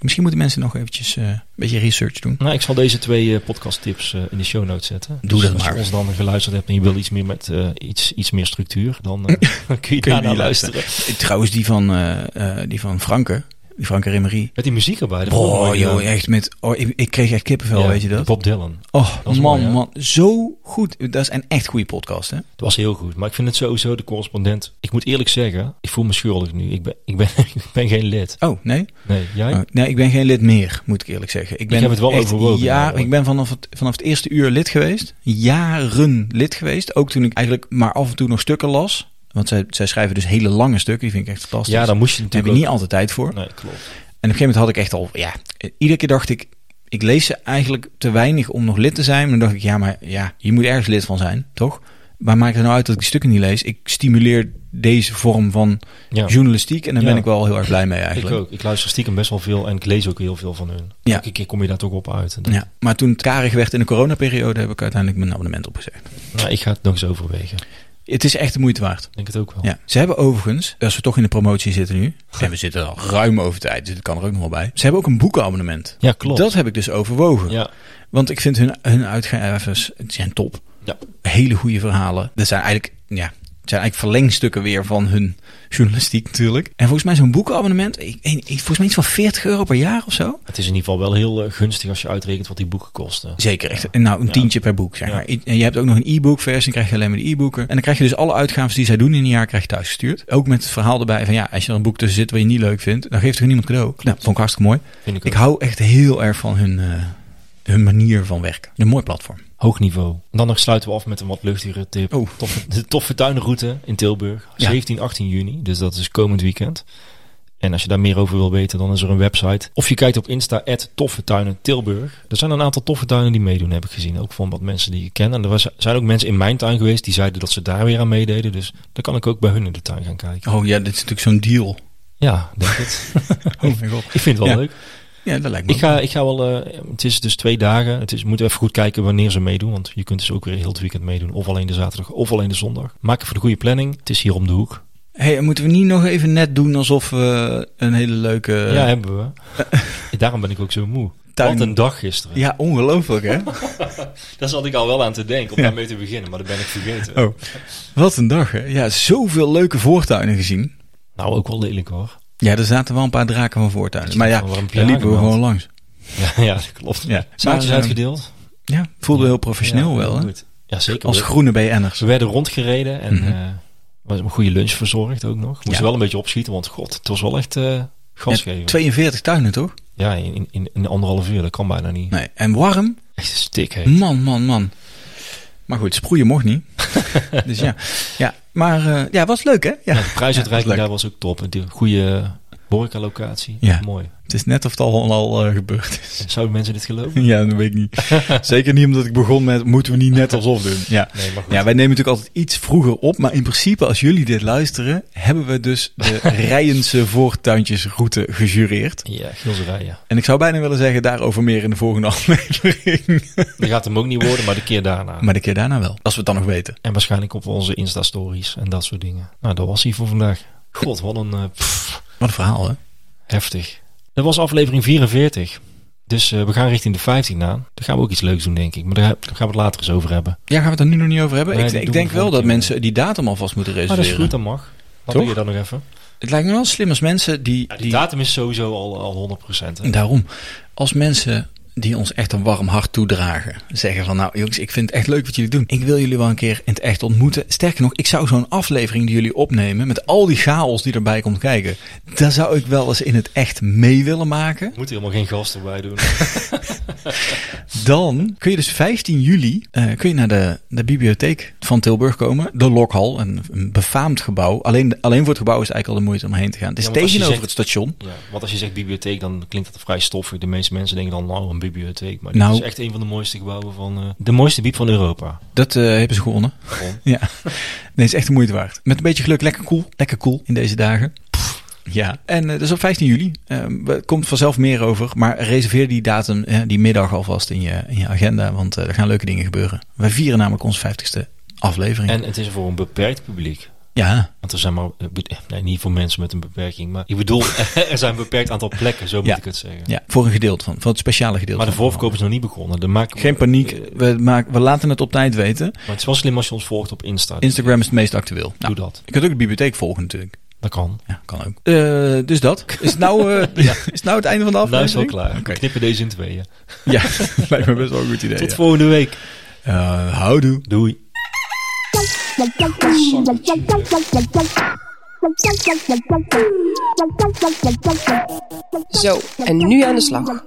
[SPEAKER 1] Misschien moeten mensen nog eventjes eh, een beetje research doen.
[SPEAKER 2] Nou, ik zal deze twee eh podcasttips eh, in de show notes zetten.
[SPEAKER 1] Doe dat
[SPEAKER 2] als
[SPEAKER 1] maar.
[SPEAKER 2] je ons dan geluisterd hebt en je wil iets meer, met, eh, iets, iets meer structuur, dan eh, dan kun je
[SPEAKER 1] Kun je
[SPEAKER 2] daarna
[SPEAKER 1] die
[SPEAKER 2] luisteren.
[SPEAKER 1] Eh, Trouwens, die van, eh, eh, die van Franke, die Franke Remerie.
[SPEAKER 2] Met die muziek erbij. dat vond ik
[SPEAKER 1] Oh,
[SPEAKER 2] mooi
[SPEAKER 1] joh,
[SPEAKER 2] gedaan.
[SPEAKER 1] echt met. Oh, ik, ik kreeg echt kippenvel,
[SPEAKER 2] Ja,
[SPEAKER 1] weet je dat?
[SPEAKER 2] Bob Dylan.
[SPEAKER 1] Oh,
[SPEAKER 2] Dat is
[SPEAKER 1] man,
[SPEAKER 2] mooi, hè?
[SPEAKER 1] man. Zo goed. Dat is een echt goede podcast, hè?
[SPEAKER 2] Het was heel goed. Maar ik vind het sowieso de correspondent. Ik moet eerlijk zeggen, ik voel me schuldig nu. Ik ben, ik ben, ik ben geen lid.
[SPEAKER 1] Oh, nee?
[SPEAKER 2] Nee, jij?
[SPEAKER 1] Oh, nee, ik ben geen lid meer, moet ik eerlijk zeggen. Ik ben
[SPEAKER 2] heb het wel
[SPEAKER 1] echt
[SPEAKER 2] overwogen,
[SPEAKER 1] Ja,
[SPEAKER 2] namelijk.
[SPEAKER 1] ik ben vanaf het, vanaf het eerste uur lid geweest. Jaren lid geweest. Ook toen ik eigenlijk maar af en toe nog stukken las. Want zij, zij schrijven dus hele lange stukken. Die vind ik echt fantastisch.
[SPEAKER 2] ja, dan moest
[SPEAKER 1] Daar
[SPEAKER 2] je
[SPEAKER 1] heb
[SPEAKER 2] natuurlijk
[SPEAKER 1] ik niet
[SPEAKER 2] ook-
[SPEAKER 1] altijd tijd voor.
[SPEAKER 2] Nee, klopt.
[SPEAKER 1] En op een gegeven moment had ik echt al, ja, eh, iedere keer dacht ik, ik lees ze eigenlijk te weinig om nog lid te zijn. Maar dan dacht ik, ja, maar ja, je moet ergens lid van zijn, toch? Maar maakt het nou uit dat ik die stukken niet lees? Ik stimuleer deze vorm van
[SPEAKER 2] Ja.
[SPEAKER 1] journalistiek en daar
[SPEAKER 2] Ja.
[SPEAKER 1] ben ik wel heel erg blij mee eigenlijk.
[SPEAKER 2] Ik ook. Ik luister stiekem best wel veel en ik lees ook heel veel van hun.
[SPEAKER 1] Ja.
[SPEAKER 2] Elke keer kom je daar toch op uit. En dat-
[SPEAKER 1] Ja, maar toen het karig werd in de coronaperiode heb ik uiteindelijk mijn abonnement opgezegd.
[SPEAKER 2] Nou, ik ga het nog eens overwegen.
[SPEAKER 1] Het is echt de moeite waard.
[SPEAKER 2] Ik denk het ook wel.
[SPEAKER 1] Ja. Ze hebben overigens, als we toch in de promotie zitten nu, en we zitten al ruim over tijd, dus dat kan er ook nog wel bij. Ze hebben ook een boekenabonnement.
[SPEAKER 2] Ja, klopt.
[SPEAKER 1] Dat heb ik dus overwogen.
[SPEAKER 2] Ja.
[SPEAKER 1] Want ik vind hun, hun uitgevers, het zijn top.
[SPEAKER 2] Ja.
[SPEAKER 1] Hele goede verhalen. Dat zijn eigenlijk, ja, het zijn eigenlijk verlengstukken weer van hun journalistiek natuurlijk. En volgens mij zo'n boekenabonnement, ik, ik- volgens mij iets van 40 euro per jaar of zo.
[SPEAKER 2] Het is in ieder geval wel heel eh, gunstig als je uitrekent wat die boeken kosten.
[SPEAKER 1] Zeker, echt. En nou, een
[SPEAKER 2] Ja.
[SPEAKER 1] tientje per boek, zeg
[SPEAKER 2] Ja.
[SPEAKER 1] maar. I- En je hebt ook nog een e-book versie, dan krijg je alleen maar de e-boeken. En dan krijg je dus alle uitgaven die zij doen in een jaar, krijg je thuis gestuurd. Ook met het verhaal erbij van, ja, als je er een boek tussen zit wat je niet leuk vindt, dan geeft er niemand cadeau. Nou, vond ik hartstikke mooi.
[SPEAKER 2] Vind ik,
[SPEAKER 1] Ik
[SPEAKER 2] ook.
[SPEAKER 1] hou echt heel erg van hun, eh, hun manier van werken. Een mooi platform.
[SPEAKER 2] Hoog niveau. En dan nog sluiten we af met een wat luchtigere tip.
[SPEAKER 1] Oh.
[SPEAKER 2] Toffe, de toffe tuinroute in Tilburg.
[SPEAKER 1] Ja.
[SPEAKER 2] 17, 18 juni. Dus dat is komend weekend. En als je daar meer over wil weten, dan is er een website. Of je kijkt op Insta, toffe tuinen Tilburg. Er zijn een aantal toffe tuinen die meedoen, heb ik gezien. Ook van wat mensen die ik ken. En er was- zijn ook mensen in mijn tuin geweest die zeiden dat ze daar weer aan meededen. Dus dan kan ik ook bij hun in de tuin gaan kijken.
[SPEAKER 1] Oh ja, dit is natuurlijk zo'n deal.
[SPEAKER 2] Ja, denk het.
[SPEAKER 1] Oh mijn god.
[SPEAKER 2] ik vind het wel
[SPEAKER 1] Ja.
[SPEAKER 2] leuk.
[SPEAKER 1] Ja, dat lijkt me.
[SPEAKER 2] Ik ga, ik ga wel, eh, het is dus twee dagen. Het is, moeten we even goed kijken wanneer ze meedoen. Want je kunt dus ook weer heel het weekend meedoen. Of alleen de zaterdag of alleen de zondag. Maak even de goede planning. Het is hier om de hoek.
[SPEAKER 1] Hey, moeten we niet nog even net doen alsof we een hele leuke...
[SPEAKER 2] ja, hebben we. Daarom ben ik ook zo moe.
[SPEAKER 1] Tuin-
[SPEAKER 2] Wat een dag gisteren.
[SPEAKER 1] Ja, ongelooflijk hè?
[SPEAKER 2] Daar zat ik al wel aan te denken om
[SPEAKER 1] Ja.
[SPEAKER 2] daarmee te beginnen. Maar dat ben ik vergeten.
[SPEAKER 1] Oh, wat een dag hè? Ja, zoveel leuke voortuinen gezien.
[SPEAKER 2] Nou, ook wel lelijk hoor.
[SPEAKER 1] Ja, er zaten wel een paar draken van voortuinen.
[SPEAKER 2] Dat
[SPEAKER 1] Maar
[SPEAKER 2] je
[SPEAKER 1] ja,
[SPEAKER 2] gewoon warm
[SPEAKER 1] daar liepen we
[SPEAKER 2] pyjama
[SPEAKER 1] gewoon langs.
[SPEAKER 2] Ja, ja dat klopt.
[SPEAKER 1] Ja.
[SPEAKER 2] Zaadjes
[SPEAKER 1] Maar, eh,
[SPEAKER 2] uitgedeeld.
[SPEAKER 1] Ja, voelde heel professioneel
[SPEAKER 2] Ja,
[SPEAKER 1] wel hè?
[SPEAKER 2] goed. Ja, zeker.
[SPEAKER 1] Als
[SPEAKER 2] We-
[SPEAKER 1] groene BN'ers.
[SPEAKER 2] Ze werden rondgereden en
[SPEAKER 1] Mhm.
[SPEAKER 2] eh, was een goede lunch verzorgd ook nog. Moesten
[SPEAKER 1] Ja.
[SPEAKER 2] wel een beetje opschieten, want god, het was wel echt eh gas
[SPEAKER 1] Ja,
[SPEAKER 2] geven.
[SPEAKER 1] 42 tuinen toch?
[SPEAKER 2] Ja, in, in, in anderhalf uur, dat kan bijna niet.
[SPEAKER 1] Nee. En warm?
[SPEAKER 2] Echt stik, hè.
[SPEAKER 1] Man, man, man. Maar goed, sproeien mocht niet. dus ja. ja. Maar eh, ja, was leuk hè? Ja.
[SPEAKER 2] Ja, de prijsuitreiking
[SPEAKER 1] Ja,
[SPEAKER 2] daar was ook top. Een goede horecalocatie.
[SPEAKER 1] Ja.
[SPEAKER 2] Mooi.
[SPEAKER 1] Het is net of het al, al eh, gebeurd is.
[SPEAKER 2] Zouden mensen dit geloven?
[SPEAKER 1] Ja, dat weet ik niet. Zeker niet omdat ik begon met moeten we niet net alsof doen. Ja.
[SPEAKER 2] Nee, maar goed.
[SPEAKER 1] ja, wij nemen natuurlijk altijd iets vroeger op. Maar in principe, als jullie dit luisteren, hebben we dus de Rijense voortuintjesroute gejureerd.
[SPEAKER 2] Ja, Gilserij, ja.
[SPEAKER 1] En ik zou bijna willen zeggen, daarover meer in de volgende aflevering.
[SPEAKER 2] Dat gaat hem ook niet worden, maar de keer daarna.
[SPEAKER 1] Maar de keer daarna wel, als we het dan nog weten.
[SPEAKER 2] En waarschijnlijk op onze Insta-stories en dat soort dingen. Nou, dat was hij voor vandaag. God, wat een... eh, pff,
[SPEAKER 1] Wat een verhaal, hè?
[SPEAKER 2] heftig. Dat was aflevering 44. Dus eh, we gaan richting de 15 aan. Daar gaan we ook iets leuks doen, denk ik. Maar daar daar gaan we het later eens over hebben.
[SPEAKER 1] Ja, gaan we het er nu nog niet over hebben?
[SPEAKER 2] Nee,
[SPEAKER 1] ik
[SPEAKER 2] dat
[SPEAKER 1] ik
[SPEAKER 2] doen
[SPEAKER 1] denk
[SPEAKER 2] we
[SPEAKER 1] wel
[SPEAKER 2] volgende
[SPEAKER 1] dat
[SPEAKER 2] keer.
[SPEAKER 1] mensen die datum alvast moeten
[SPEAKER 2] Maar dat is
[SPEAKER 1] reserveren.
[SPEAKER 2] goed, dat mag. Dan
[SPEAKER 1] eh, Toch?
[SPEAKER 2] doe je dat nog even.
[SPEAKER 1] Het lijkt me wel slim als mensen die...
[SPEAKER 2] Ja, die,
[SPEAKER 1] die
[SPEAKER 2] datum is sowieso al, al 100%. hè.
[SPEAKER 1] daarom, als mensen die ons echt een warm hart toedragen. Zeggen van, nou jongens, ik vind het echt leuk wat jullie doen. Ik wil jullie wel een keer in het echt ontmoeten. Sterker nog, ik zou zo'n aflevering die jullie opnemen, met al die chaos die erbij komt kijken, daar zou ik wel eens in het echt mee willen maken.
[SPEAKER 2] Moet er helemaal geen gast erbij doen.
[SPEAKER 1] Dan kun je dus 15 juli eh, kun je naar de, de bibliotheek van Tilburg komen. De Lokhal, een, een befaamd gebouw. Alleen, alleen voor het gebouw is eigenlijk al de moeite om heen te gaan. Het is
[SPEAKER 2] Ja, want als je
[SPEAKER 1] tegenover
[SPEAKER 2] zegt-
[SPEAKER 1] het station.
[SPEAKER 2] ja, want als je zegt bibliotheek, dan klinkt dat vrij stoffig. De meeste mensen denken dan, nou, een bibliotheek. Maar dit
[SPEAKER 1] Nou.
[SPEAKER 2] is echt een van de mooiste gebouwen van... eh, de mooiste biep van Europa.
[SPEAKER 1] Dat eh, hebben ze gewonnen.
[SPEAKER 2] Waarom?
[SPEAKER 1] Ja, nee, is echt de moeite waard. Met een beetje geluk, lekker cool. Lekker cool in deze dagen. Pff, Ja, en eh, dat is op 15 juli. Eh, er komt vanzelf meer over. Maar reserveer die datum, eh, die middag alvast in je, in je agenda. Want eh, er gaan leuke dingen gebeuren. Wij vieren namelijk onze 50ste aflevering.
[SPEAKER 2] En het is voor een beperkt publiek.
[SPEAKER 1] ja,
[SPEAKER 2] Want er zijn maar... eh, be- eh, Nee, niet voor mensen met een beperking. Maar ik bedoel, er zijn een beperkt aantal plekken. Zo moet
[SPEAKER 1] Ja.
[SPEAKER 2] ik het zeggen.
[SPEAKER 1] ja, voor een gedeelte van. Voor het speciale gedeelte.
[SPEAKER 2] Maar Eh, de
[SPEAKER 1] van.
[SPEAKER 2] voorverkoop is nog niet begonnen. De maak...
[SPEAKER 1] Geen paniek. We, maken, we laten het op tijd weten.
[SPEAKER 2] Maar het is wel slim als je ons volgt op Insta.
[SPEAKER 1] Instagram is het meest actueel. Nou,
[SPEAKER 2] Doe dat.
[SPEAKER 1] je kunt ook de bibliotheek volgen natuurlijk.
[SPEAKER 2] Dat kan.
[SPEAKER 1] Ja, kan ook. Eh, dus dat. Is het nou, eh, is het nou het einde van de
[SPEAKER 2] Nou is wel
[SPEAKER 1] aflevering?
[SPEAKER 2] klaar.
[SPEAKER 1] Oké.
[SPEAKER 2] We knippen deze in tweeën.
[SPEAKER 1] Ja, lijkt me best wel een goed idee.
[SPEAKER 2] Tot
[SPEAKER 1] ja.
[SPEAKER 2] volgende week.
[SPEAKER 1] Eh, houdoe.
[SPEAKER 2] Doei.
[SPEAKER 4] Zo, en nu aan de slag.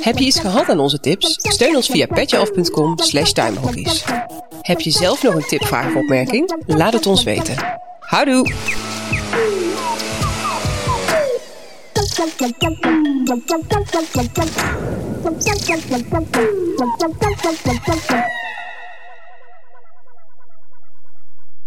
[SPEAKER 4] Heb je iets gehad aan onze tips? Steun ons via petjeaf.com slash tuinbroekies.
[SPEAKER 3] Heb je zelf nog een tip, vraag of opmerking? Laat het ons weten. Houdoe!
[SPEAKER 4] weten.